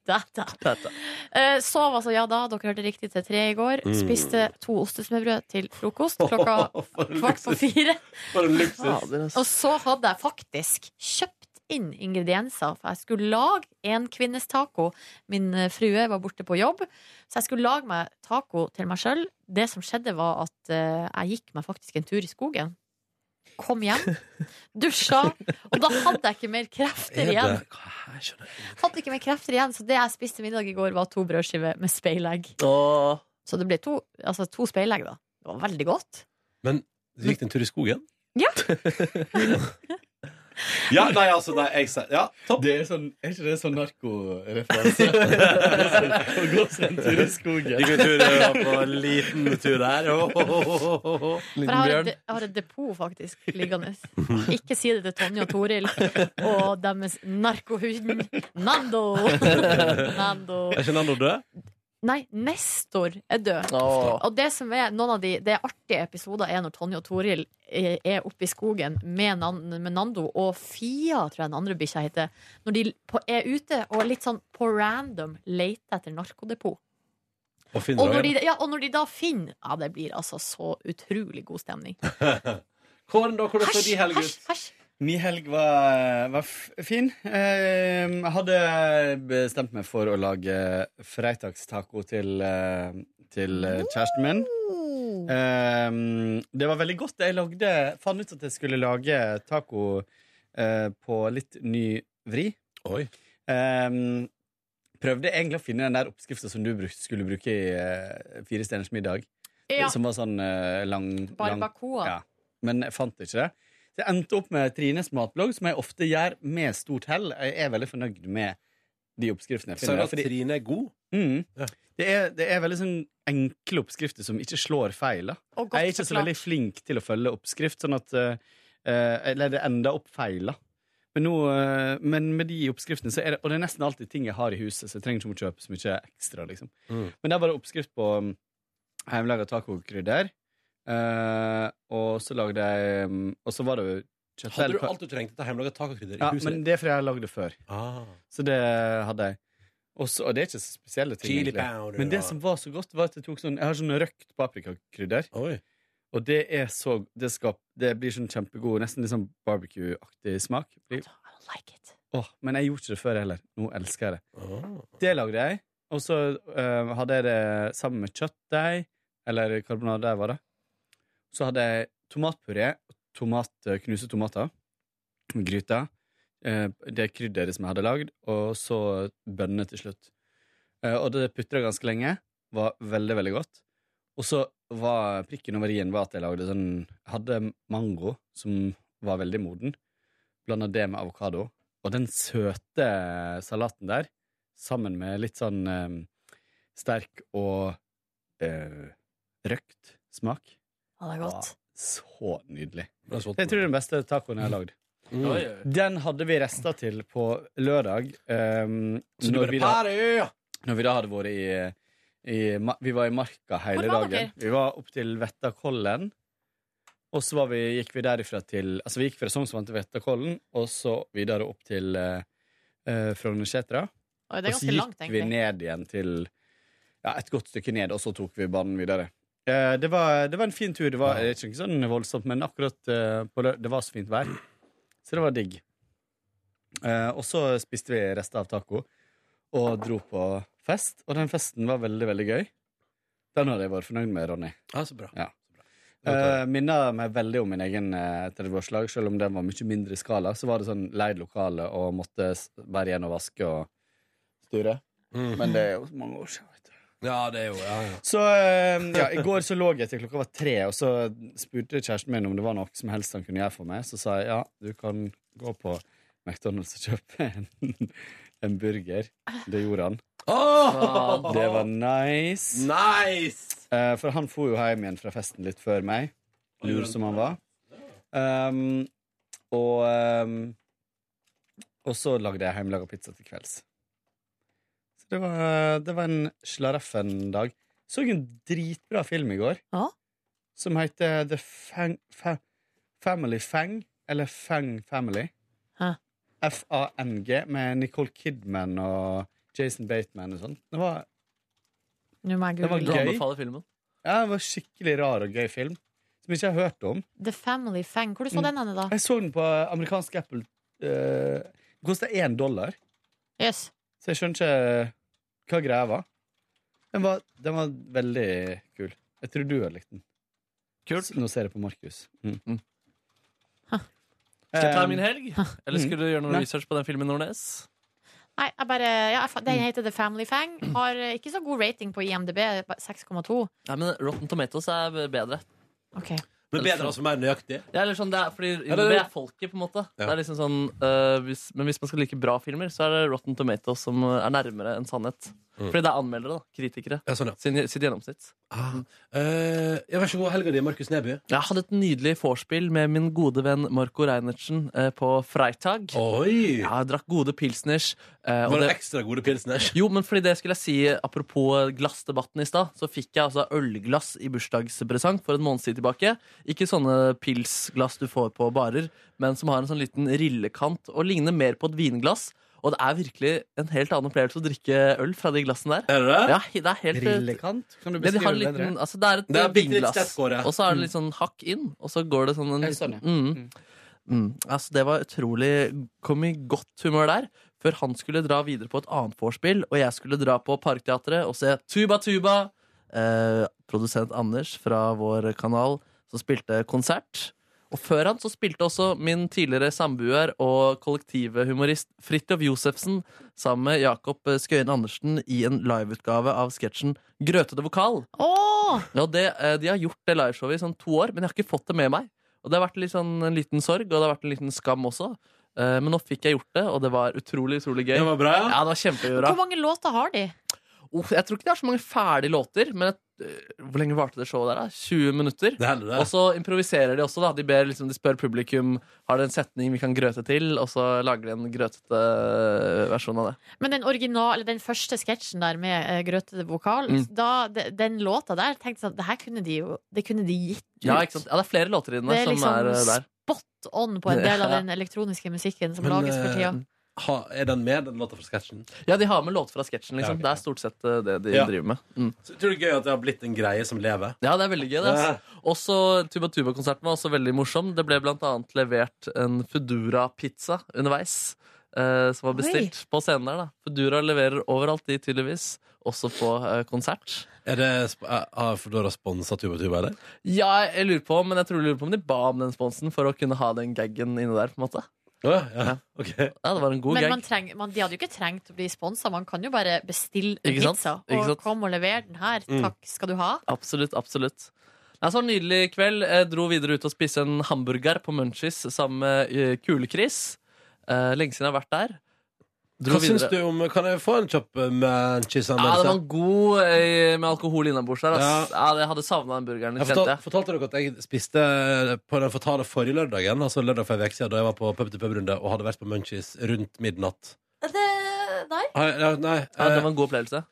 Da, da.
Dette.
Eh, Sov altså, ja da, dere hørte riktig, til tre i går. Spiste to ostesmørbrød til (laughs) frokost klokka
For en
kvart på
luksus.
fire.
For en luksus.
Fader, ass.
Og så hadde jeg faktisk kjøpt inn ingredienser, for jeg skulle lage en kvinnes taco. Min eh, frue var borte på jobb, så jeg skulle lage meg taco til meg sjøl. Det som skjedde, var at eh, jeg gikk meg faktisk en tur i skogen. Kom hjem,
(laughs)
dusja, og da hadde jeg ikke mer krefter
Er det?
igjen.
Hva, jeg skjønner jeg.
Hadde ikke mer krefter igjen Så det jeg spiste middag i går, var to brødskiver med speilegg.
Og
Så det ble to, altså to speilegg, da. Det var veldig godt.
Du gikk en tur i skogen? (laughs)
Ja.
ja, nei, altså, nei, jeg sier (laughs) Ja, topp.
Det er, sånn, er ikke det sånn (laughs) narkoreferanse? Å gå seg en tur i skogen.
Gikk en tur eh, på en liten tur der. Åh, åh, åh, åh, åh.
For
liten
jeg har, et,
bjørn.
jeg har et depot faktisk liggende. Ikke si det til Tonje og Toril og deres narkohund Nando. Nando.
Er ikke Nando død?
Nei, Nestor er død.
Åh.
Og det som er noen av de det er artige episoder, er når Tonje og Toril eh, er oppe i skogen med, Nan, med Nando og Fia, tror jeg den andre bikkja heter, når de på, er ute og litt sånn på random leter etter narkodepot.
Og finner
Og når,
dagen.
de, ja, og når de da finner Ja, det blir altså så utrolig god stemning.
Kåren, da? Hvordan så
Hæsj,
de helg
hæsj,
ut?
hæsj.
Min helg var, var f- fin. Eh, Jeg hadde bestemt meg for å lage freitagstaco til, eh, til eh, kjæresten min. Eh, Det var veldig godt. Jeg lagde, fant ut at jeg skulle lage taco eh, på litt ny vri.
Oi.
Ehm, prøvde egentlig å finne den der oppskriften som du bruk- skulle bruke i eh, Fire stjerners middag.
Ja,
Som var sånn eh, lang, lang
barbacoa.
ja. Men jeg fant ikke det. Så jeg endte opp med Trines matblogg, som jeg ofte gjør med stort hell. Jeg er veldig fornøyd med altså, de oppskriftene jeg
Sa du
finner.
at
Fordi,
Trine er god?
mm,
Ja.
det, er, det er veldig sånn enkle oppskrifter som ikke slår feil. Da.
Og
Jeg er
godt
ikke så veldig
forklart.
flink til å følge oppskrift, sånn at eh, eh, Eller det ender opp feil, da. Men, nå, eh, men med de oppskriftene så er det Og det er nesten alltid ting jeg har i huset, så jeg trenger ikke å kjøpe så mye ekstra, liksom.
Mm.
Men det er bare oppskrift på um, hjemmelaga tacokrydder. eh, og så lagde jeg um, Og så var det jo kjøttdeig-
Hadde du alt du trengte til hjemmelaga tacokrydder i
Ja,
huset?
men det er fordi jeg har lagd det før.
Ah,
Så det hadde jeg. Og så- og det er ikke så spesielle ting.
chili
egentlig.
powder
Men det
og-
som var så godt, var at jeg tok sånn Jeg har sånn røkt paprikakrydder.
Oi.
Og det er så Det, skap, det blir sånn kjempegod, nesten litt sånn barbecue-aktig smak. Blir-
Altså, I don't like it.
Åh, men jeg gjorde ikke det før heller. Nå elsker jeg det.
Ah.
Det lagde jeg, og så eh, hadde jeg det sammen med kjøttdeig, eller karbonade, der var det. Så hadde jeg tomatpuré, tomat, eh, knuse tomater, gryta, eh, det krydderet som jeg hadde lagd, og så bønner til slutt. Eh, og det putra ganske lenge, var veldig, veldig godt. Og så var prikken over i-en var at jeg lagde sånn, hadde mango, som var veldig moden, blandet det med avokado, og den søte salaten der, sammen med litt sånn eh, sterk og eh, røkt smak.
Ja, det er godt.
Så nydelig.
Det er sånn.
Det er, tror jeg den beste tacoen jeg har lagd.
Mm.
Den hadde vi rester til på lørdag. eh,
Så du
når,
bare
vi da,
Party!
når vi da hadde vært i, i ma- Vi var i Marka hele
Hvor var
dagen.
dere?
Vi var opp til Vettakollen. Og så var vi, gikk vi derifra til Altså vi gikk fra Sognsvann til Vettakollen, og så videre opp til eh, eh, Frognersetra.
Oi, det er
Og så
ganske
gikk
langt,
vi
egentlig.
ned igjen til ja, et godt stykke ned, og så tok vi banen videre. Eh, det, var, det var en fin tur. Det var eh, ikke sånn voldsomt, men akkurat eh, på lø det var så fint vær. Så det var digg. Eh, og så spiste vi rester av taco og dro på fest. Og den festen var veldig, veldig gøy. Den hadde jeg vært fornøyd med, Ronny.
Ja, Ah, så bra.
Ja.
Det var bra.
Uh, Minner meg veldig om min egen eh, 30-årslag. Selv om den var mye mindre i skala, så var det sånn leid lokale og måtte s- være igjen og vaske og sture.
Mm.
Men det er jo mange år siden. Vet du.
Ja, det er jo ja, ja.
Så eh, ja, I går så lå jeg til klokka var tre, og så spurte kjæresten min om det var noe som helst han kunne gjøre for meg. Så sa jeg ja, du kan gå på McDonald's og kjøpe en, (laughs) en burger. Det gjorde han.
Åh!
Det var nice.
Nice!
Eh, for han for jo hjem igjen fra festen litt før meg, lur som han var. Um, og, um, og så lagde jeg hjemmelaga pizza til kvelds. Så det var, det var en slaraffen dag. Så en dritbra film i går
Ja.
som heter The Fang, Fa, Family Fang, eller Fang Family.
Hæ?
F-A-N-G, med Nicole Kidman og Jason Bateman og sånn. Det var
Nå må jeg
Det var
Du
google.
gøy.
anbefaler filmen?
Ja, det var skikkelig rar og gøy film. Som jeg ikke har hørt om.
The Family Fang. Hvor du så
Mm.
den, henne, da?
Jeg så den på amerikansk Apple. eh, Den kosta én dollar,
Yes.
så jeg skjønner ikke hva greia var. Den var, den var veldig kul. Jeg tror du har likt den.
Kult.
Nå ser jeg på Markus. Mm.
Mm.
Huh.
Skal jeg ta
Eh,
min helg? Eller skulle du gjøre noe
Nei.
research på den filmen Nordnes?
Nei, jeg bare ja, jeg fa-
Mm.
Den heter The Family Fang. Har eh, ikke så god rating på IMDb. bare 6,2.
Nei, men Rotten Tomatoes er bedre.
Ok.
Men bedre altså mer nøyaktig.
Ja, eller sånn, det er fordi
Ja, det-
det er folket, på en måte. Det er liksom sånn, øh, hvis, men hvis man skal like bra filmer, så er det Rotten Tomatoes som er nærmere en sannhet. Fordi det er anmeldere, da. Kritikere.
Ja, sånn, ja.
Sin, sitt gjennomsnitt.
Ah. Eh, ja, vær så god, helga di, Markus Neby.
Jeg hadde et nydelig vorspiel med min gode venn Marco Reinertsen eh, på Freitag.
Oi!
Ja, jeg drakk gode pilsners. eh, og
Var det
det-
ekstra gode pilsners?
Jo, men fordi det skulle jeg si Apropos eh, glassdebatten i stad, så fikk jeg altså ølglass i bursdagspresang for en måneds tid tilbake. Ikke sånne pilsglass du får på barer, men som har en sånn liten rillekant og ligner mer på et vinglass. Og det er virkelig en helt annen opplevelse å drikke øl fra de glassene der.
Er det det?
Ja, he- det er helt
Eh, Brillekant? Kan du
ja, de har
beskrive
en
det bedre?
liten, altså det er et
Det er bitte litt
vinglass,
stedskåre.
og så er det litt sånn hakk inn, og så går det sånn en
Ja, sånn, ja.
mm, mm. Altså, det var utrolig Kom i godt humør der, før han skulle dra videre på et annet vorspiel, og jeg skulle dra på Parkteatret og se Tuba Tuba. Eh, produsent Anders fra vår kanal som spilte konsert. Og før han så spilte også min tidligere samboer og kollektive humorist Fridtjof Josefsen sammen med Jakob Skøyen Andersen i en liveutgave av sketsjen Grøtete vokal.
Åh!
Ja, og det, eh, de har gjort det liveshowet i sånn to år, men jeg har ikke fått det med meg. Og det har vært litt sånn, en liten sorg, og det har vært en liten skam også. Eh, Men nå fikk jeg gjort det, og det var utrolig, utrolig gøy.
Det var bra, ja.
Ja, det var kjempebra.
Hvor mange låter har de?
Uff, jeg tror ikke det er så mange ferdige låter, men et, øh, hvor lenge varte det showet der? da? 20 minutter?
Det hender det.
Og så improviserer de også. da De, ber, liksom, de spør publikum Har dere en setning vi kan grøte til, og så lager de en grøtete øh, versjon av det.
Men den, original, eller den første sketsjen der med eh, grøtete vokal,
Mm.
da, de, den låta der tenkte jeg sånn Det her kunne de jo det kunne de gitt ut.
Ja, ikke sant? ja, det er flere låter i den
Det
der,
er
som
liksom
er øh, der.
spot on på en del av
Ja.
den elektroniske musikken som
Men, eh,
lages
eh,
for tida.
Ha, er den med, den låta fra sketsjen?
Ja, de har med låter fra sketsjen,
Ja, ok,
liksom. Det
ja.
er stort sett øh, det de
Ja.
driver med. Mm.
Så Tror du det er gøy at det har blitt en greie som lever?
Ja, det er veldig gøy. det altså. Også Tuba Tuba-konserten var også veldig morsom. Det ble blant annet levert en Foodora-pizza underveis. eh, som var bestilt på scenen der. da Foodora leverer overalt, de tydeligvis. Også på eh, konsert.
Er det, sp- eh, har Foodora sponsa Tuba Tuba, eller?
Ja, jeg lurer på men jeg tror jeg lurer på om de ba om den sponsen for å kunne ha den gaggen inne der. på en måte
Å, ja. Ok.
Ja, Det var en god
Men man
gag.
treng, man, de hadde jo ikke trengt å bli sponsa. Man kan jo bare bestille en
Ikke sant?
pizza
Ikke
og
sant?
komme og levere den her.
Mm.
Takk skal du ha.
Absolutt. absolutt Nei, så en Nydelig kveld. Jeg dro videre ut og spiste en hamburger på Munchies sammen med eh, Kule-Chris. Eh, lenge siden jeg har vært der.
Hva syns du om Kan jeg få en kjapp eh,
Ja, det var
Manchester-anmeldelse?
en god eh, med alkohol innabords der. ass. Ja. jeg hadde savna den burgeren.
Jeg
kjente
fortalte,
jeg.
fortalte dere at jeg spiste eh, på den fatale forrige lørdagen, altså lørdag for en uke siden, da jeg var på pub til pub-runde og hadde vært på Munchies rundt midnatt.
Det, nei.
Nei, nei, nei
Ja, det
eh,
var en god opplevelse.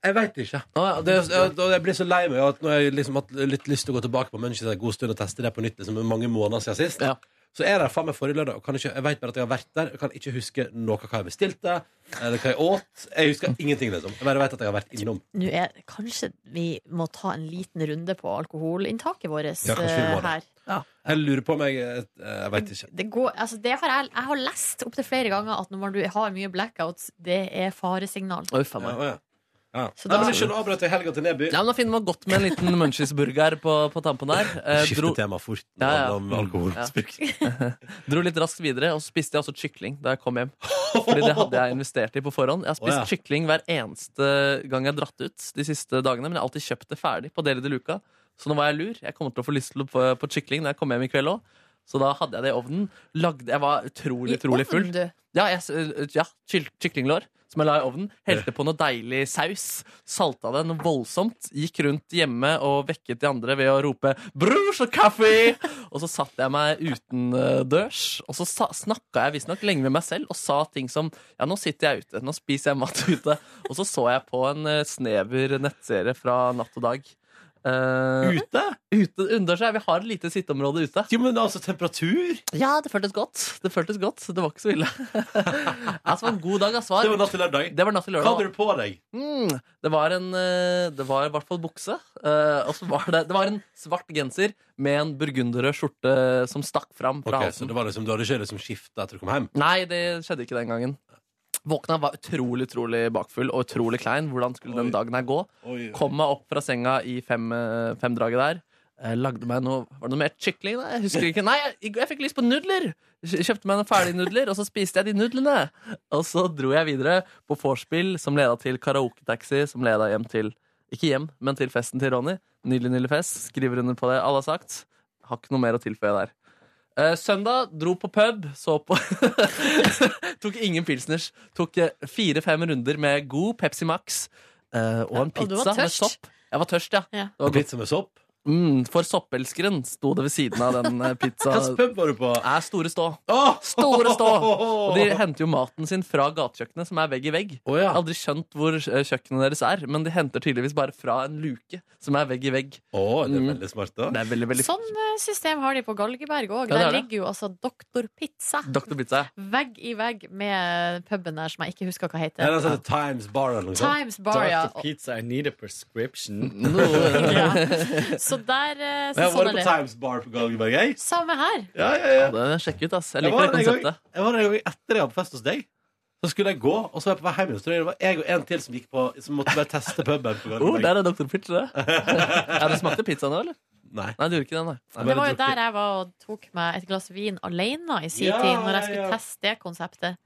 Jeg veit ikke. Og det, jeg, og jeg blir så lei meg at når jeg liksom har hatt litt lyst til å gå tilbake på Munchies en god stund og teste det på nytt, liksom mange måneder siden sist,
Ja.
så er det faen meg forrige lørdag. Og kan ikke, jeg veit bare at jeg har vært der, og kan ikke huske noe av hva jeg bestilte, eller hva jeg åt. Jeg husker ingenting, liksom. Jeg bare veit at jeg har vært innom.
Nå er, kanskje vi må ta en liten runde på alkoholinntaket vårt
Ja, kanskje vi må
eh,
det.
her.
Jeg lurer på om jeg eh, Jeg veit ikke.
Det går, altså det har jeg, jeg har lest opptil flere ganger at når man har mye blackouts, det er faresignal.
Oi, faen
Ja,
meg.
å, ja. Ja.
Så
Nei,
da-
men Ikke avbrøt jeg helga til Neby.
Nei, men Da finner man godt med en liten Munchies-burger på, på tampen der. Eh,
Skifte
dro,
tema fort.
Ja, ja. Mm.
handler om alkoholmisbruk.
dro litt raskt videre, og så spiste jeg også kykling da jeg kom hjem. Fordi det hadde jeg investert i på forhånd. Jeg har
Å,
spist
ja.
kykling hver eneste gang jeg har dratt ut de siste dagene, men jeg har alltid kjøpt det ferdig på Deli de Luca. Så nå var jeg lur. Jeg kommer til å få lyst til å på, på kykling når jeg kommer hjem i kveld òg. Så da hadde jeg det i ovnen. Lagde, jeg var utrolig, utrolig full.
ovnen, du.
Ja, jeg, s- eh, ja kyll- kyklinglår som jeg la i ovnen. Helte på noe deilig saus. Salta det noe voldsomt. Gikk rundt hjemme og vekket de andre ved å rope 'brus og kaffe'! Og så satte jeg meg utendørs, og så sa- snakka jeg visstnok lenge med meg selv og sa ting som 'ja, nå sitter jeg ute, nå spiser jeg mat (laughs) ute', og så så jeg på en eh, snever nettserie fra Natt og Dag. Eh,
Ute?
ute Underdørs, ja. Vi har et lite sitteområde ute.
Jo, men altså, temperatur
Ja, det føltes godt. Det føltes godt, Det var ikke så ille.
(laughs)
altså, det var en god dag. ass.
Det var natt til lørdag.
Det var natt til
Hva hadde
lørdag.
du på deg?
Mm, det var en eh, Det var i hvert fall bukse. eh, og så var det Det var en svart genser med en burgunderrød skjorte som stakk fram fra
Ok, så
halsen.
det var liksom, Du hadde ikke liksom skifta etter du kom hjem?
Nei, det skjedde ikke den gangen. Våkna var utrolig utrolig bakfull og utrolig klein. Hvordan skulle den dagen her gå? Kom meg opp fra senga i fem, eh, femdraget der. Eh, Lagde meg noe Var det noe mer kykling? da? Jeg husker ikke Nei, jeg, jeg fikk lyst på nudler! Kj- Kjøpte meg noen ferdige nudler, og så spiste jeg de nudlene. Og så dro jeg videre på vorspiel, som leda til karaoketaxi, som leda hjem til Ikke hjem, men til festen til Ronny. Nydelig, nydelig fest. Skriver under på det alle har sagt. Har ikke noe mer å tilføye der. Eh, søndag dro på pub, så på (laughs) Tok ingen pilsners. Tok eh, fire-fem runder med god Pepsi Max eh, og en
Ja, og du
pizza
var
med
tørst.
sopp. Jeg var tørst, ja.
Ja.
Det var godt.
Pizza med sopp?
Mm, for soppelskeren sto det ved siden av den eh,
(laughs)
pizza...
Hvilken pub var du på?
er Store Stå.
Åh!
Store
(laughs)
Stå! Og de henter jo maten sin fra gatekjøkkenet, som er vegg i vegg.
Å, ja.
Jeg har aldri skjønt hvor eh, kjøkkenet deres er, men de henter tydeligvis bare fra en luke som er vegg i vegg.
Åh, det er
Mm.
veldig smart, da.
Det er veldig, veldig
Sånn eh, system har de på Galgeberg òg.
Ja, det er
Der
det.
ligger jo altså Doktor Pizza
Dr. Pizza.
vegg i vegg med puben der som jeg ikke husker hva
Ja,
heter.
det er sånn Times Bar eller noe sånt.
Times Bar, ja.
Dr. Pizza, I need a prescription.
Noe-
ja. Så der eh,
Jeg
så
har
Sånn
vært
er
på
det.
Times Bar på Galgenberg, jeg.
Samme her.
Ja, ja, ja.
(laughs) Ja, det er- Sjekk ut, ass. Jeg
Jeg
liker
var
det
der en gang,
konseptet.
jeg var der en gang etter jeg var på fest hos deg. Så skulle jeg gå, og så var jeg på vei hjem. Så det var jeg og en til som gikk på Som måtte bare teste puben på
Oh,
Galgenberg.
der er Dr. Pizza. det. ja, det smakte pizza nå, eller?
Nei.
Nei, du gjorde ikke det, nei. nei.
Det var jo der jeg var og tok meg et glass vin alene i sin
Ja,
tid, når jeg
ja,
skulle
ja.
teste det konseptet.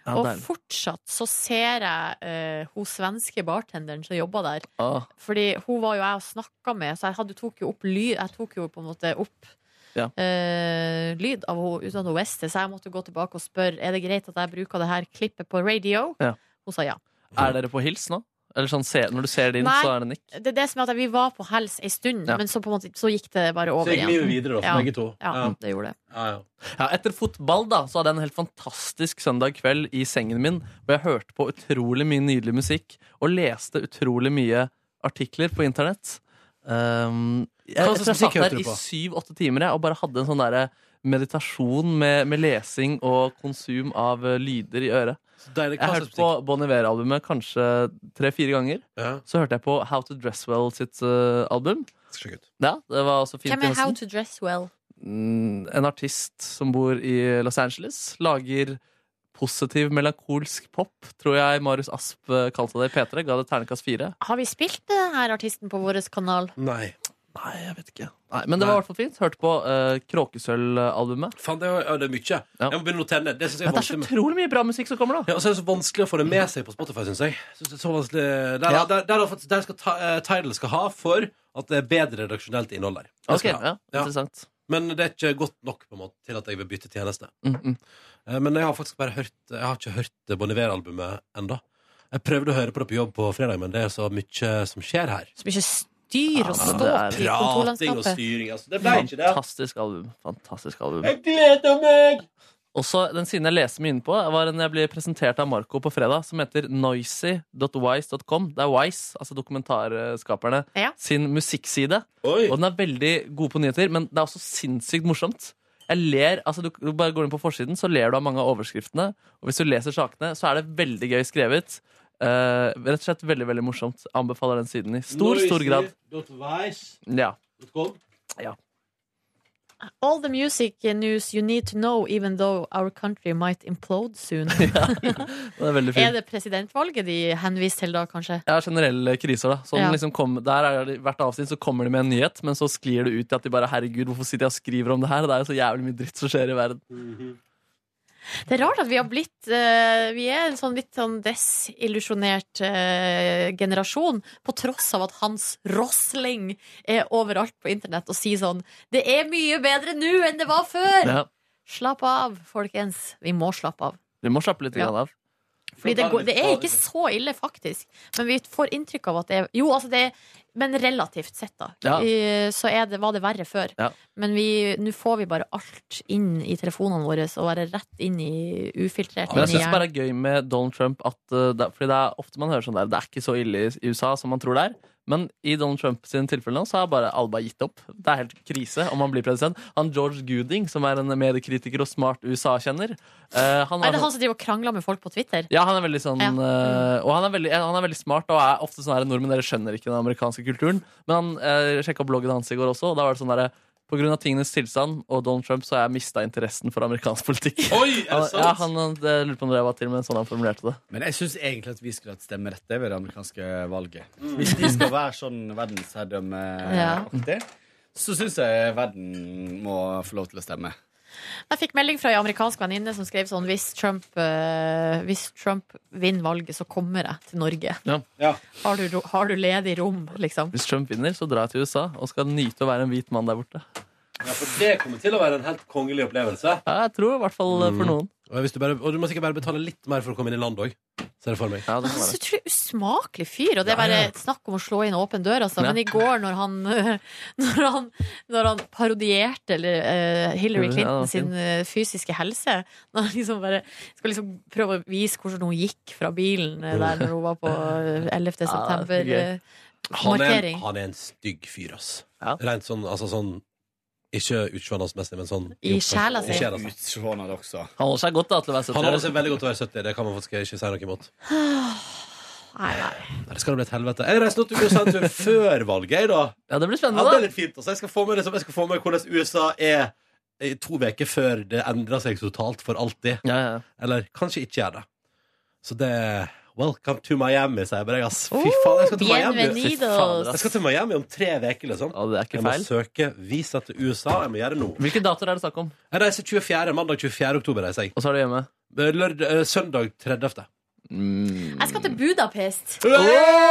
Ja,
Og
deilig.
fortsatt så ser jeg eh, hun svenske bartenderen som jobba der.
Ah,
Fordi hun var jo jeg og snakka med, så jeg hadde, tok jo opp lyd. Jeg tok jo på en måte opp
Ja.
eh, lyd av henne uten at hun visste det, så jeg måtte gå tilbake og spørre Er det greit at jeg bruker det her klippet på radio.
Ja.
Hun sa ja.
er dere på hils nå? Eller sånn, se, når du ser det inn,
Nei.
så er det nikk?
Det er det som er at vi var på hels ei stund,
Ja.
men så, på en måte, så gikk det bare over
Så gikk vi jo
igjen.
videre, da, for
Ja.
begge to.
Ja,
Ja.
det gjorde det.
Ja, ja.
Ja, etter fotball da, så hadde jeg en helt fantastisk søndag kveld i sengen min, hvor jeg hørte på utrolig mye nydelig musikk, og leste utrolig mye artikler på internett. Um, jeg,
Hva slags
jeg, tror jeg satt
musikk hørte
der
du
i
på?
syv-åtte timer jeg, og bare hadde en sånn der meditasjon med, med lesing og konsum av eh, lyder i øret.
Så deilig.
Jeg
Hva
hørte
slags
på
musikk?
Bon Iver-albumet kanskje tre-fire ganger.
Ja.
Så hørte jeg på How to Dress Well sitt eh, album.
Skal sjekke ut.
Ja, det var også fint.
Hvem
i
er How
høsten.
to Dress Well?
Mm, en artist som bor i Los Angeles, lager positiv melankolsk pop, tror jeg Marius Asp eh, kalte det i P3. Ga det ternekast fire.
Har vi spilt denne artisten på vår kanal?
Nei.
Nei, jeg vet ikke. Nei, men det var i hvert fall fint. Hørte på eh, Kråkesølv-albumet.
Faen, det er, ja, det er mye. Jeg må begynne å notere ned. Det synes jeg er
Det er så
vanskelig. med-
utrolig mye bra musikk som kommer, da!
Ja, og så er det så vanskelig å få det med seg på Spotify, syns jeg. Synes det er så vanskelig Der,
Ja.
der, der, der, der skal ta, eh, Tidal skal ha for at det er bedre redaksjonelt innhold der. Det
Ok,
skal det ha.
ja, interessant.
Men det er ikke godt nok på en måte til at jeg vil bytte tjeneste.
Mm -mm.
Eh, Men jeg har faktisk bare hørt Jeg har ikke hørt Bon Iver-albumet ennå. Jeg prøvde å høre på det på jobb på fredag, men det er så mye som skjer her.
Så mye styr og
Ja, men
ståk
det er
i
Prating og
kontorlandskapet.
styring, altså. Det ble ikke det.
Fantastisk album. Fantastisk album.
Jeg gleder meg!
Også den siden jeg leste mye innpå, var en jeg ble presentert av Marco på fredag, som heter noisy.wise.com. Det er Wise, altså dokumentarskaperne,
Ja.
sin musikkside.
Oi!
Og den er veldig god på nyheter, men det er også sinnssykt morsomt. Jeg ler, altså Du du bare går inn på forsiden, så ler du av mange av overskriftene. Og hvis du leser sakene, så er det veldig gøy skrevet. Eh, rett og slett veldig veldig morsomt. Anbefaler den siden i stor stor grad. Ja. ja.
All the music news you need to know even though our country might implode
(laughs)
soon.
Den er veldig fin.
er det presidentvalget de henviser til da, kanskje?
Ja, generelle kriser, da. Sånn,
Ja.
liksom kom, der er det, hvert avsnitt så kommer de med en nyhet, men så sklir det ut i at de bare Herregud, hvorfor sitter jeg og skriver om det her? Det er jo så jævlig mye dritt som skjer i verden.
Det er rart at vi har blitt eh, Vi er en sånn litt sånn desillusjonert eh, generasjon, på tross av at Hans Rosling er overalt på internett og sier sånn Det er mye bedre nå enn det var før!
Ja.
Slapp av, folkens. Vi må slappe av.
Vi må slappe litt
Ja.
grann av.
Fordi det, går, det er ikke så ille, faktisk. Men vi får inntrykk av at det er Jo, altså det er Men relativt sett, da.
Ja.
I- Så er det, var det verre før.
Ja.
Men vi- nå får vi bare alt inn i telefonene våre og være rett inn i ufiltrert.
Men jeg
inn i
syns bare det er gøy med Donald Trump at uh, det, Fordi det er ofte man hører sånn der Det er ikke så ille i- i USA som man tror det er. Men i Donald Trump sin tilfelle nå, så har bare alle bare gitt opp. Det er helt krise om han blir president. Han George Gooding, som er en mediekritiker og smart USA-kjenner eh, han
hjernen. Er det
sånn-
han som driver og krangler med folk på Twitter?
Ja, han er veldig sånn
Ja.
eh, Og han er veldig, han er veldig smart og er ofte sånn her nordmenn dere skjønner ikke den amerikanske kulturen. Men han uh, sjekka bloggen hans i går også, og da var det sånn derre på grunn av tingenes tilstand og Donald Trump så har jeg mista interessen for amerikansk politikk.
Oi, (laughs) er
Han,
det sant?
ja, han, han jeg lurer på om det var til, men sånn han formulerte det.
Men jeg syns egentlig at vi skulle hatt stemmerett det ved det amerikanske valget. Hvis de skal være sånn verdensherredømmeaktig, så syns jeg verden må få lov til å stemme.
Jeg fikk melding fra ei amerikansk venninne som skrev sånn Hvis Trump, eh, hvis Trump vinner valget, så kommer jeg til Norge.
Ja.
Ja.
Har, du, ro- har du ledig rom, liksom?
Hvis Trump vinner, så drar jeg til USA og skal nyte å være en hvit mann der borte.
Ja, for det kommer til å være en helt kongelig opplevelse.
Ja, jeg tror i hvert fall
Mm.
eh, for noen.
Og, hvis du bare, og du må sikkert bare betale litt mer for å komme inn i land òg. Ser du for meg.
Ja, det
Han
kan
er så
være.
utrolig usmakelig fyr, og det er bare et snakk om å slå inn åpen dør, altså.
Ja.
Men i går, når han, (laughs) når han, når han parodierte eller, eh, Hillary
Ja,
Clinton
det var
sin
fint.
eh, fysiske helse (laughs) Når han liksom bare skal liksom prøve å vise hvordan hun gikk fra bilen eh, der når hun var på eh, 11. september.
gøy.
eh,
Han er,
Markering.
en, han er en stygg fyr, ass.
Ja.
Rent sånn, altså sånn Ikke utsjåendemessig, men sånn
I sjela si.
I sjela si.
Utsjående også.
Han holder seg godt da til å være
Han holder
70 år.
seg veldig godt til å være 70. Det kan man faktisk ikke si noe imot.
Nei, nei.
Nei, Det skal da bli et helvete. Jeg reiser nå til USA en tur før valget, jeg, da.
Ja, det
Ja, det er
blir spennende, da.
litt fint. Altså. Jeg, skal få med, liksom, jeg skal få med hvordan USA er i to uker før det endrer seg totalt for alltid.
Ja, ja.
Eller kanskje ikke gjør det. Så det Welcome to Miami, sier jeg bare. jeg, Ass. Fy faen, jeg skal til Miami.
Oh, Bienvenidos.
Jeg skal til Miami om tre uker, liksom.
Ja, det er ikke
Jeg må
feil.
søke visa til USA. Jeg må gjøre det nå.
Hvilke datoer er det snakk om?
Jeg reiser 24. mandag 24. oktober. reiser jeg.
Og så er du hjemme.
Lørd, eh, søndag 30.
Jeg skal til Budapest.